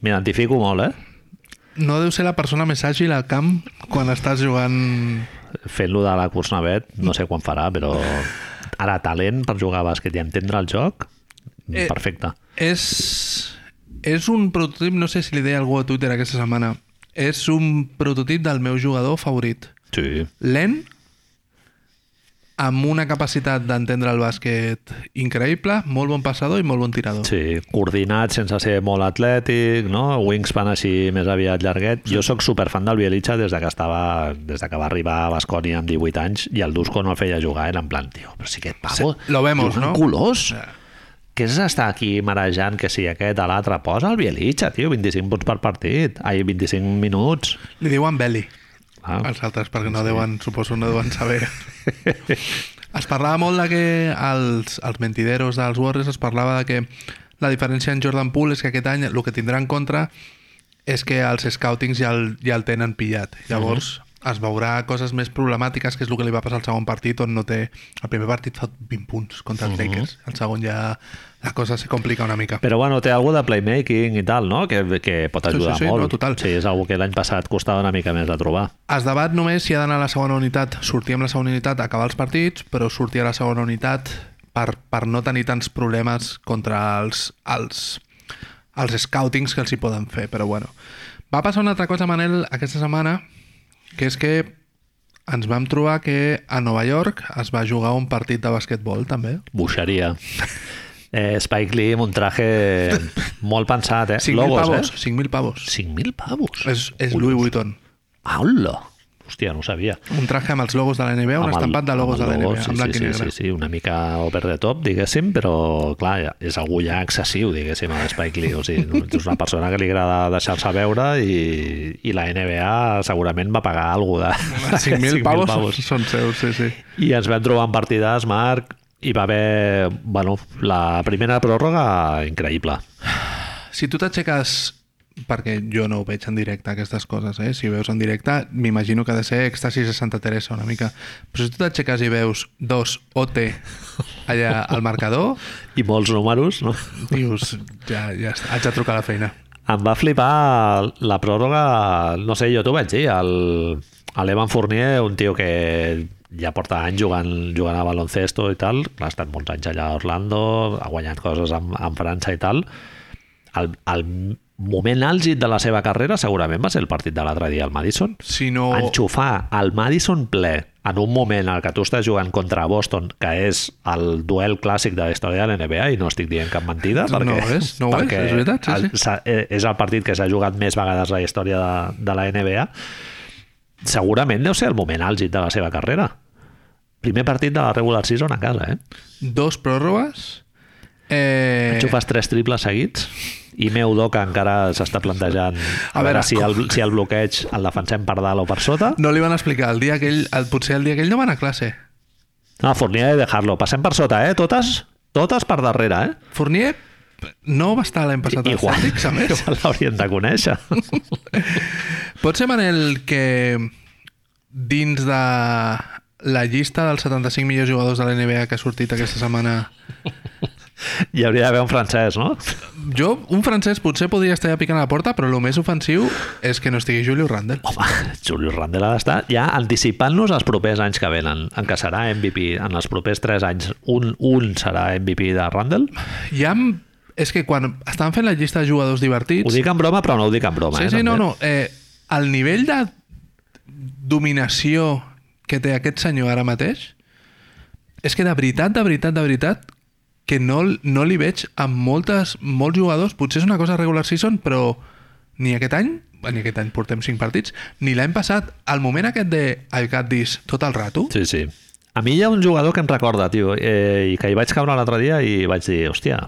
Speaker 1: m'identifico molt, eh?
Speaker 2: No deu ser la persona més àgil al camp quan estàs jugant
Speaker 1: Fent-lo de la Cursnavet, no sé quan farà, però ara talent per jugar a bàsquet i entendre el joc,
Speaker 2: Eh,
Speaker 1: perfecte.
Speaker 2: És, és un prototip, no sé si li deia algú a Twitter aquesta setmana, és un prototip del meu jugador favorit.
Speaker 1: Sí,
Speaker 2: Lent, amb una capacitat d'entendre el bàsquet increïble, molt bon passador i molt bon tirador.
Speaker 1: sí, coordinat sense ser molt atlètic, no? wingspan així més aviat llarguet. Jo sóc superfan del Bielitsa des de que estava des de que va arribar a Bascònia amb 18 anys i el Dusko no el feia jugar, era en plan, tio, però si aquest pavo...
Speaker 2: Sí, lo vemos,
Speaker 1: jugant
Speaker 2: no?
Speaker 1: colors.
Speaker 2: Ja.
Speaker 1: Què és estar aquí marejant que si aquest a l'altre posa el Bielitsa, tio, 25 punts per partit, ai, 25 minuts.
Speaker 2: Li diuen Belly,
Speaker 1: Ah,
Speaker 2: els altres, perquè no deuen, suposo no deuen saber. es parlava molt de que els, els mentideros dels Warriors es parlava de que la diferència en Jordan Poole és que aquest any el que tindrà en contra és que els scoutings ja el, ja el tenen pillat. Llavors, es veurà coses més problemàtiques, que és el que li va passar al segon partit, on no té... El primer partit fa 20 punts contra els Lakers. El segon ja la cosa se complica una mica.
Speaker 1: Però bueno, té alguna de playmaking i tal, no? Que, que pot
Speaker 2: Sí,
Speaker 1: ajudar
Speaker 2: sí, sí,
Speaker 1: molt.
Speaker 2: no, total.
Speaker 1: Sí, és algo que l'any passat costava una mica més de trobar.
Speaker 2: Es debat només si ha d'anar a la segona unitat, sortir amb la segona unitat, acabar els partits, però sortir a la segona unitat per, per no tenir tants problemes contra els, els, els scoutings que els hi poden fer, però bueno. Va passar una altra cosa, Manel, aquesta setmana, que és que ens vam trobar que a Nova York es va jugar un partit de basquetbol, també.
Speaker 1: Buixeria. Eh, Spike Lee amb un traje molt pensat, eh?
Speaker 2: 5.000
Speaker 1: Logos,
Speaker 2: pavos,
Speaker 1: eh?
Speaker 2: 5.000 pavos.
Speaker 1: 5.000 pavos?
Speaker 2: És, és Louis Vuitton.
Speaker 1: Hola! Hòstia, no ho sabia.
Speaker 2: Un traje amb els logos de la NBA, un
Speaker 1: Amb el-
Speaker 2: estampat de logos de
Speaker 1: amb
Speaker 2: la
Speaker 1: el logo,
Speaker 2: NBA, en blanc
Speaker 1: sí,
Speaker 2: i
Speaker 1: sí,
Speaker 2: negre.
Speaker 1: sí, sí, sí, una mica over the top, diguéssim, però clar, ja- és algú ja excessiu, diguéssim, a Spike Lee. O sigui, no- és una persona que li agrada deixar-se veure i, i la NBA segurament va pagar algú de...
Speaker 2: 5.000 pavos, són seus, sí, sí.
Speaker 1: I ens vam trobar en partides, Marc, i va haver, bueno, la primera pròrroga increïble.
Speaker 2: Si tu t'aixeques perquè jo no ho veig en directe, aquestes coses, eh? Si veus en directe, m'imagino que ha de ser èxtasis de Santa Teresa una mica. Però si tu t'aixeques i veus dos OT allà al marcador,
Speaker 1: I molts números, no?
Speaker 2: dius, ja, ja està, haig de trucar a la feina.
Speaker 1: Em va flipar la pròrroga, no sé, jo t'ho vaig dir, el, a l'Evan Fournier, un tio que ja porta anys jugant, jugant a baloncesto i tal, clar, ha estat molts anys allà a Orlando, ha guanyat coses amb, amb França i tal, el, el moment àlgid de la seva carrera segurament va ser el partit de l'altre dia al Madison.
Speaker 2: Si no...
Speaker 1: Enxufar el Madison ple en un moment en el que tu estàs jugant contra Boston, que és el duel clàssic de la història de la NBA, i no estic dient cap mentida,
Speaker 2: No
Speaker 1: Ah, perquè,
Speaker 2: ho és, no ho és,
Speaker 1: perquè
Speaker 2: és veritat, sí,
Speaker 1: el-
Speaker 2: sí.
Speaker 1: s'ha- eh, és el partit que s'ha jugat més vegades a la història de, de la NBA, segurament deu ser el moment àlgid de la seva carrera. Primer partit de la regular season a casa, eh?
Speaker 2: Dos pròrrogues... Eh,
Speaker 1: Xufes tres triples seguits i meu Doca encara s'està plantejant a,
Speaker 2: A
Speaker 1: veure,
Speaker 2: veure,
Speaker 1: si, el, si el bloqueig el defensem per dalt o per sota.
Speaker 2: no li van explicar el dia aquell, el, potser el dia aquell no va anar a classe.
Speaker 1: No, Fornia he de dejarlo. Passem per sota, eh? Totes, totes per darrere, eh?
Speaker 2: Fournier no va estar l'any passat als
Speaker 1: Igual,
Speaker 2: Celtics, a més.
Speaker 1: igual l'haurien de conèixer.
Speaker 2: Pot ser, Manel, que dins de la llista dels 75 millors jugadors de la NBA que ha sortit aquesta setmana
Speaker 1: Hi hauria d'haver un francès, no?
Speaker 2: Jo, un francès potser podria estar ja picant a la porta, però el més ofensiu és que no estigui Julio Randall.
Speaker 1: Home, Julius Randle ha d'estar ja anticipant-nos als propers anys que venen, en què serà MVP. En els propers 3 anys, un, un serà MVP de Randle.
Speaker 2: Ja em... És que quan estaven fent la llista de jugadors divertits...
Speaker 1: Ho dic en broma, però no ho dic en broma.
Speaker 2: Sí,
Speaker 1: eh,
Speaker 2: sí, no,
Speaker 1: també.
Speaker 2: no. Eh, el nivell de dominació que té aquest senyor ara mateix és que de veritat, de veritat, de veritat que no, l- no li veig amb moltes, molts jugadors, potser és una cosa regular season, però ni aquest any, bé, ni aquest any portem cinc partits, ni l'any passat, el moment aquest de I got this tot el rato,
Speaker 1: Sí, sí. A mi hi ha un jugador que em recorda, tio, eh, i que hi vaig caure l'altre dia i vaig dir, hòstia,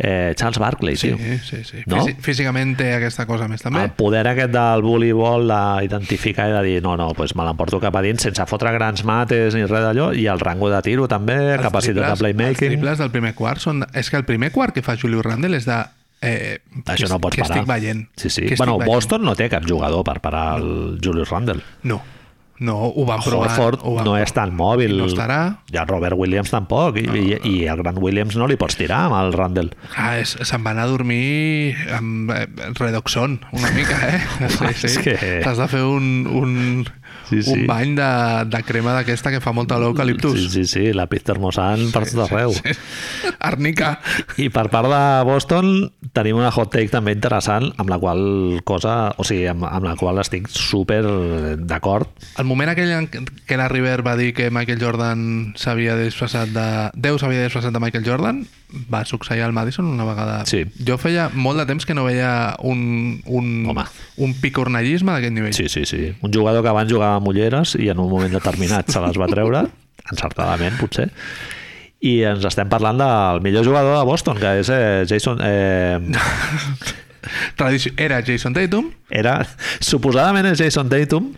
Speaker 1: eh, Charles Barkley,
Speaker 2: sí,
Speaker 1: tio.
Speaker 2: sí, sí.
Speaker 1: No? Ah,
Speaker 2: Físi- Físicament té aquesta cosa a més també.
Speaker 1: El poder aquest del voleibol d'identificar i de dir, no, no, doncs me l'emporto cap a dins sense fotre grans mates ni res d'allò, i el rango de tiro també,
Speaker 2: Els
Speaker 1: capacitat
Speaker 2: triples-
Speaker 1: de
Speaker 2: Els
Speaker 1: playmaking...
Speaker 2: triples del primer quart són... És que el primer quart que fa Julio Randle és de... Eh,
Speaker 1: Això no pots
Speaker 2: que
Speaker 1: parar.
Speaker 2: estic veient.
Speaker 1: Sí, sí.
Speaker 2: Que estic
Speaker 1: Bueno,
Speaker 2: veient.
Speaker 1: Boston no té cap jugador per parar el Julius Randle.
Speaker 2: No, no, ho van provar.
Speaker 1: Horford
Speaker 2: ho van
Speaker 1: no
Speaker 2: provar.
Speaker 1: és tan mòbil.
Speaker 2: No estarà.
Speaker 1: Ja Robert Williams tampoc. I, i, i el Grant Williams no li pots tirar amb el Randle.
Speaker 2: Ah, és, se'n va anar a dormir amb eh, redoxon, una mica, eh? Sí, sí.
Speaker 1: és que-
Speaker 2: T'has de fer un, un,
Speaker 1: Sí, sí.
Speaker 2: un bany de, de crema d'aquesta que fa molta olor a eucaliptus.
Speaker 1: Sí, sí, sí, la Pit Termosan per tot arreu.
Speaker 2: Arnica.
Speaker 1: I per part de Boston tenim una hot take també interessant amb la qual cosa, o sigui, amb, amb la qual estic super d'acord.
Speaker 2: El moment aquell en què la River va dir que Michael Jordan s'havia disfressat de... Déu s'havia disfressat de Michael Jordan, va succeir al Madison una vegada.
Speaker 1: Sí.
Speaker 2: Jo feia molt de temps que no veia un, un,
Speaker 1: Home.
Speaker 2: un picornallisme d'aquest nivell.
Speaker 1: Sí, sí, sí. Un jugador que abans jugava amb ulleres i en un moment determinat se les va treure, encertadament, potser, i ens estem parlant del millor jugador de Boston, que és eh, Jason... Eh,
Speaker 2: Tradici- Era Jason Tatum,
Speaker 1: era, suposadament és Jason Tatum,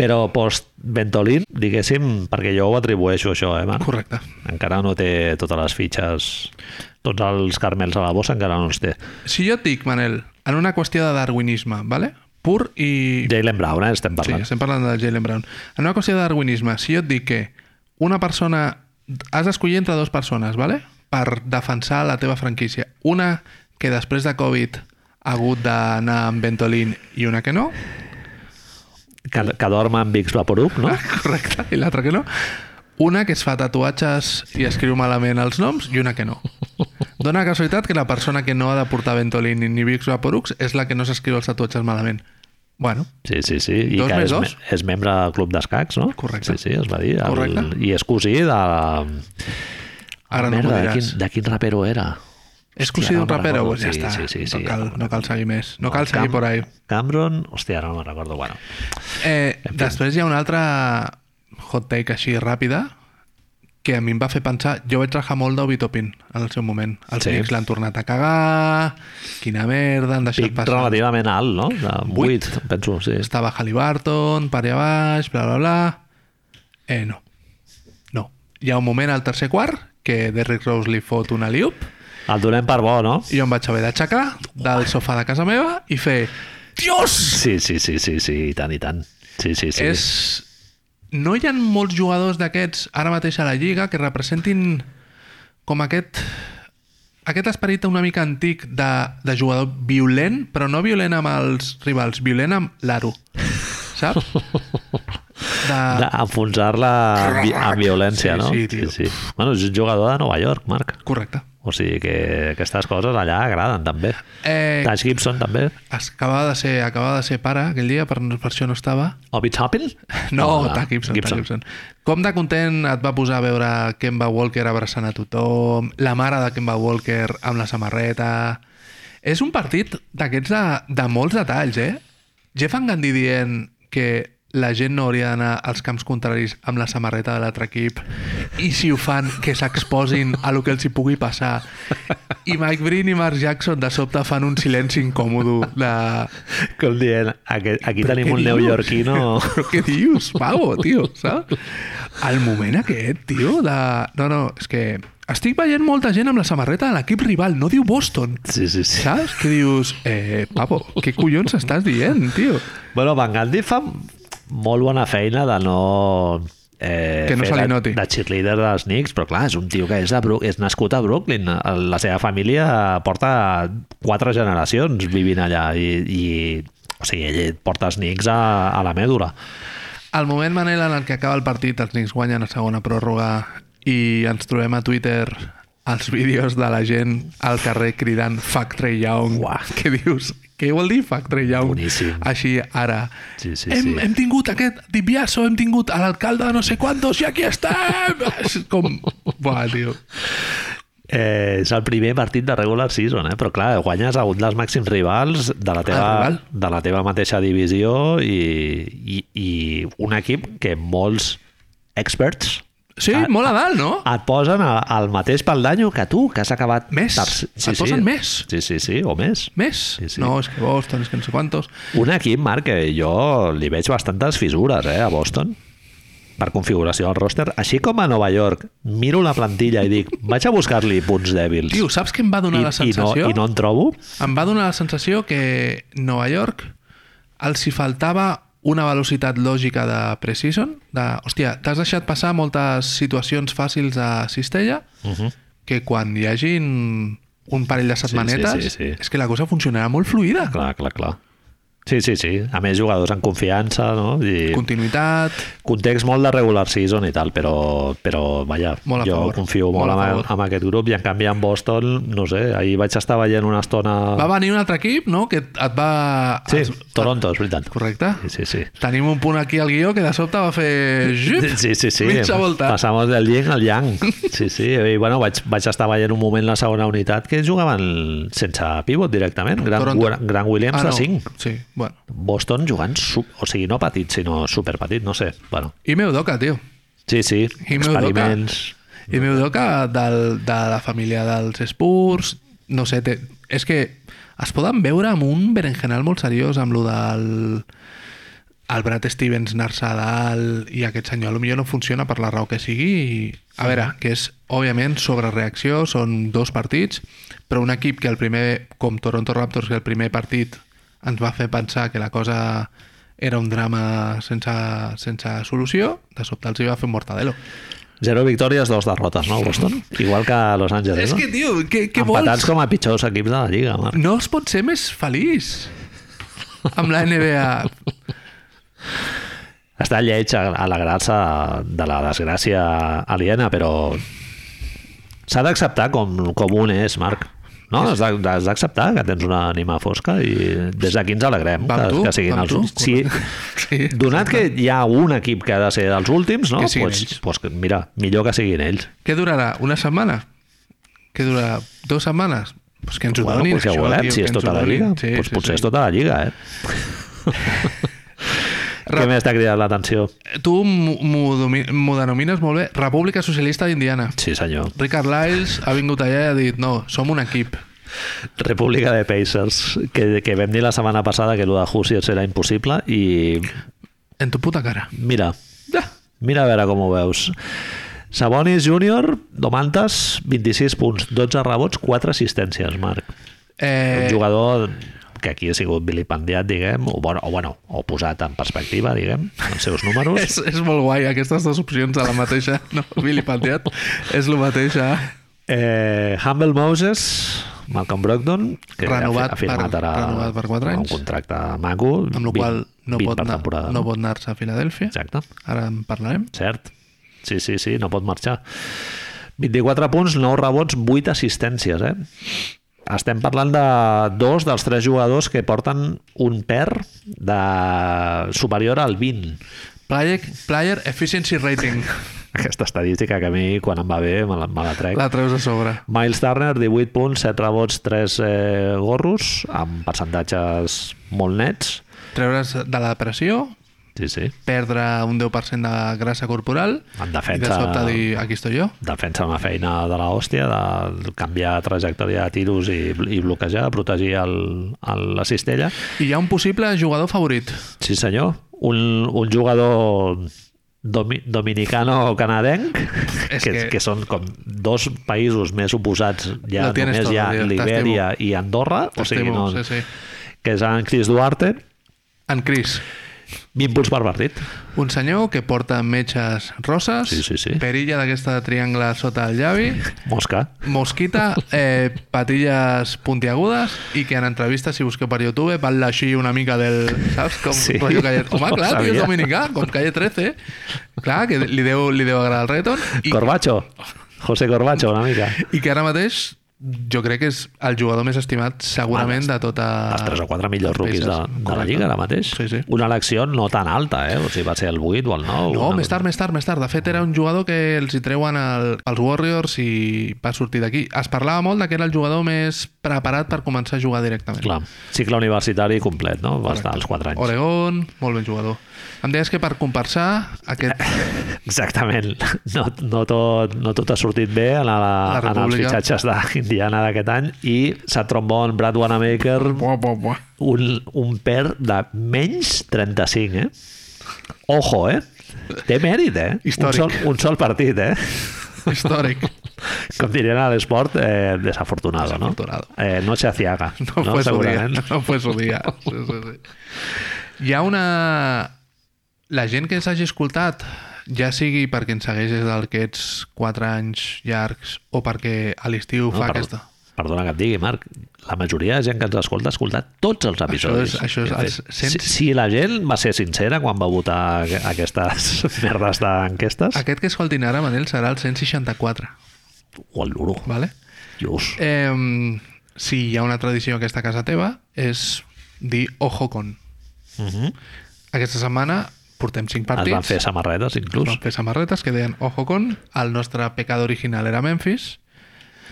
Speaker 1: però post-Ventolin, diguéssim, perquè jo ho atribueixo això, eh, man?
Speaker 2: correcte.
Speaker 1: Encara no té totes les fitxes, tots els carmels a la bossa encara no els té.
Speaker 2: Si jo et dic, Manel, en una qüestió de darwinisme, vale? pur i...
Speaker 1: Jalen Brown, eh, estem
Speaker 2: Sí,
Speaker 1: parlant.
Speaker 2: estem parlant de Jalen Brown. En una qüestió de darwinisme, si jo et dic que una persona... Has d'escollir entre dues persones, vale? per defensar la teva franquícia. Una que després de Covid ha hagut d'anar amb Ventolin i una que no,
Speaker 1: Que, que dorma amb Vicks Vaporub, no?
Speaker 2: correcte, i l'altra que no. Una que es fa tatuatges i escriu malament els noms i una que no. Dóna la casualitat que la persona que no ha de portar Ventolin ni Vicks Vaporux és la que no s'escriu els tatuatges malament. Bueno,
Speaker 1: Sí, sí, sí. I
Speaker 2: Dos
Speaker 1: que
Speaker 2: més
Speaker 1: és, me-
Speaker 2: dos.
Speaker 1: és membre del club d'escacs, no?
Speaker 2: Correcte.
Speaker 1: Sí, sí, es va dir. El,
Speaker 2: Correcte.
Speaker 1: I és cosí de...
Speaker 2: ara no
Speaker 1: Merda,
Speaker 2: m'ho
Speaker 1: de,
Speaker 2: diràs.
Speaker 1: quin, de quin rapero era?
Speaker 2: És
Speaker 1: Hòstia,
Speaker 2: cosí
Speaker 1: no
Speaker 2: d'un
Speaker 1: me'n
Speaker 2: rapero?
Speaker 1: recordo.
Speaker 2: Pues ja
Speaker 1: sí,
Speaker 2: està.
Speaker 1: Sí, sí, sí.
Speaker 2: no, cal, no cal seguir més. No cal
Speaker 1: El
Speaker 2: seguir
Speaker 1: Cam-
Speaker 2: por ahí.
Speaker 1: Cameron, hòstia, ara no me'n recordo. Bueno,
Speaker 2: Eh, després hi ha una altra hot take així ràpida que a mi em va fer pensar... Jo vaig rajar molt d'Obi Topin en el seu moment. Els
Speaker 1: Sí.
Speaker 2: sí. Knicks l'han tornat a cagar, quina merda, han deixat
Speaker 1: pic
Speaker 2: passar...
Speaker 1: relativament alt, no? De 8,
Speaker 2: Vuit.
Speaker 1: penso, sí.
Speaker 2: Estava Halliburton, per allà baix, bla, bla, bla... Eh, no. No. Hi ha un moment al tercer quart que Derrick Rose li fot una liup
Speaker 1: El donem per bo, no?
Speaker 2: i jo em vaig haver d'aixecar del sofà de casa meva i fer... Dios!
Speaker 1: Sí, sí, sí, sí, sí, i tant, i tant. Sí, sí, sí.
Speaker 2: és... No hi ha molts jugadors d'aquests ara mateix a la Lliga que representin com aquest aquest esperit una mica antic de, de jugador violent, però no violent amb els rivals, violent amb l'aro. Saps? De...
Speaker 1: D'enfonsar-la amb, vi- amb violència,
Speaker 2: ah, Sí,
Speaker 1: no?
Speaker 2: sí, tio.
Speaker 1: sí, sí. Bueno, és un jugador de Nova York, Marc.
Speaker 2: Correcte.
Speaker 1: O sigui que aquestes coses allà agraden, també.
Speaker 2: Eh,
Speaker 1: Taj Gibson, també.
Speaker 2: es- acabava de ser, acabava de ser pare aquell dia, per, per això no estava.
Speaker 1: Obi Toppin?
Speaker 2: No, no Tack Gibson, Gibson. Gibson. Com de content et va posar a veure Kemba Walker abraçant a tothom, la mare de Kemba Walker amb la samarreta... És un partit d'aquests de, de molts detalls, eh? Jeff Van Gandhi dient que la gent no hauria d'anar als camps contraris amb la samarreta de l'altre equip i si ho fan que s'exposin a lo que els hi pugui passar i Mike Breen i Mark Jackson de sobte fan un silenci incòmodo de,
Speaker 1: Com dient, aquí, aquí
Speaker 2: Però
Speaker 1: tenim
Speaker 2: què
Speaker 1: un
Speaker 2: dius?
Speaker 1: neoyorquino...
Speaker 2: Però què dius, pavo, tio, saps? El moment aquest, tio, de... No, no, és que estic veient molta gent amb la samarreta de l'equip rival, no diu Boston.
Speaker 1: Sí, sí, sí.
Speaker 2: Saps? Que dius, eh, pavo, què collons estàs dient, tio?
Speaker 1: Bueno, Van Gandhi fa molt bona feina de no eh,
Speaker 2: Que no
Speaker 1: fer
Speaker 2: se li
Speaker 1: de-
Speaker 2: noti.
Speaker 1: De cheerleader dels Knicks, però clar, és un tio que és, de Brook, és nascut a Brooklyn. La seva família porta quatre generacions vivint allà i, i o sigui, ell porta els Knicks a, a la mèdula.
Speaker 2: Al moment, Manel, en el que acaba el partit, els Knicks guanyen a segona pròrroga i ens trobem a Twitter els vídeos de la gent al carrer cridant Fuck Trey Young.
Speaker 1: Uah.
Speaker 2: Què dius? Què vol dir Fuck Trey Young?
Speaker 1: Boníssim.
Speaker 2: Així, ara.
Speaker 1: Sí, sí,
Speaker 2: hem,
Speaker 1: sí.
Speaker 2: hem tingut aquest Dibiaso, hem tingut a l'alcalde de no sé quantos i aquí estem! És com... Buah, tio.
Speaker 1: Eh, és el primer partit de regular season, eh? però clar, guanyes a un dels màxims rivals de
Speaker 2: Ah,
Speaker 1: la teva,
Speaker 2: rival?
Speaker 1: de la teva mateixa divisió i, i, i un equip que molts experts
Speaker 2: Sí,
Speaker 1: Ah,
Speaker 2: molt a dalt, no?
Speaker 1: et posen a- al mateix peldanyo que tu, que has acabat...
Speaker 2: Més.
Speaker 1: tercer.
Speaker 2: Et posen més.
Speaker 1: Sí, sí, sí, o més.
Speaker 2: Més?
Speaker 1: Sí, sí.
Speaker 2: No, és que Boston, és que no sé quantos.
Speaker 1: Un equip, Marc, que jo li veig bastantes fissures eh, a Boston per configuració del roster. Així com a Nova York, miro la plantilla i dic, vaig a buscar-li punts dèbils.
Speaker 2: Tio, saps què em va
Speaker 1: I,
Speaker 2: donar
Speaker 1: i,
Speaker 2: la
Speaker 1: no,
Speaker 2: sensació?
Speaker 1: I no en trobo.
Speaker 2: Em va donar la sensació que Nova York els hi faltava una velocitat lògica de preseason, de, hòstia, t'has deixat passar moltes situacions fàcils a Cistella, uh -huh. que quan hi hagin un parell de setmanetes,
Speaker 1: sí, sí.
Speaker 2: és que la cosa funcionarà molt fluida.
Speaker 1: Clar, clar, clar. Sí, sí, sí. A més, jugadors en confiança, no? I
Speaker 2: Continuïtat...
Speaker 1: context molt de regular season i tal, però, però vaja,
Speaker 2: Molt a
Speaker 1: jo
Speaker 2: favor.
Speaker 1: confio
Speaker 2: Molt
Speaker 1: molt,
Speaker 2: a
Speaker 1: molt
Speaker 2: favor.
Speaker 1: en, en aquest grup i en canvi en Boston, no sé, ahir vaig estar veient una estona...
Speaker 2: Va Ah, venir un altre equip, no?, que et et va...
Speaker 1: Ah. sí,
Speaker 2: es-
Speaker 1: Toronto, és veritat.
Speaker 2: Correcte?
Speaker 1: Sí, sí, sí.
Speaker 2: Tenim un punt aquí al guió que de sobte va fer... Jup,
Speaker 1: Sí, sí, sí.
Speaker 2: Mitja volta.
Speaker 1: Passamos del yin al yang. Sí, sí. I, bueno, vaig, vaig estar veient un moment la segona unitat que jugaven sense pivot directament. Gran,
Speaker 2: Toronto.
Speaker 1: Gran Williams
Speaker 2: Ah,
Speaker 1: de
Speaker 2: no.
Speaker 1: 5.
Speaker 2: Sí, bueno.
Speaker 1: Boston jugant, sub, o sigui, no petit, sinó superpetit, no sé. Bueno,
Speaker 2: I Meudoka, tio.
Speaker 1: sí, sí,
Speaker 2: I Meudoka.
Speaker 1: experiments...
Speaker 2: I Meudoka del, de la família dels Spurs, no sé, té, és que es poden veure amb un berenjenal molt seriós amb lo del el Brad Stevens anar-se a dalt i aquest senyor potser no funciona per la raó que sigui i, a veure, que és òbviament sobre reacció, són dos partits però un equip que el primer com Toronto Raptors que el primer partit ens va fer pensar que la cosa era un drama sense, sense solució de sobte els hi va fer un mortadelo
Speaker 1: Zero victòries, dos derrotes, no, Boston? Igual que Los Angeles,
Speaker 2: És
Speaker 1: no?
Speaker 2: que, tio, què, què
Speaker 1: Empatats
Speaker 2: vols?
Speaker 1: com a pitjors equips de la Lliga, Marc.
Speaker 2: No es pot ser més feliç amb la NBA.
Speaker 1: Està lleig a- alegrar-se de la desgràcia aliena, però s'ha d'acceptar com, com un és, Marc. No, has d'ac- has d'acceptar que tens una ànima fosca i des d'aquí ens alegrem
Speaker 2: Va
Speaker 1: que,
Speaker 2: amb tu,
Speaker 1: que siguin
Speaker 2: va
Speaker 1: els
Speaker 2: amb
Speaker 1: últims.
Speaker 2: tu.
Speaker 1: Sí,
Speaker 2: Sí.
Speaker 1: donat que hi ha un equip que ha de ser dels últims, no?
Speaker 2: Que siguin
Speaker 1: pues,
Speaker 2: ells.
Speaker 1: pues, que, mira, millor que siguin ells.
Speaker 2: Què durarà? Una setmana? Què durarà? Dues setmanes? Pues que ens ho
Speaker 1: Bueno,
Speaker 2: donin,
Speaker 1: pues ja
Speaker 2: això,
Speaker 1: ho veurem,
Speaker 2: tio,
Speaker 1: si
Speaker 2: que
Speaker 1: és
Speaker 2: ens ho
Speaker 1: tota la
Speaker 2: donin.
Speaker 1: Lliga.
Speaker 2: Sí,
Speaker 1: pues
Speaker 2: sí,
Speaker 1: potser
Speaker 2: sí.
Speaker 1: és tota la Lliga, eh? Què més t'ha cridat l'atenció?
Speaker 2: Tu m'ho domi- m'ho denomines molt bé República Socialista d'Indiana.
Speaker 1: Sí, senyor.
Speaker 2: Ricard Lyles ha vingut allà i ha dit no, som un equip.
Speaker 1: República de Pacers, que, que vam dir la setmana passada que el de Hoosiers era impossible i
Speaker 2: En tu puta cara.
Speaker 1: mira, mira a veure com ho veus. Sabonis Júnior, Domantas, 26 punts, 12 rebots, 4 assistències, Marc. Eh... Un
Speaker 2: Eh,
Speaker 1: jugador que aquí ha sigut vilipendiat, diguem, o, bueno, o, bueno, o posat en perspectiva, diguem, els seus números.
Speaker 2: és, és molt guai, aquestes dues opcions a la mateixa. No, Billy Pantiat és el mateix. eh?
Speaker 1: Eh, Humble Moses, Malcolm Brogdon, que
Speaker 2: Renovat
Speaker 1: ha fi- ha firmat
Speaker 2: per-
Speaker 1: ara
Speaker 2: renovat per quatre
Speaker 1: un
Speaker 2: anys.
Speaker 1: contracte maco,
Speaker 2: amb la qual no pot,
Speaker 1: per
Speaker 2: anar,
Speaker 1: temporada.
Speaker 2: no pot anar-se a Filadèlfia.
Speaker 1: Exacte,
Speaker 2: Ara en parlarem.
Speaker 1: cert. Sí, sí, sí, no pot marxar. 24 punts, 9 rebots, 8 assistències, eh? Estem parlant de dos dels tres jugadors que porten un per de superior al 20.
Speaker 2: Player, player Efficiency Rating.
Speaker 1: Aquesta estadística que a mi, quan em va bé, me la, me la trec.
Speaker 2: La treus a sobre.
Speaker 1: Miles Turner, 18 punts, 7 rebots, 3 eh, gorros, amb percentatges molt nets.
Speaker 2: Treure's de la depressió,
Speaker 1: Sí, sí.
Speaker 2: perdre un 10% de grassa corporal
Speaker 1: En
Speaker 2: i de
Speaker 1: defensa,
Speaker 2: sobte dir, aquí estoy jo.
Speaker 1: defensa una feina de l'hòstia, de canviar trajectòria de tiros i, i bloquejar, protegir el, el, la cistella.
Speaker 2: I hi ha un possible jugador favorit.
Speaker 1: Sí, senyor. Un, un jugador domi, dominicano-canadenc, que,
Speaker 2: És
Speaker 1: que...
Speaker 2: que-
Speaker 1: que són com dos països més oposats, ja
Speaker 2: Lo tienes
Speaker 1: només
Speaker 2: todo,
Speaker 1: hi ha
Speaker 2: tio.
Speaker 1: Libèria i Andorra, o sigui,
Speaker 2: T'estimo,
Speaker 1: no,
Speaker 2: sí, sí.
Speaker 1: que és en Chris Duarte,
Speaker 2: En Chris.
Speaker 1: 20 punts per partit.
Speaker 2: Un senyor que porta metges roses,
Speaker 1: Sí, sí, sí.
Speaker 2: perilla d'aquesta de triangle sota el llavi,
Speaker 1: Mosca.
Speaker 2: mosquita, eh, patilles puntiagudes i que en entrevistes, si busqueu per YouTube, parla així una mica del... Saps? Com
Speaker 1: Sí,
Speaker 2: sí, rotllo calle... Home,
Speaker 1: ho
Speaker 2: clar, tio,
Speaker 1: sabia.
Speaker 2: és dominicà, com calle 13. Clar, que li deu, li deu agradar el reggaeton. I,
Speaker 1: Corbacho. José Corbacho, una mica.
Speaker 2: I que ara mateix jo crec que és el jugador més estimat segurament de tota...
Speaker 1: els 3 o 4 millors rookies de, de la
Speaker 2: Correcte.
Speaker 1: Lliga ara mateix.
Speaker 2: Sí, sí.
Speaker 1: Una elecció no tan alta, eh? O sigui, va ser el 8 o el 9.
Speaker 2: No,
Speaker 1: una
Speaker 2: més tard, més tard, més tard. De fet, era un jugador que els hi treuen el, els Warriors i va sortir d'aquí. Es parlava molt de que era el jugador més preparat per començar a jugar directament.
Speaker 1: Clar, cicle universitari complet, no? Va estar als 4 anys.
Speaker 2: Oregon, molt ben jugador. Em deies que per compensar aquest...
Speaker 1: Exactament. No, no, tot, no tot ha sortit bé en, la,
Speaker 2: La
Speaker 1: en els
Speaker 2: República.
Speaker 1: fitxatges d'Indiana d'aquest any i s'ha trombon Brad Wanamaker
Speaker 2: Buah, buah, buah.
Speaker 1: un, un per de menys 35, eh? Ojo, eh? Té mèrit, eh?
Speaker 2: Històric.
Speaker 1: Un sol, un sol partit, eh?
Speaker 2: Històric.
Speaker 1: Com dirien a l'esport, eh, desafortunado, no?
Speaker 2: Desafortunado.
Speaker 1: Eh, no se aciaga,
Speaker 2: No, no fue su día.
Speaker 1: segurament.
Speaker 2: No fue su día. Sí, sí, sí. Hi ha una... La gent que ens hagi escoltat, ja sigui perquè ens segueix des d'aquests 4 anys llargs o perquè a l'estiu
Speaker 1: No,
Speaker 2: fa
Speaker 1: per-
Speaker 2: aquesta...
Speaker 1: Perdona que et digui, Marc, la majoria de gent que ens escolta ha escoltat tots els episodis.
Speaker 2: és- això és
Speaker 1: que hem fet.
Speaker 2: els cent-
Speaker 1: si, si la gent va ser sincera quan va votar aqu- aquestes merdes d'enquestes,
Speaker 2: Aquest que escoltin ara, Manel, serà el 164,
Speaker 1: o el duro,
Speaker 2: vale?
Speaker 1: just.
Speaker 2: Eh, si hi ha una tradició a aquesta casa teva, és dir ojo con.
Speaker 1: Uh -huh.
Speaker 2: Aquesta setmana portem 5
Speaker 1: Es
Speaker 2: partits.
Speaker 1: van fer samarretes, inclús.
Speaker 2: van fer samarretes que deien ojo con. El nostre pecat original era Memphis.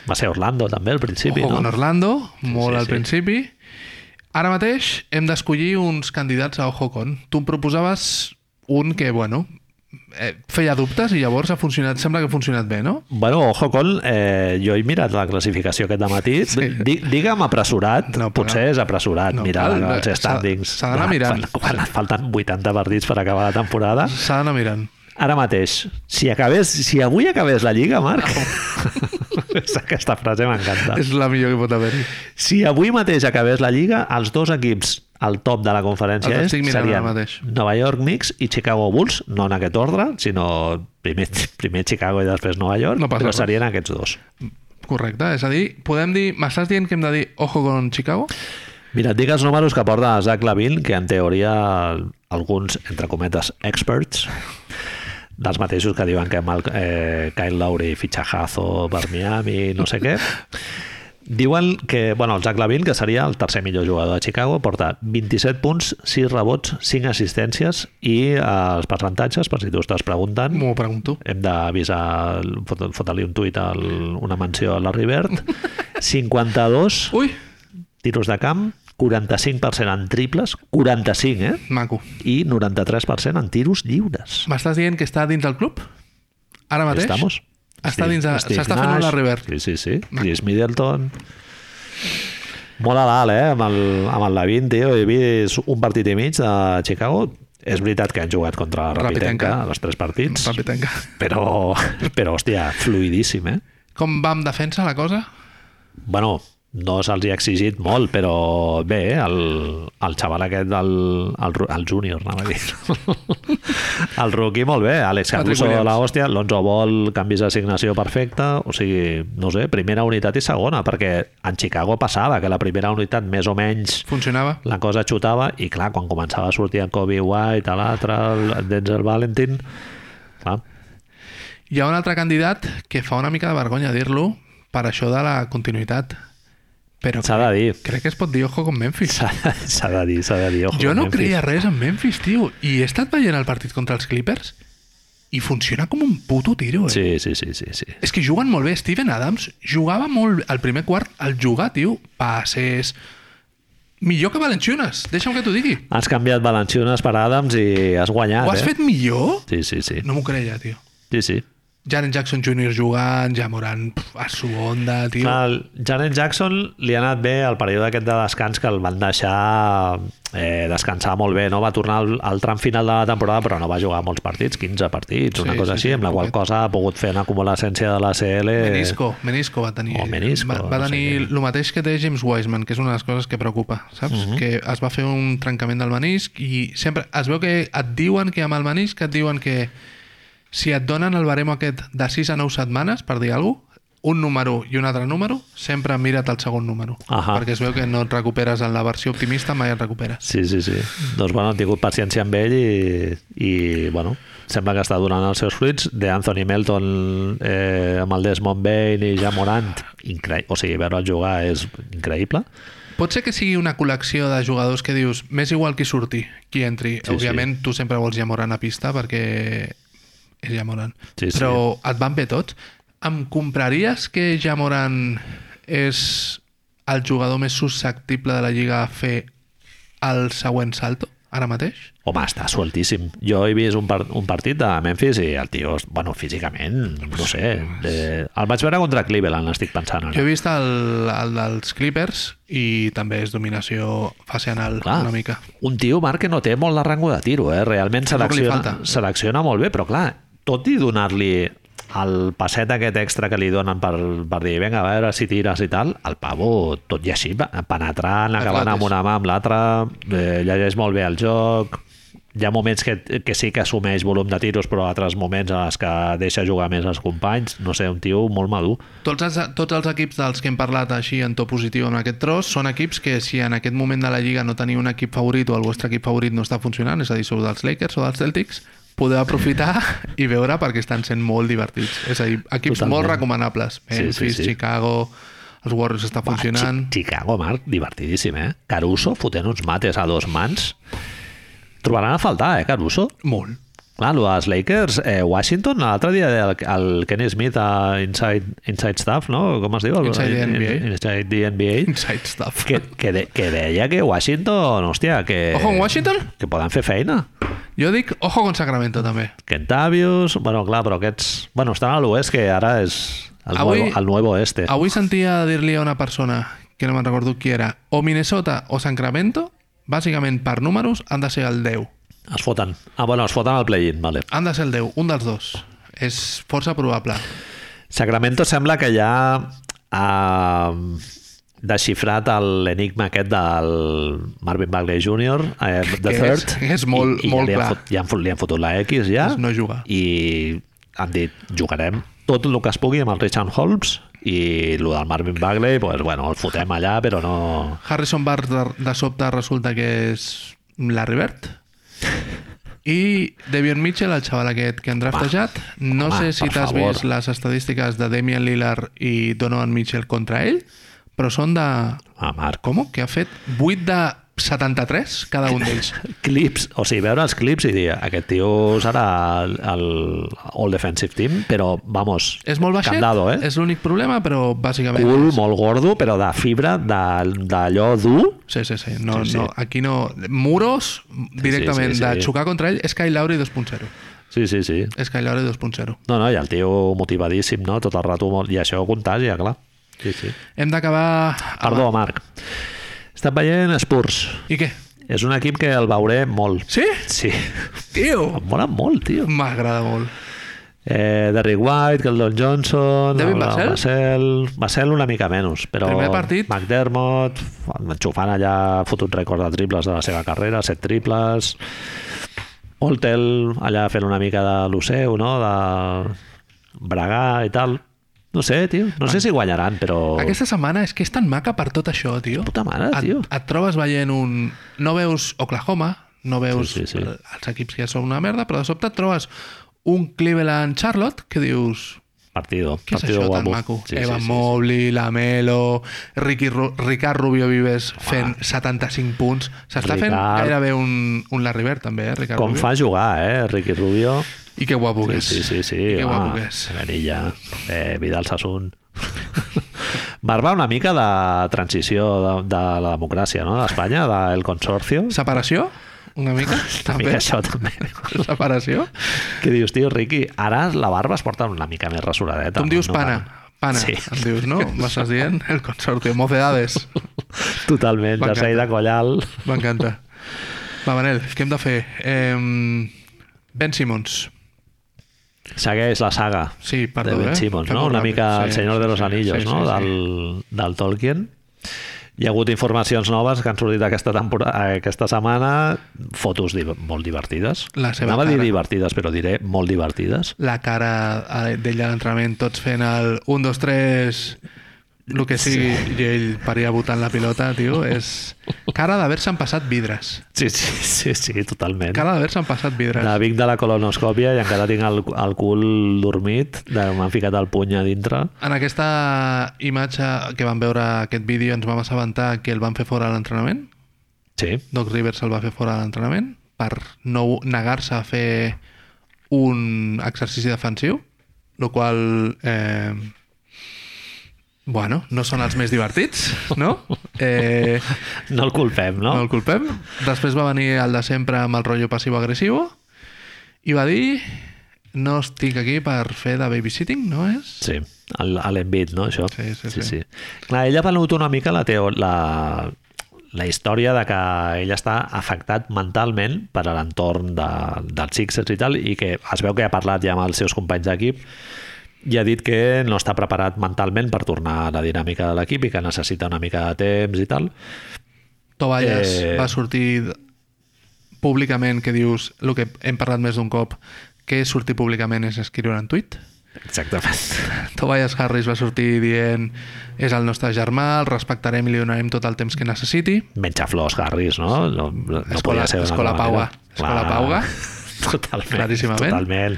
Speaker 1: Va ser Orlando, també, al principi,
Speaker 2: Ojo
Speaker 1: no?
Speaker 2: con Orlando, molt
Speaker 1: sí,
Speaker 2: al
Speaker 1: sí.
Speaker 2: principi. Ara mateix hem d'escollir uns candidats a Ojo con. Tu em proposaves un que, bueno, eh, feia dubtes i llavors ha funcionat, sembla que ha funcionat bé, no?
Speaker 1: Bueno, ojo con, eh, jo he mirat la classificació aquest matí. Sí. Digue'm apressurat, no,
Speaker 2: No, però-
Speaker 1: potser és apressurat
Speaker 2: no,
Speaker 1: no, mirar
Speaker 2: cal, eh,
Speaker 1: els
Speaker 2: s'ha-
Speaker 1: standings.
Speaker 2: s'ha d'anar
Speaker 1: de-
Speaker 2: mirant.
Speaker 1: Quan, quan et falten 80 partits per acabar la temporada.
Speaker 2: S'ha d'anar mirant.
Speaker 1: Ara mateix, si, acabés, si avui acabés la Lliga, Marc... és aquesta frase m'encanta.
Speaker 2: És la millor que pot haver-hi.
Speaker 1: Si avui mateix acabés la Lliga, els dos equips al top de la conferència
Speaker 2: Els
Speaker 1: est
Speaker 2: estic mirant
Speaker 1: serien
Speaker 2: ara mateix.
Speaker 1: Nova York Knicks i Chicago Bulls, no en aquest ordre, sinó primer, primer Chicago i després Nova York,
Speaker 2: No passa
Speaker 1: però
Speaker 2: res.
Speaker 1: serien aquests dos.
Speaker 2: Correcte, és a dir, podem dir... M'estàs dient que hem de dir ojo con Chicago?
Speaker 1: Mira, et dic els números que porta Zach Lavin, que en teoria alguns, entre cometes, experts, dels mateixos que diuen que Mal, eh, Kyle Lowry fitxajazo per Miami, no sé què. Diuen que, bueno, el Zach Lavin, que seria el tercer millor jugador de Chicago, porta 27 punts, 6 rebots, 5 assistències i eh, els percentatges, per si tu estàs preguntant,
Speaker 2: M'ho pregunto.
Speaker 1: hem d'avisar, fot- fotre-li un tuit, al, una menció a la Rivert, 52
Speaker 2: Ui,
Speaker 1: tiros de camp, 45% en triples, 45, eh?
Speaker 2: maco.
Speaker 1: I 93% en tiros lliures.
Speaker 2: M'estàs dient que està dins del club? Ara mateix?
Speaker 1: Estamos.
Speaker 2: Està
Speaker 1: Sí,
Speaker 2: dins de-
Speaker 1: Steve
Speaker 2: s'està fent
Speaker 1: Nash,
Speaker 2: una revert.
Speaker 1: Sí, sí, sí. Chris Middleton. Molt a dalt, eh? Amb el, amb el Lavin, tio. He vist un partit i mig de Chicago. És veritat que han jugat contra la
Speaker 2: Rapitenca.
Speaker 1: Rapitenca, els tres partits,
Speaker 2: Rapitenca.
Speaker 1: però, però, hòstia, fluidíssim, eh?
Speaker 2: Com va amb defensa la cosa?
Speaker 1: bueno, no se'ls hi ha exigit molt, però bé, el, el xaval aquest, el, el, ru- el júnior, anava a dir. el rookie molt bé, Alex
Speaker 2: Patrick
Speaker 1: Caruso,
Speaker 2: Williams.
Speaker 1: la hòstia, l'11 vol, canvis d'assignació perfecta, o sigui, no ho sé, primera unitat i segona, perquè en Chicago passava que la primera unitat més o menys
Speaker 2: Funcionava?
Speaker 1: la cosa xutava i clar, quan començava a sortir en Kobe White, a l'altre, el Denzel Valentin, clar,
Speaker 2: Hi ha un altre candidat que fa una mica de vergonya dir-lo per això de la continuïtat. Però
Speaker 1: s'ha de dir,
Speaker 2: crec que es pot dir ojo con Memphis.
Speaker 1: s'ha s'ha de dir, s'ha de dir. ojo,
Speaker 2: Jo no
Speaker 1: Memphis.
Speaker 2: creia res en Memphis, tio. I he estat veient el partit contra els Clippers i funciona com un puto tiro, eh?
Speaker 1: Sí, sí, sí, sí, sí.
Speaker 2: És que juguen molt bé. Steven Adams jugava molt bé. al primer quart, al jugar, tio, passes... Millor que Valenciunes, deixa'm que t'ho digui.
Speaker 1: Has canviat Valenciunes per Adams i has guanyat,
Speaker 2: Ho has
Speaker 1: eh?
Speaker 2: fet millor?
Speaker 1: Sí, sí, sí.
Speaker 2: No m'ho creia, tio.
Speaker 1: sí, sí.
Speaker 2: Jaren Jackson Jr. jugant, ja Morant pf, a su onda, tio.
Speaker 1: Clar, el Janet Jackson li ha anat bé el període aquest de descans que el van deixar eh, descansar molt bé, no? Va tornar al, al tram final de la temporada però no va jugar molts partits, 15 partits, una
Speaker 2: Sí,
Speaker 1: cosa
Speaker 2: sí,
Speaker 1: així,
Speaker 2: sí,
Speaker 1: amb la qual
Speaker 2: poquet.
Speaker 1: cosa ha pogut fer en acumulescència de la CL...
Speaker 2: Menisco, menisco va tenir.
Speaker 1: O Oh, menisco,
Speaker 2: va, va
Speaker 1: no sé
Speaker 2: tenir el mateix que té James Wiseman, que és una de les coses que preocupa, saps?
Speaker 1: Mhm.
Speaker 2: Que es va fer un trencament del menisc i sempre es veu que et diuen que amb el menisc et diuen que si et donen el baremo aquest de 6 a 9 setmanes, per dir alguna cosa, un número i un altre número, sempre mira't el segon número.
Speaker 1: Ahà.
Speaker 2: Perquè es veu que no et recuperes en la versió optimista, mai et recuperes.
Speaker 1: Sí, sí, sí. Doncs bueno, han tingut paciència amb ell i, i bueno, sembla que està donant els seus fruits. De Anthony Melton eh, amb el Desmond Bain i ja Morant, incre... o sigui, veure'l jugar és increïble.
Speaker 2: Pot ser que sigui una col·lecció de jugadors que dius, m'és igual qui surti, qui entri.
Speaker 1: Sí,
Speaker 2: Sí, Òbviament, sí. tu sempre vols Jamoran a pista perquè és Jamoran.
Speaker 1: Sí, sí.
Speaker 2: Però et van bé tots. Em compraries que Jamoran és el jugador més susceptible de la Lliga a fer el següent salto, ara mateix?
Speaker 1: Home, està sueltíssim. Jo he vist un, par un partit de Memphis i el tio, bueno, físicament, no sé. Eh, el vaig veure contra Cleveland, estic pensant.
Speaker 2: Jo he
Speaker 1: Ara.
Speaker 2: vist el, el dels Clippers i també és dominació fase anal
Speaker 1: Clar,
Speaker 2: una mica.
Speaker 1: un tio, Marc, que no té molt de rango de tiro, eh? realment
Speaker 2: És el que li
Speaker 1: selecciona,
Speaker 2: falta.
Speaker 1: selecciona molt bé, però clar, tot i donar-li el passet aquest extra que li donen per, per dir, vinga, a veure si tires i tal, el pavo, tot i així, va penetrant, acabant
Speaker 2: Atletes.
Speaker 1: amb una mà amb l'altra, eh, llegeix molt bé el joc, hi ha moments que, que sí que assumeix volum de tiros, però altres moments en els que deixa jugar més els companys, no sé, un tio molt madur.
Speaker 2: Tots els, tots els equips dels que hem parlat així en to positiu en aquest tros són equips que si en aquest moment de la Lliga no teniu un equip favorit o el vostre equip favorit no està funcionant, és a dir, sou dels Lakers o dels Celtics, podeu aprofitar i veure perquè estan sent molt divertits. És a dir, equips
Speaker 1: Totalment.
Speaker 2: Totalment. molt recomanables.
Speaker 1: Sí, sí,
Speaker 2: Memphis, sí, sí,
Speaker 1: sí.
Speaker 2: sí. Chicago, els Warriors està funcionant...
Speaker 1: Chi- Chicago, Marc, divertidíssim, eh? Caruso fotent uns mates a dos mans. Trobaran a faltar, eh, Caruso?
Speaker 2: Molt.
Speaker 1: Clar, lo dels Lakers, eh, Washington, l'altre dia el, el Kenny Smith a Inside, Inside Stuff, no? Com es diu? El-
Speaker 2: Inside the
Speaker 1: in-
Speaker 2: NBA.
Speaker 1: in- Inside the NBA.
Speaker 2: Inside stuff.
Speaker 1: Que, que, de, que deia que Washington, hòstia, que...
Speaker 2: Ojo amb Washington?
Speaker 1: Que poden fer feina.
Speaker 2: Jo dic, ojo con Sacramento, també.
Speaker 1: Kentavius... Bueno, clar, però aquests... Bueno, estan a l'oest, que ara és el,
Speaker 2: Avui-
Speaker 1: nuevo, el nuevo este.
Speaker 2: Avui sentia dir-li a una persona, que no me'n recordo qui era, o Minnesota o Sacramento, bàsicament per números han de ser el 10.
Speaker 1: Es foten. Ah, bueno, es foten al play-in, vale.
Speaker 2: Han de ser el 10, un dels dos. És força probable.
Speaker 1: Sacramento sembla que ja ha mm, desxifrat l'enigma aquest del Marvin Bagley Jr., eh, The
Speaker 2: Que
Speaker 1: Third.
Speaker 2: és- és molt-
Speaker 1: i, i
Speaker 2: molt
Speaker 1: ja li
Speaker 2: clar.
Speaker 1: Han fot, ja han fot, li han fotut la X ja.
Speaker 2: És no jugar.
Speaker 1: I han dit, jugarem tot el que es pugui amb el Richard Holmes i el del Marvin Bagley, pues, bueno, el fotem allà, però no...
Speaker 2: Harrison Barnes de, de sobte resulta que és la Rivert. I Devion Mitchell, el xaval aquest que han draftejat, no
Speaker 1: home,
Speaker 2: sé si
Speaker 1: per
Speaker 2: t'has
Speaker 1: favor.
Speaker 2: vist les estadístiques de Damian Lillard i Donovan Mitchell contra ell, però són de...
Speaker 1: Ah, Marc,
Speaker 2: Com? Que ha fet 8 de 73 cada un d'ells.
Speaker 1: clips, o sigui, veure els clips i dir, aquest tio serà el, el All Defensive Team, però, vamos,
Speaker 2: És molt baixet,
Speaker 1: candado, eh?
Speaker 2: és l'únic problema, però bàsicament...
Speaker 1: cul molt gordo, però de fibra, de- d'allò dur.
Speaker 2: Sí, sí, sí. No,
Speaker 1: Sí, sí.
Speaker 2: sí, sí. no, aquí no... Muros, directament,
Speaker 1: sí,
Speaker 2: sí, sí, sí,
Speaker 1: sí.
Speaker 2: de xocar contra ell, és Kyle Lowry 2.0.
Speaker 1: Sí, sí, sí.
Speaker 2: És Kyle Lowry 2.0.
Speaker 1: No, no, i el tio motivadíssim, no? Tot el rato molt... I això contagia, clar. Sí, sí.
Speaker 2: Hem d'acabar...
Speaker 1: Perdó, Marc. Estan veient Spurs.
Speaker 2: I què?
Speaker 1: És un equip que el veuré molt.
Speaker 2: Sí?
Speaker 1: Sí.
Speaker 2: Tio!
Speaker 1: Em mola molt, tio.
Speaker 2: M'agrada molt.
Speaker 1: Eh, Derrick White, Keldon Johnson... el-
Speaker 2: David
Speaker 1: el
Speaker 2: Vassell?
Speaker 1: Vassell? Vassell una mica menys, però...
Speaker 2: Primer partit.
Speaker 1: McDermott, enxufant allà, fot un rècord de triples de la seva carrera, set triples... Poltel allà fent una mica de lo seu, no? De bregar i tal. No sé, tio. No sé si guanyaran, però...
Speaker 2: Aquesta setmana és que és tan maca per tot això, tio.
Speaker 1: Oh. Puta mare,
Speaker 2: et,
Speaker 1: tio.
Speaker 2: et trobes veient un... No veus Oklahoma, no veus
Speaker 1: Sí,
Speaker 2: sí,
Speaker 1: sí, sí.
Speaker 2: sí, sí. els equips que ja són una merda, però de sobte et trobes un Cleveland-Charlotte que dius...
Speaker 1: Partido.
Speaker 2: Què és
Speaker 1: partido
Speaker 2: això
Speaker 1: guapo.
Speaker 2: tan maco? Sí, Evan sí, sí, Mobley, Lamelo, Ricky Ru Ricard Rubio Vives fent 75 punts. S'està fent
Speaker 1: Ricard.
Speaker 2: gairebé un, un Larribert, també, eh, Ricard
Speaker 1: Com
Speaker 2: Rubio.
Speaker 1: fa jugar, eh? Ricky Rubio.
Speaker 2: I que guapo que és.
Speaker 1: Sí, sí, sí.
Speaker 2: I que guapo
Speaker 1: home,
Speaker 2: que és.
Speaker 1: Benilla, eh, Vidal Sassoon. Marba una mica de transició de, de la democràcia no? d'Espanya, del Consorcio.
Speaker 2: Separació? Una mica?
Speaker 1: Una
Speaker 2: també?
Speaker 1: mica això també.
Speaker 2: Separació?
Speaker 1: Que dius, tio, Riqui, ara la barba es porta una mica més rasuradeta.
Speaker 2: Tu em dius
Speaker 1: no?
Speaker 2: pana. Pana,
Speaker 1: Sí.
Speaker 2: em dius, no? M'estàs dient el consorte mocedades.
Speaker 1: Totalment, de
Speaker 2: M'encanta.
Speaker 1: Saida Collal.
Speaker 2: M'encanta. Va, Manel, què hem de fer? Eh, ben Simmons.
Speaker 1: Segueix la saga
Speaker 2: Sí, perdó,
Speaker 1: de Ben
Speaker 2: eh?
Speaker 1: Simmons,
Speaker 2: Fem
Speaker 1: no?
Speaker 2: molt
Speaker 1: Una
Speaker 2: ràpid.
Speaker 1: mica El
Speaker 2: Sí,
Speaker 1: Senyor
Speaker 2: sí,
Speaker 1: de los
Speaker 2: sí,
Speaker 1: Anillos,
Speaker 2: sí,
Speaker 1: no?
Speaker 2: sí, sí.
Speaker 1: Del, del Tolkien. Hi ha hagut informacions noves que han sortit aquesta, temporada, aquesta setmana, fotos div molt divertides.
Speaker 2: La seva
Speaker 1: Anava a dir
Speaker 2: cara.
Speaker 1: divertides, però diré molt divertides.
Speaker 2: La cara eh, d'ell a l'entrenament, tots fent el 1, 2, 3, el que sigui, i ell per allà votant la pilota, tio, és... Cara d'haver-se'n passat vidres.
Speaker 1: Sí, sí, sí, sí totalment.
Speaker 2: Cara d'haver-se'n passat vidres.
Speaker 1: De Vic de la colonoscòpia i encara tinc el, el cul dormit, de- m'han ficat el puny a dintre.
Speaker 2: En aquesta imatge que vam veure aquest vídeo ens vam assabentar que el van fer fora de l'entrenament.
Speaker 1: Sí,
Speaker 2: Doc Rivers el va fer fora de l'entrenament per no negar-se a fer un exercici defensiu, el qual... Eh, bueno, no són els més divertits, no? Eh,
Speaker 1: no el culpem, no?
Speaker 2: no el culpem. Després va venir el de sempre amb el rotllo passivo-agressivo i va dir no estic aquí per fer de babysitting, no és?
Speaker 1: Sí, el- a l'envit, no, això?
Speaker 2: Sí, sí, sí.
Speaker 1: Clar, ella pelut una mica la, teo, la, la història de que ell està afectat mentalment per a l'entorn de, dels Sixers i tal, i que es veu que ha parlat ja amb els seus companys d'equip i ha dit que no està preparat mentalment per tornar a la dinàmica de l'equip i que necessita una mica de temps i tal.
Speaker 2: Tovalles
Speaker 1: Eh.
Speaker 2: eh... va sortir públicament que dius el que hem parlat més d'un cop que sortir públicament és escriure un tuit
Speaker 1: Exactament.
Speaker 2: Tobias Harris va sortir dient és el nostre germà, el respectarem i li donarem tot el temps que necessiti
Speaker 1: Menja flors, Harris, no? No, no podia
Speaker 2: Escola-
Speaker 1: ser d'una
Speaker 2: escola
Speaker 1: altra
Speaker 2: paua.
Speaker 1: manera.
Speaker 2: Escola
Speaker 1: Clar.
Speaker 2: paua.
Speaker 1: Totalment.
Speaker 2: Claríssimament.
Speaker 1: Totalment.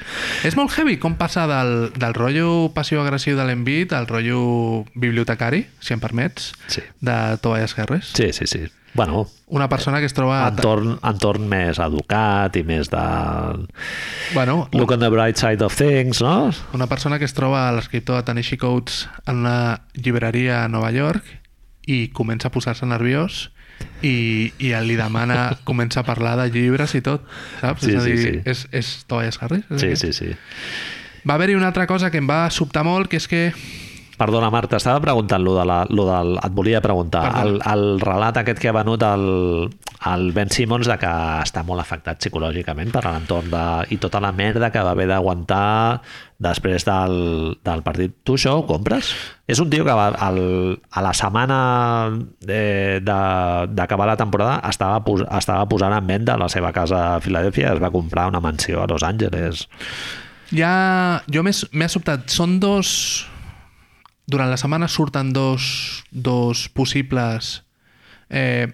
Speaker 2: és molt heavy com passa del, del rotllo passiu-agressiu de l'envit al rotllo bibliotecari, si em permets
Speaker 1: Sí.
Speaker 2: de Tobias Harris
Speaker 1: Sí, sí, sí. Bueno,
Speaker 2: una persona que es troba
Speaker 1: entorn, entorn més educat i més de...
Speaker 2: bueno, un-
Speaker 1: Look on the bright side of things, no?
Speaker 2: Una persona que es troba a l'escriptor de Tanishi Coates en una llibreria a Nova York i comença a posar-se nerviós i, i li demana, comença a parlar de llibres i tot, saps?
Speaker 1: Sí,
Speaker 2: és a
Speaker 1: sí,
Speaker 2: dir,
Speaker 1: sí.
Speaker 2: és, és Tobias Harris? És
Speaker 1: Sí,
Speaker 2: aquest?
Speaker 1: sí, sí.
Speaker 2: Va haver-hi una altra cosa que em va sobtar molt, que és que
Speaker 1: Perdona, Marta, estava preguntant lo de la, lo del, et volia preguntar, el,
Speaker 2: Perdona.
Speaker 1: el relat aquest que ha venut el, el Ben Simmons de que està molt afectat psicològicament per a l'entorn de, i tota la merda que va haver d'aguantar després del, del partit. Tu això ho compres? És un tio que va, el, a la setmana eh, de- d'acabar la temporada estava, pos, estava posant en venda la seva casa a Filadèlfia, es va comprar una mansió a Los Angeles.
Speaker 2: ja... Jo m'he m'he sobtat, són dos... Durant la setmana surten dos, dos possibles eh,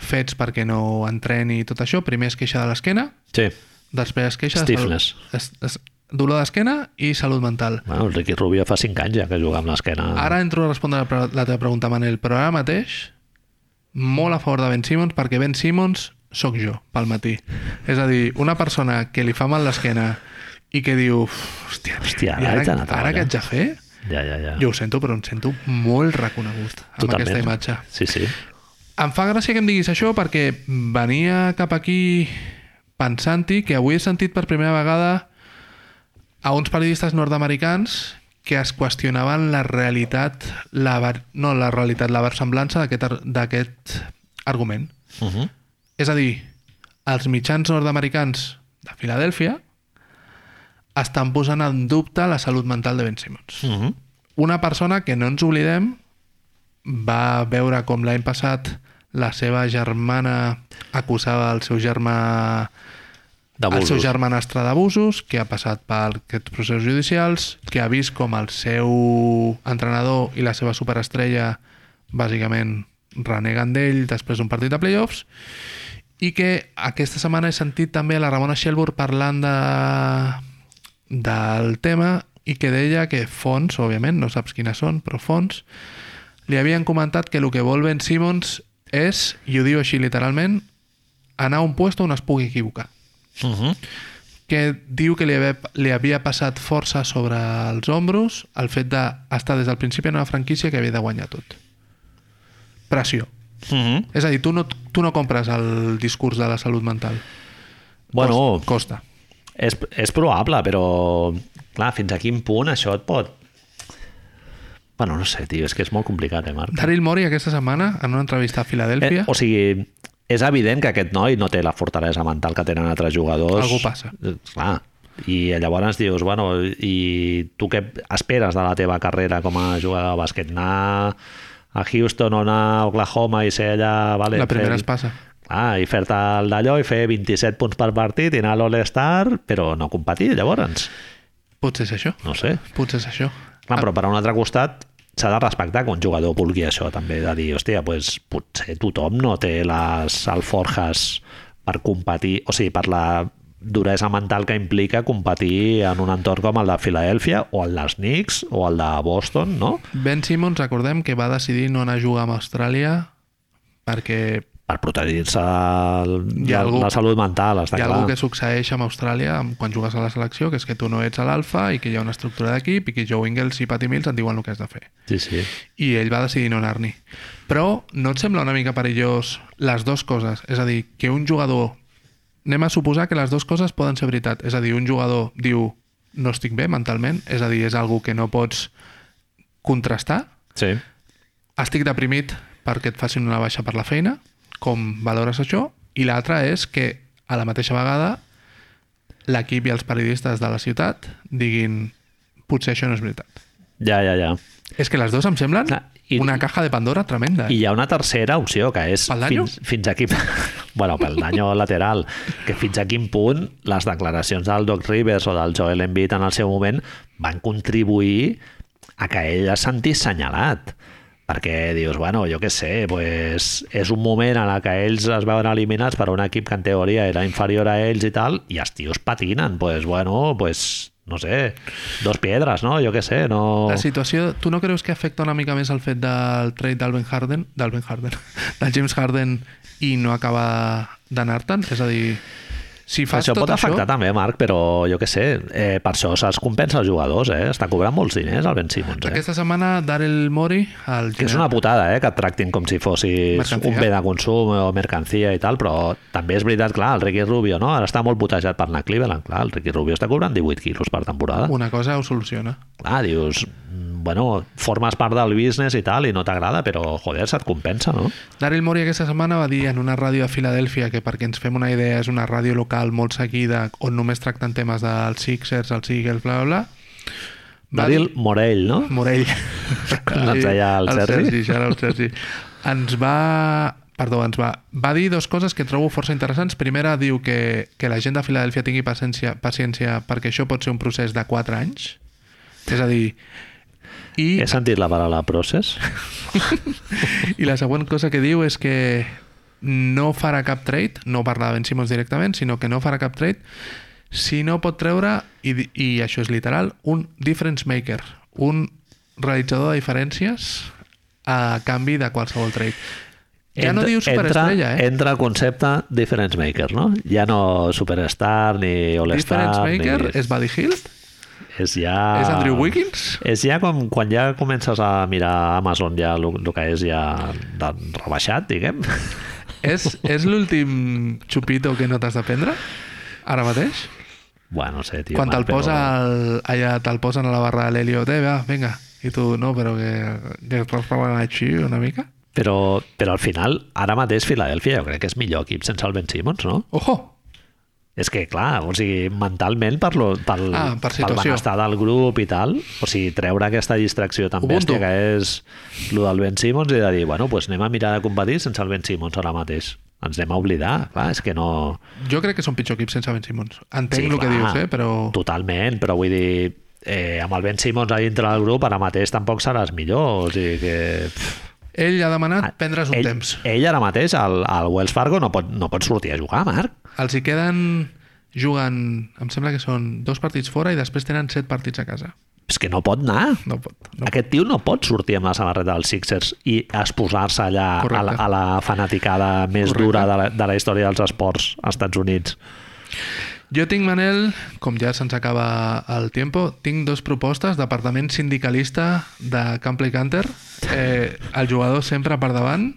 Speaker 2: fets perquè no entreni i tot això. Primer es queixa de l'esquena,
Speaker 1: Sí.
Speaker 2: Després es queixa...
Speaker 1: Stiffness.
Speaker 2: De salut, es, es, dolor d'esquena i salut mental.
Speaker 1: Bueno, el Ricky Rubio fa 5 anys ja que juga amb l'esquena.
Speaker 2: Ara entro a respondre la, pre- la teva pregunta, Manel, però ara mateix molt a favor de Ben Simmons perquè Ben Simmons sóc jo pel matí. És a dir, una persona que li fa mal l'esquena i que diu, "Uf, hòstia,
Speaker 1: Hòstia, ara
Speaker 2: i ara,
Speaker 1: haig d'anar a
Speaker 2: ara
Speaker 1: treballar."
Speaker 2: què haig de fer?
Speaker 1: Ja, ja, ja.
Speaker 2: Jo ho sento, però em sento molt reconegut amb aquesta imatge.
Speaker 1: Sí, sí.
Speaker 2: Em fa gràcia que em diguis això perquè venia cap aquí pensant-hi que avui he sentit per primera vegada a uns periodistes nord-americans que es qüestionaven la realitat, la ver... no la realitat, la versemblança d'aquest ar- d'aquest argument.
Speaker 1: Uh -huh.
Speaker 2: És a dir, els mitjans nord-americans de Filadèlfia estan posant en dubte la salut mental de Ben Simmons
Speaker 1: Uh -huh.
Speaker 2: una persona que no ens oblidem va veure com l'any passat la seva germana acusava el seu germà el seu germanastre d'abusos, que ha passat per aquests processos judicials, que ha vist com el seu entrenador i la seva superestrella bàsicament reneguen d'ell després d'un partit de playoffs i que aquesta setmana he sentit també la Ramona Shelburne parlant de, del tema i que deia que fons, òbviament, no saps quines són, però fons, li havien comentat que el que vol Ben Simmons és, i ho diu així literalment, anar a un puesto on es pugui equivocar
Speaker 1: Uh -huh.
Speaker 2: que diu que li havia, li havia passat força sobre els ombros el fet d'estar des del principi en una franquícia que havia de guanyar tot. Pressió.
Speaker 1: Mm -hmm.
Speaker 2: És a dir, tu no, tu no compres el discurs de la salut mental.
Speaker 1: Bueno,
Speaker 2: Cost- Costa.
Speaker 1: és, és probable, però clar, fins a quin punt això et pot... Bueno, no sé, tio, és que és molt complicat, eh, Marc?
Speaker 2: Daryl Mori aquesta setmana, en una entrevista a Filadèlfia,
Speaker 1: Eh, o sigui, és evident que aquest noi no té la fortalesa mental que tenen altres jugadors.
Speaker 2: Algú passa.
Speaker 1: Eh, Clar. I llavors dius, bueno, i tu què esperes de la teva carrera com a jugador de bàsquet? Anar a Houston o anar a Oklahoma i ser allà... Vale,
Speaker 2: la primera
Speaker 1: fer-
Speaker 2: es passa.
Speaker 1: Clar, i fer-te el d'allò i fer 27 punts per partit i anar a l'All-Star, però no competir, llavors.
Speaker 2: Potser és això.
Speaker 1: No sé.
Speaker 2: Potser és això.
Speaker 1: Clar, però per un altre costat s'ha de respectar que un jugador vulgui això també, de dir, hòstia, pues, potser tothom no té les alforjas per competir, o sigui, per la duresa mental que implica competir en un entorn com el de Filadèlfia o el dels Knicks o el de Boston, no?
Speaker 2: Ben Simmons, recordem que va decidir no anar a jugar amb Austràlia perquè
Speaker 1: Per protegir-se de
Speaker 2: Hi ha algú-
Speaker 1: la salut mental, està
Speaker 2: Hi ha
Speaker 1: clar.
Speaker 2: algú que succeeix amb Austràlia amb- quan jugues a la selecció, que és que tu no ets a l'alfa i que hi ha una estructura d'equip i que Joe Ingles i Patty Mills et diuen el que has de fer.
Speaker 1: Sí, sí.
Speaker 2: I ell va decidir no anar-n'hi. Però no et sembla una mica perillós les dues coses? És a dir, que un jugador... Anem a suposar que les dues coses poden ser veritat. És a dir, un jugador diu no estic bé mentalment, és a dir, és algú que no pots contrastar.
Speaker 1: Sí.
Speaker 2: Estic deprimit perquè et facin una baixa per la feina, com valores això? I l'altra és que a la mateixa vegada l'equip i els periodistes de la ciutat diguin potser això no és veritat.
Speaker 1: Ja, ja, ja.
Speaker 2: És que les dues em semblen
Speaker 1: Clar, i-
Speaker 2: una caja de Pandora tremenda.
Speaker 1: I
Speaker 2: Eh?
Speaker 1: hi ha una tercera opció, que és
Speaker 2: Pel danyo?
Speaker 1: fins, fins a quin... bueno, pel danyo lateral, que fins a quin punt les declaracions del Doc Rivers o del Joel Embiid en el seu moment van contribuir a que ell es sentís senyalat perquè dius, bueno, jo què sé, pues, és un moment en el que ells es veuen eliminats per un equip que en teoria era inferior a ells i tal, i els tios patinen, pues, bueno, pues, no sé, dos piedres, no? Jo què sé, no...
Speaker 2: La situació, tu no creus que afecta una mica més el fet del trade d'Alvin Harden, d'Alvin Harden, del James Harden i no acaba d'anar-te'n? És a dir, si fas
Speaker 1: això
Speaker 2: tot
Speaker 1: pot afectar
Speaker 2: això...
Speaker 1: també, Marc, però jo què sé, eh, per això se'ls compensa als jugadors, eh? Està cobrant molts diners el Ben Simmons, eh?
Speaker 2: Aquesta setmana, Daryl Mori, el
Speaker 1: Que és una putada, eh? Que et tractin com si fossis
Speaker 2: Mercancia.
Speaker 1: un bé de consum o mercancia i tal, però també és veritat, clar, el Ricky Rubio, no? Ara està molt putejat per anar a Cleveland, clar, el Ricky Rubio està cobrant 18 quilos per temporada.
Speaker 2: una cosa ho soluciona.
Speaker 1: Clar, dius, mm, bueno, formes part del business i tal, i no t'agrada, però, joder, se't compensa, no?
Speaker 2: Daryl Morey aquesta setmana va dir en una ràdio de Filadèlfia que perquè ens fem una idea és una ràdio local molt seguida on només tracten temes dels Sixers, els Eagles, bla, bla, bla. Va
Speaker 1: Daryl Morell, no?
Speaker 2: dir- Morell.
Speaker 1: Com ens deia el Sergi.
Speaker 2: Sergi, ja era el Sergi. Ens va... Perdó, ens va... Va dir dues coses que trobo força interessants. Primera, diu que, que la gent de Filadèlfia tingui paciència, paciència perquè això pot ser un procés de 4 anys. És a dir... I
Speaker 1: He sentit la paraula process.
Speaker 2: I la següent cosa que diu és que no farà cap trade, no parla de Ben Simmons directament, sinó que no farà cap trade si no pot treure, i, di- i això és literal, un difference maker, un realitzador de diferències a canvi de qualsevol trade. Ja no diu superestrella,
Speaker 1: entra,
Speaker 2: eh?
Speaker 1: Entra el concepte difference maker, no? Ja no superstar ni all-star.
Speaker 2: Difference maker
Speaker 1: ni...
Speaker 2: és Buddy Hield,
Speaker 1: és ja...
Speaker 2: és Andrew Wiggins.
Speaker 1: És ja com quan ja comences a mirar Amazon ja el, el que és ja de, rebaixat, diguem.
Speaker 2: És, és l'últim xupito que no t'has de prendre, ara mateix?
Speaker 1: Bueno, no sé, tio.
Speaker 2: Quan te'l
Speaker 1: Marc,
Speaker 2: posa al, allà, te'l posen a la barra de l'Heliot, eh, va, vinga. I tu, no, però que, que et parlen així una mica.
Speaker 1: Però, però, però al final, ara mateix Filadèlfia jo crec que és millor equip sense el Ben Simmons, no?
Speaker 2: Ojo!
Speaker 1: És que, clar, o sigui, mentalment per, lo, pel,
Speaker 2: Ah, per
Speaker 1: pel
Speaker 2: situació.
Speaker 1: benestar del grup i tal, o sigui, treure aquesta distracció tan
Speaker 2: Ubuntu.
Speaker 1: bèstia que és lo del Ben Simmons i de dir, bueno, pues anem a mirar de competir sense el Ben Simmons ara mateix. Ens anem a oblidar, clar, és que no...
Speaker 2: Jo crec que són pitjor equip sense Ben Simmons. Entenc
Speaker 1: Sí,
Speaker 2: el que
Speaker 1: clar.
Speaker 2: dius, eh, però...
Speaker 1: Totalment, però vull dir, eh, amb el Ben Simmons a dintre del grup ara mateix tampoc seràs millor, o sigui que... pff,
Speaker 2: Ell ha demanat prendre's
Speaker 1: Ah,
Speaker 2: un
Speaker 1: ell,
Speaker 2: temps.
Speaker 1: Ell ara mateix al, al Wells Fargo no pot, no pot sortir a jugar, Marc.
Speaker 2: Els hi queden... Juguen, em sembla que són dos partits fora i després tenen set partits a casa.
Speaker 1: És que no pot anar.
Speaker 2: No pot.
Speaker 1: No.
Speaker 2: No.
Speaker 1: Aquest tio no pot sortir amb la samarreta dels Sixers i exposar-se allà a la,
Speaker 2: Correcte.
Speaker 1: a la fanaticada més
Speaker 2: Correcte.
Speaker 1: dura de la, de la història dels esports als Estats Units.
Speaker 2: Jo tinc, Manel, com ja se'ns acaba el tiempo, tinc dos propostes d'apartament sindicalista de Cample Canter, eh, el jugador sempre per davant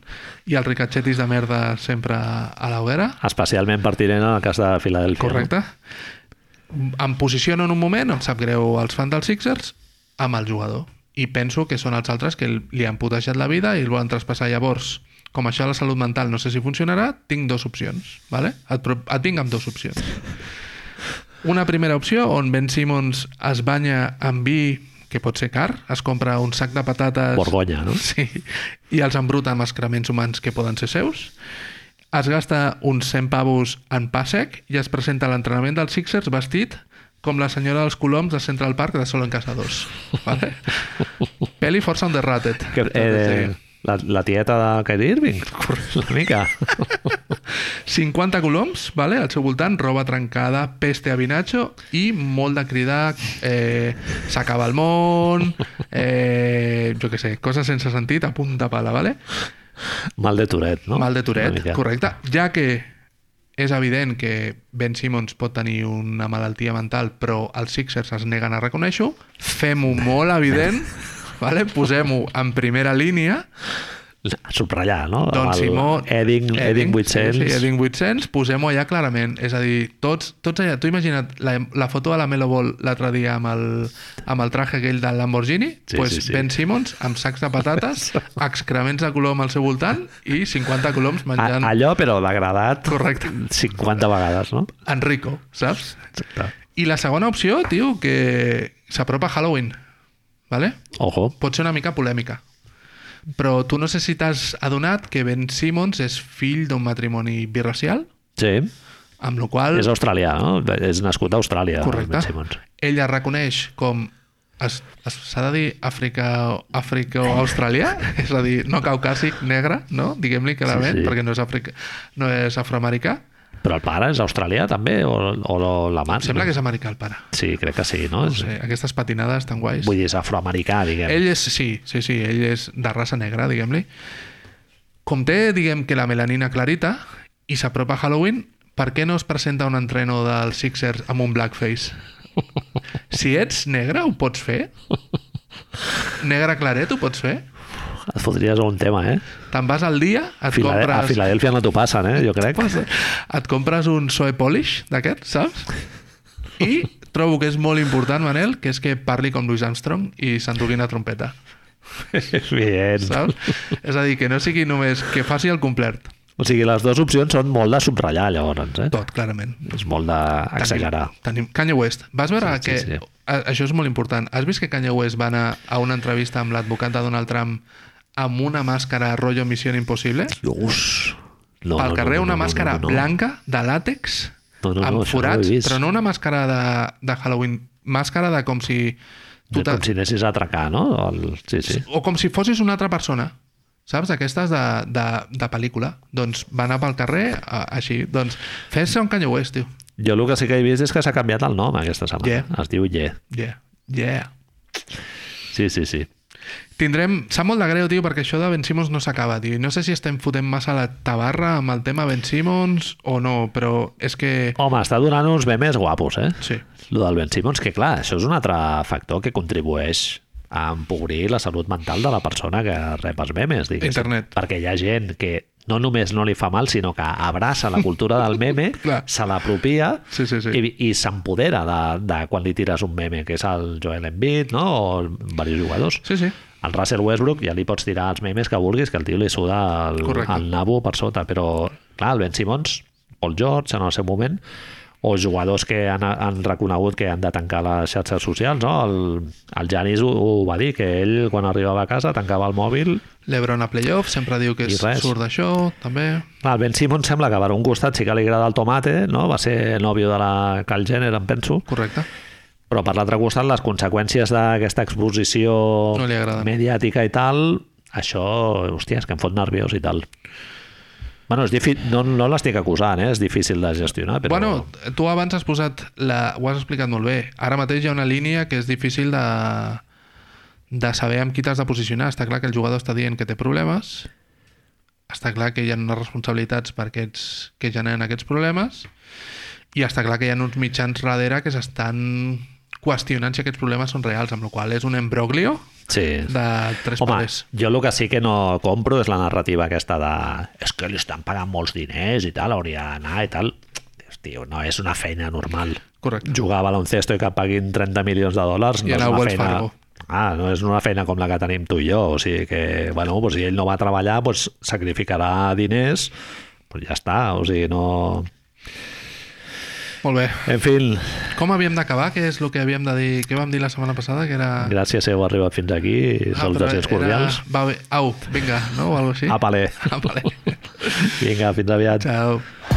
Speaker 2: i els ricatxetis de merda sempre a la hoguera.
Speaker 1: Especialment pertinent en el cas de Filadèlfia.
Speaker 2: Correcte. Em posiciono en un moment, em sap greu els fans dels Sixers, amb el jugador. I penso que són els altres que li han putejat la vida i el volen traspassar. Llavors, com això de la salut mental no sé si funcionarà, tinc dues opcions. ¿vale? Et, pro- et vinc amb dues opcions. Una primera opció, on Ben Simmons es banya amb vi, que pot ser car, es compra un sac de patates...
Speaker 1: No? Borgonya, no?
Speaker 2: Sí, i els embruta amb excrements humans que poden ser seus. Es gasta uns 100 pavos en pa sec i es presenta a l'entrenament dels Sixers vestit com la senyora dels coloms de Central Park de Sol en Casa 2. Vale? Peli força underrated.
Speaker 1: Que, eh, la, la tieta de Kyrie Irving? Una mica.
Speaker 2: 50 coloms, vale? al seu voltant, roba trencada, peste a vinatxo i molt de cridar eh, s'acaba el món, eh, jo què sé, coses sense sentit a punta pala, vale?
Speaker 1: Mal de Tourette, no?
Speaker 2: Mal de
Speaker 1: Una
Speaker 2: Tourette,
Speaker 1: mica.
Speaker 2: correcte. Ja que és evident que Ben Simmons pot tenir una malaltia mental, però els Sixers es neguen a reconèixer-ho, fem-ho molt evident, vale? posem-ho en primera línia,
Speaker 1: Subratllar, no?
Speaker 2: Don
Speaker 1: Amb el
Speaker 2: Simó...
Speaker 1: Ah, Edding, Edding 800.
Speaker 2: Sí, sí, Edding 800, posem-ho allà clarament. És a dir, tots, tots allà... Tu imagina't la, la foto de la Melo Ball l'altre dia amb el, amb el traje aquell del Lamborghini,
Speaker 1: Sí,
Speaker 2: pues
Speaker 1: sí, sí.
Speaker 2: Ben Simmons amb sacs de patates, excrements de colom al seu voltant i 50 coloms
Speaker 1: A,
Speaker 2: menjant...
Speaker 1: allò, però degradat
Speaker 2: Correcte.
Speaker 1: 50 vegades, no?
Speaker 2: Enrico, saps?
Speaker 1: Exacte.
Speaker 2: I la segona opció, tio, que s'apropa Halloween, ¿vale?
Speaker 1: Ojo.
Speaker 2: pot ser una mica polèmica. Però tu no sé si t'has adonat que Ben Simmons és fill d'un matrimoni biracial,
Speaker 1: Sí.
Speaker 2: amb la qual
Speaker 1: És australià, no? És nascut a Austràlia.
Speaker 2: Correcte.
Speaker 1: Ben Simmons.
Speaker 2: ell es reconeix com es- es- s'ha de dir àfrica àfrica o australià, és a dir, no caucàsic, negre, no? Diguem-li
Speaker 1: Sí,
Speaker 2: clarament, sí,
Speaker 1: sí.
Speaker 2: sí. perquè no és, africa, no és afroamericà.
Speaker 1: Però el pare és australià, també? O, o la
Speaker 2: Em
Speaker 1: mare?
Speaker 2: sembla que és americà el pare.
Speaker 1: Sí, crec que sí, no?
Speaker 2: No sé, aquestes patinades tan guais.
Speaker 1: Vull dir, és afroamericà, diguem.
Speaker 2: Ell és, sí, sí, sí, ell és de raça negra, diguem-li. Com té, diguem, que la melanina clarita i s'apropa Halloween, per què no es presenta un entreno dels Sixers amb un blackface? Si ets negre, ho pots fer? Negre claret, ho pots fer?
Speaker 1: Et fotries un tema, eh?
Speaker 2: Te'n vas al dia, et
Speaker 1: Filade A
Speaker 2: compres...
Speaker 1: Filadèlfia no t'ho passen, eh? Jo crec.
Speaker 2: Pues, et compres un Soe Polish d'aquest, saps? I trobo que és molt important, Manel, que és que parli com Louis Armstrong i s'enduguin a trompeta.
Speaker 1: Bien.
Speaker 2: saps? És a dir, que no sigui només que faci el complert.
Speaker 1: O sigui, les dues opcions són molt de subratllar, llavors, eh?
Speaker 2: Tot, clarament.
Speaker 1: És molt d'accelerar.
Speaker 2: Tenim Kanye West. Vas veure
Speaker 1: Ah. Sí, sí,
Speaker 2: que...
Speaker 1: sí.
Speaker 2: a- Això és molt important. Has vist que Kanye West va anar a una entrevista amb l'advocat de Donald Trump amb una màscara rotllo Missió Impossible?
Speaker 1: Dius... No,
Speaker 2: Al
Speaker 1: no,
Speaker 2: carrer
Speaker 1: no, no,
Speaker 2: una
Speaker 1: no,
Speaker 2: màscara
Speaker 1: no, no.
Speaker 2: blanca de làtex
Speaker 1: No, no, no, això
Speaker 2: amb
Speaker 1: no ho he
Speaker 2: forats,
Speaker 1: vist.
Speaker 2: però no una màscara de, de Halloween, màscara de com si... Tu
Speaker 1: De
Speaker 2: te-
Speaker 1: Com si anessis a atracar, no? El... Sí, sí.
Speaker 2: o com si fossis una altra persona saps? Aquestes de, de, de pel·lícula. Doncs va anar pel carrer a, així. Doncs fes-se un Kanye West, tio.
Speaker 1: Jo el que sí que he vist és que s'ha canviat el nom aquesta setmana.
Speaker 2: Yeah.
Speaker 1: Es diu Ye.
Speaker 2: Yeah. Yeah.
Speaker 1: Sí, sí, sí.
Speaker 2: Tindrem... Sap molt de greu, tio, perquè això de Ben Simmons no s'acaba, tio. I No sé si estem fotent massa la tabarra amb el tema Ben Simmons o no, però és que...
Speaker 1: Home, està donant uns memes guapos, eh?
Speaker 2: Sí.
Speaker 1: Lo del Ben Simmons, que clar, això és un altre factor que contribueix a empobrir la salut mental de la persona que rep els memes, diguéssim.
Speaker 2: Internet.
Speaker 1: Perquè hi ha gent que no només no li fa mal, sinó que abraça la cultura del meme,
Speaker 2: Clar.
Speaker 1: se l'apropia
Speaker 2: Sí, sí, sí.
Speaker 1: i, i s'empodera de, de quan li tires un meme, que és el Joel Embiid, no? o diversos jugadors.
Speaker 2: Sí, sí.
Speaker 1: Al Russell Westbrook ja li pots tirar els memes que vulguis, que el tio li suda el,
Speaker 2: Correcte.
Speaker 1: el nabo per sota, però clar, el Ben Simmons, Paul George en el seu moment, o jugadors que han, han reconegut que han de tancar les xarxes socials, no? El, el Janis ho, ho va dir, que ell quan arribava a casa tancava el mòbil
Speaker 2: L'Ebron a playoff sempre diu que
Speaker 1: I
Speaker 2: és,
Speaker 1: res.
Speaker 2: surt d'això, també.
Speaker 1: Clar, el Ben Simmons sembla que per un costat sí que li agrada el tomate, no? va ser nòvio de la Kyle Jenner, em penso,
Speaker 2: Correcte.
Speaker 1: però per l'altre costat les conseqüències d'aquesta exposició
Speaker 2: No li agraden.
Speaker 1: mediàtica i tal, això, hòstia, és que em fot nerviós i tal. Bueno, és difí... no, no l'estic acusant, eh? és difícil de gestionar, però...
Speaker 2: Bueno, tu abans has posat la... ho has explicat molt bé. Ara mateix hi ha una línia que és difícil de, de saber amb qui t'has de posicionar. Està clar que el jugador està dient que té problemes, està clar que hi ha unes responsabilitats per aquests, que generen aquests problemes I està clar que hi ha uns mitjans darrere que s'estan qüestionant si aquests problemes són reals, amb la qual cosa és un embroglio
Speaker 1: Sí.
Speaker 2: de tres
Speaker 1: Home,
Speaker 2: palers.
Speaker 1: jo el que sí que no compro és la narrativa aquesta de és que li estan pagant molts diners i tal, hauria d'anar i tal. Dius, tio, no és una feina normal.
Speaker 2: Correcte.
Speaker 1: Jugar a baloncesto i que et paguin 30 milions de dòlars
Speaker 2: I
Speaker 1: no és
Speaker 2: anar a
Speaker 1: una
Speaker 2: Wells
Speaker 1: feina...
Speaker 2: Fargo.
Speaker 1: Ah, no és una feina com la que tenim tu i jo. O sigui que, bueno, doncs, si ell no va a treballar, doncs sacrificarà diners, doncs ja està. O sigui, no...
Speaker 2: Molt bé.
Speaker 1: En fi,
Speaker 2: Com havíem d'acabar? Què és el que havíem de dir? Què vam dir la setmana passada? Que era...
Speaker 1: gràcies si heu arribat fins aquí.
Speaker 2: Ah,
Speaker 1: Salutacions
Speaker 2: però era-
Speaker 1: cordials.
Speaker 2: Va bé. Au, vinga, no? O alguna cosa així.
Speaker 1: Apa, le.
Speaker 2: Apa, vale.
Speaker 1: Vinga, fins aviat.
Speaker 2: Ciao.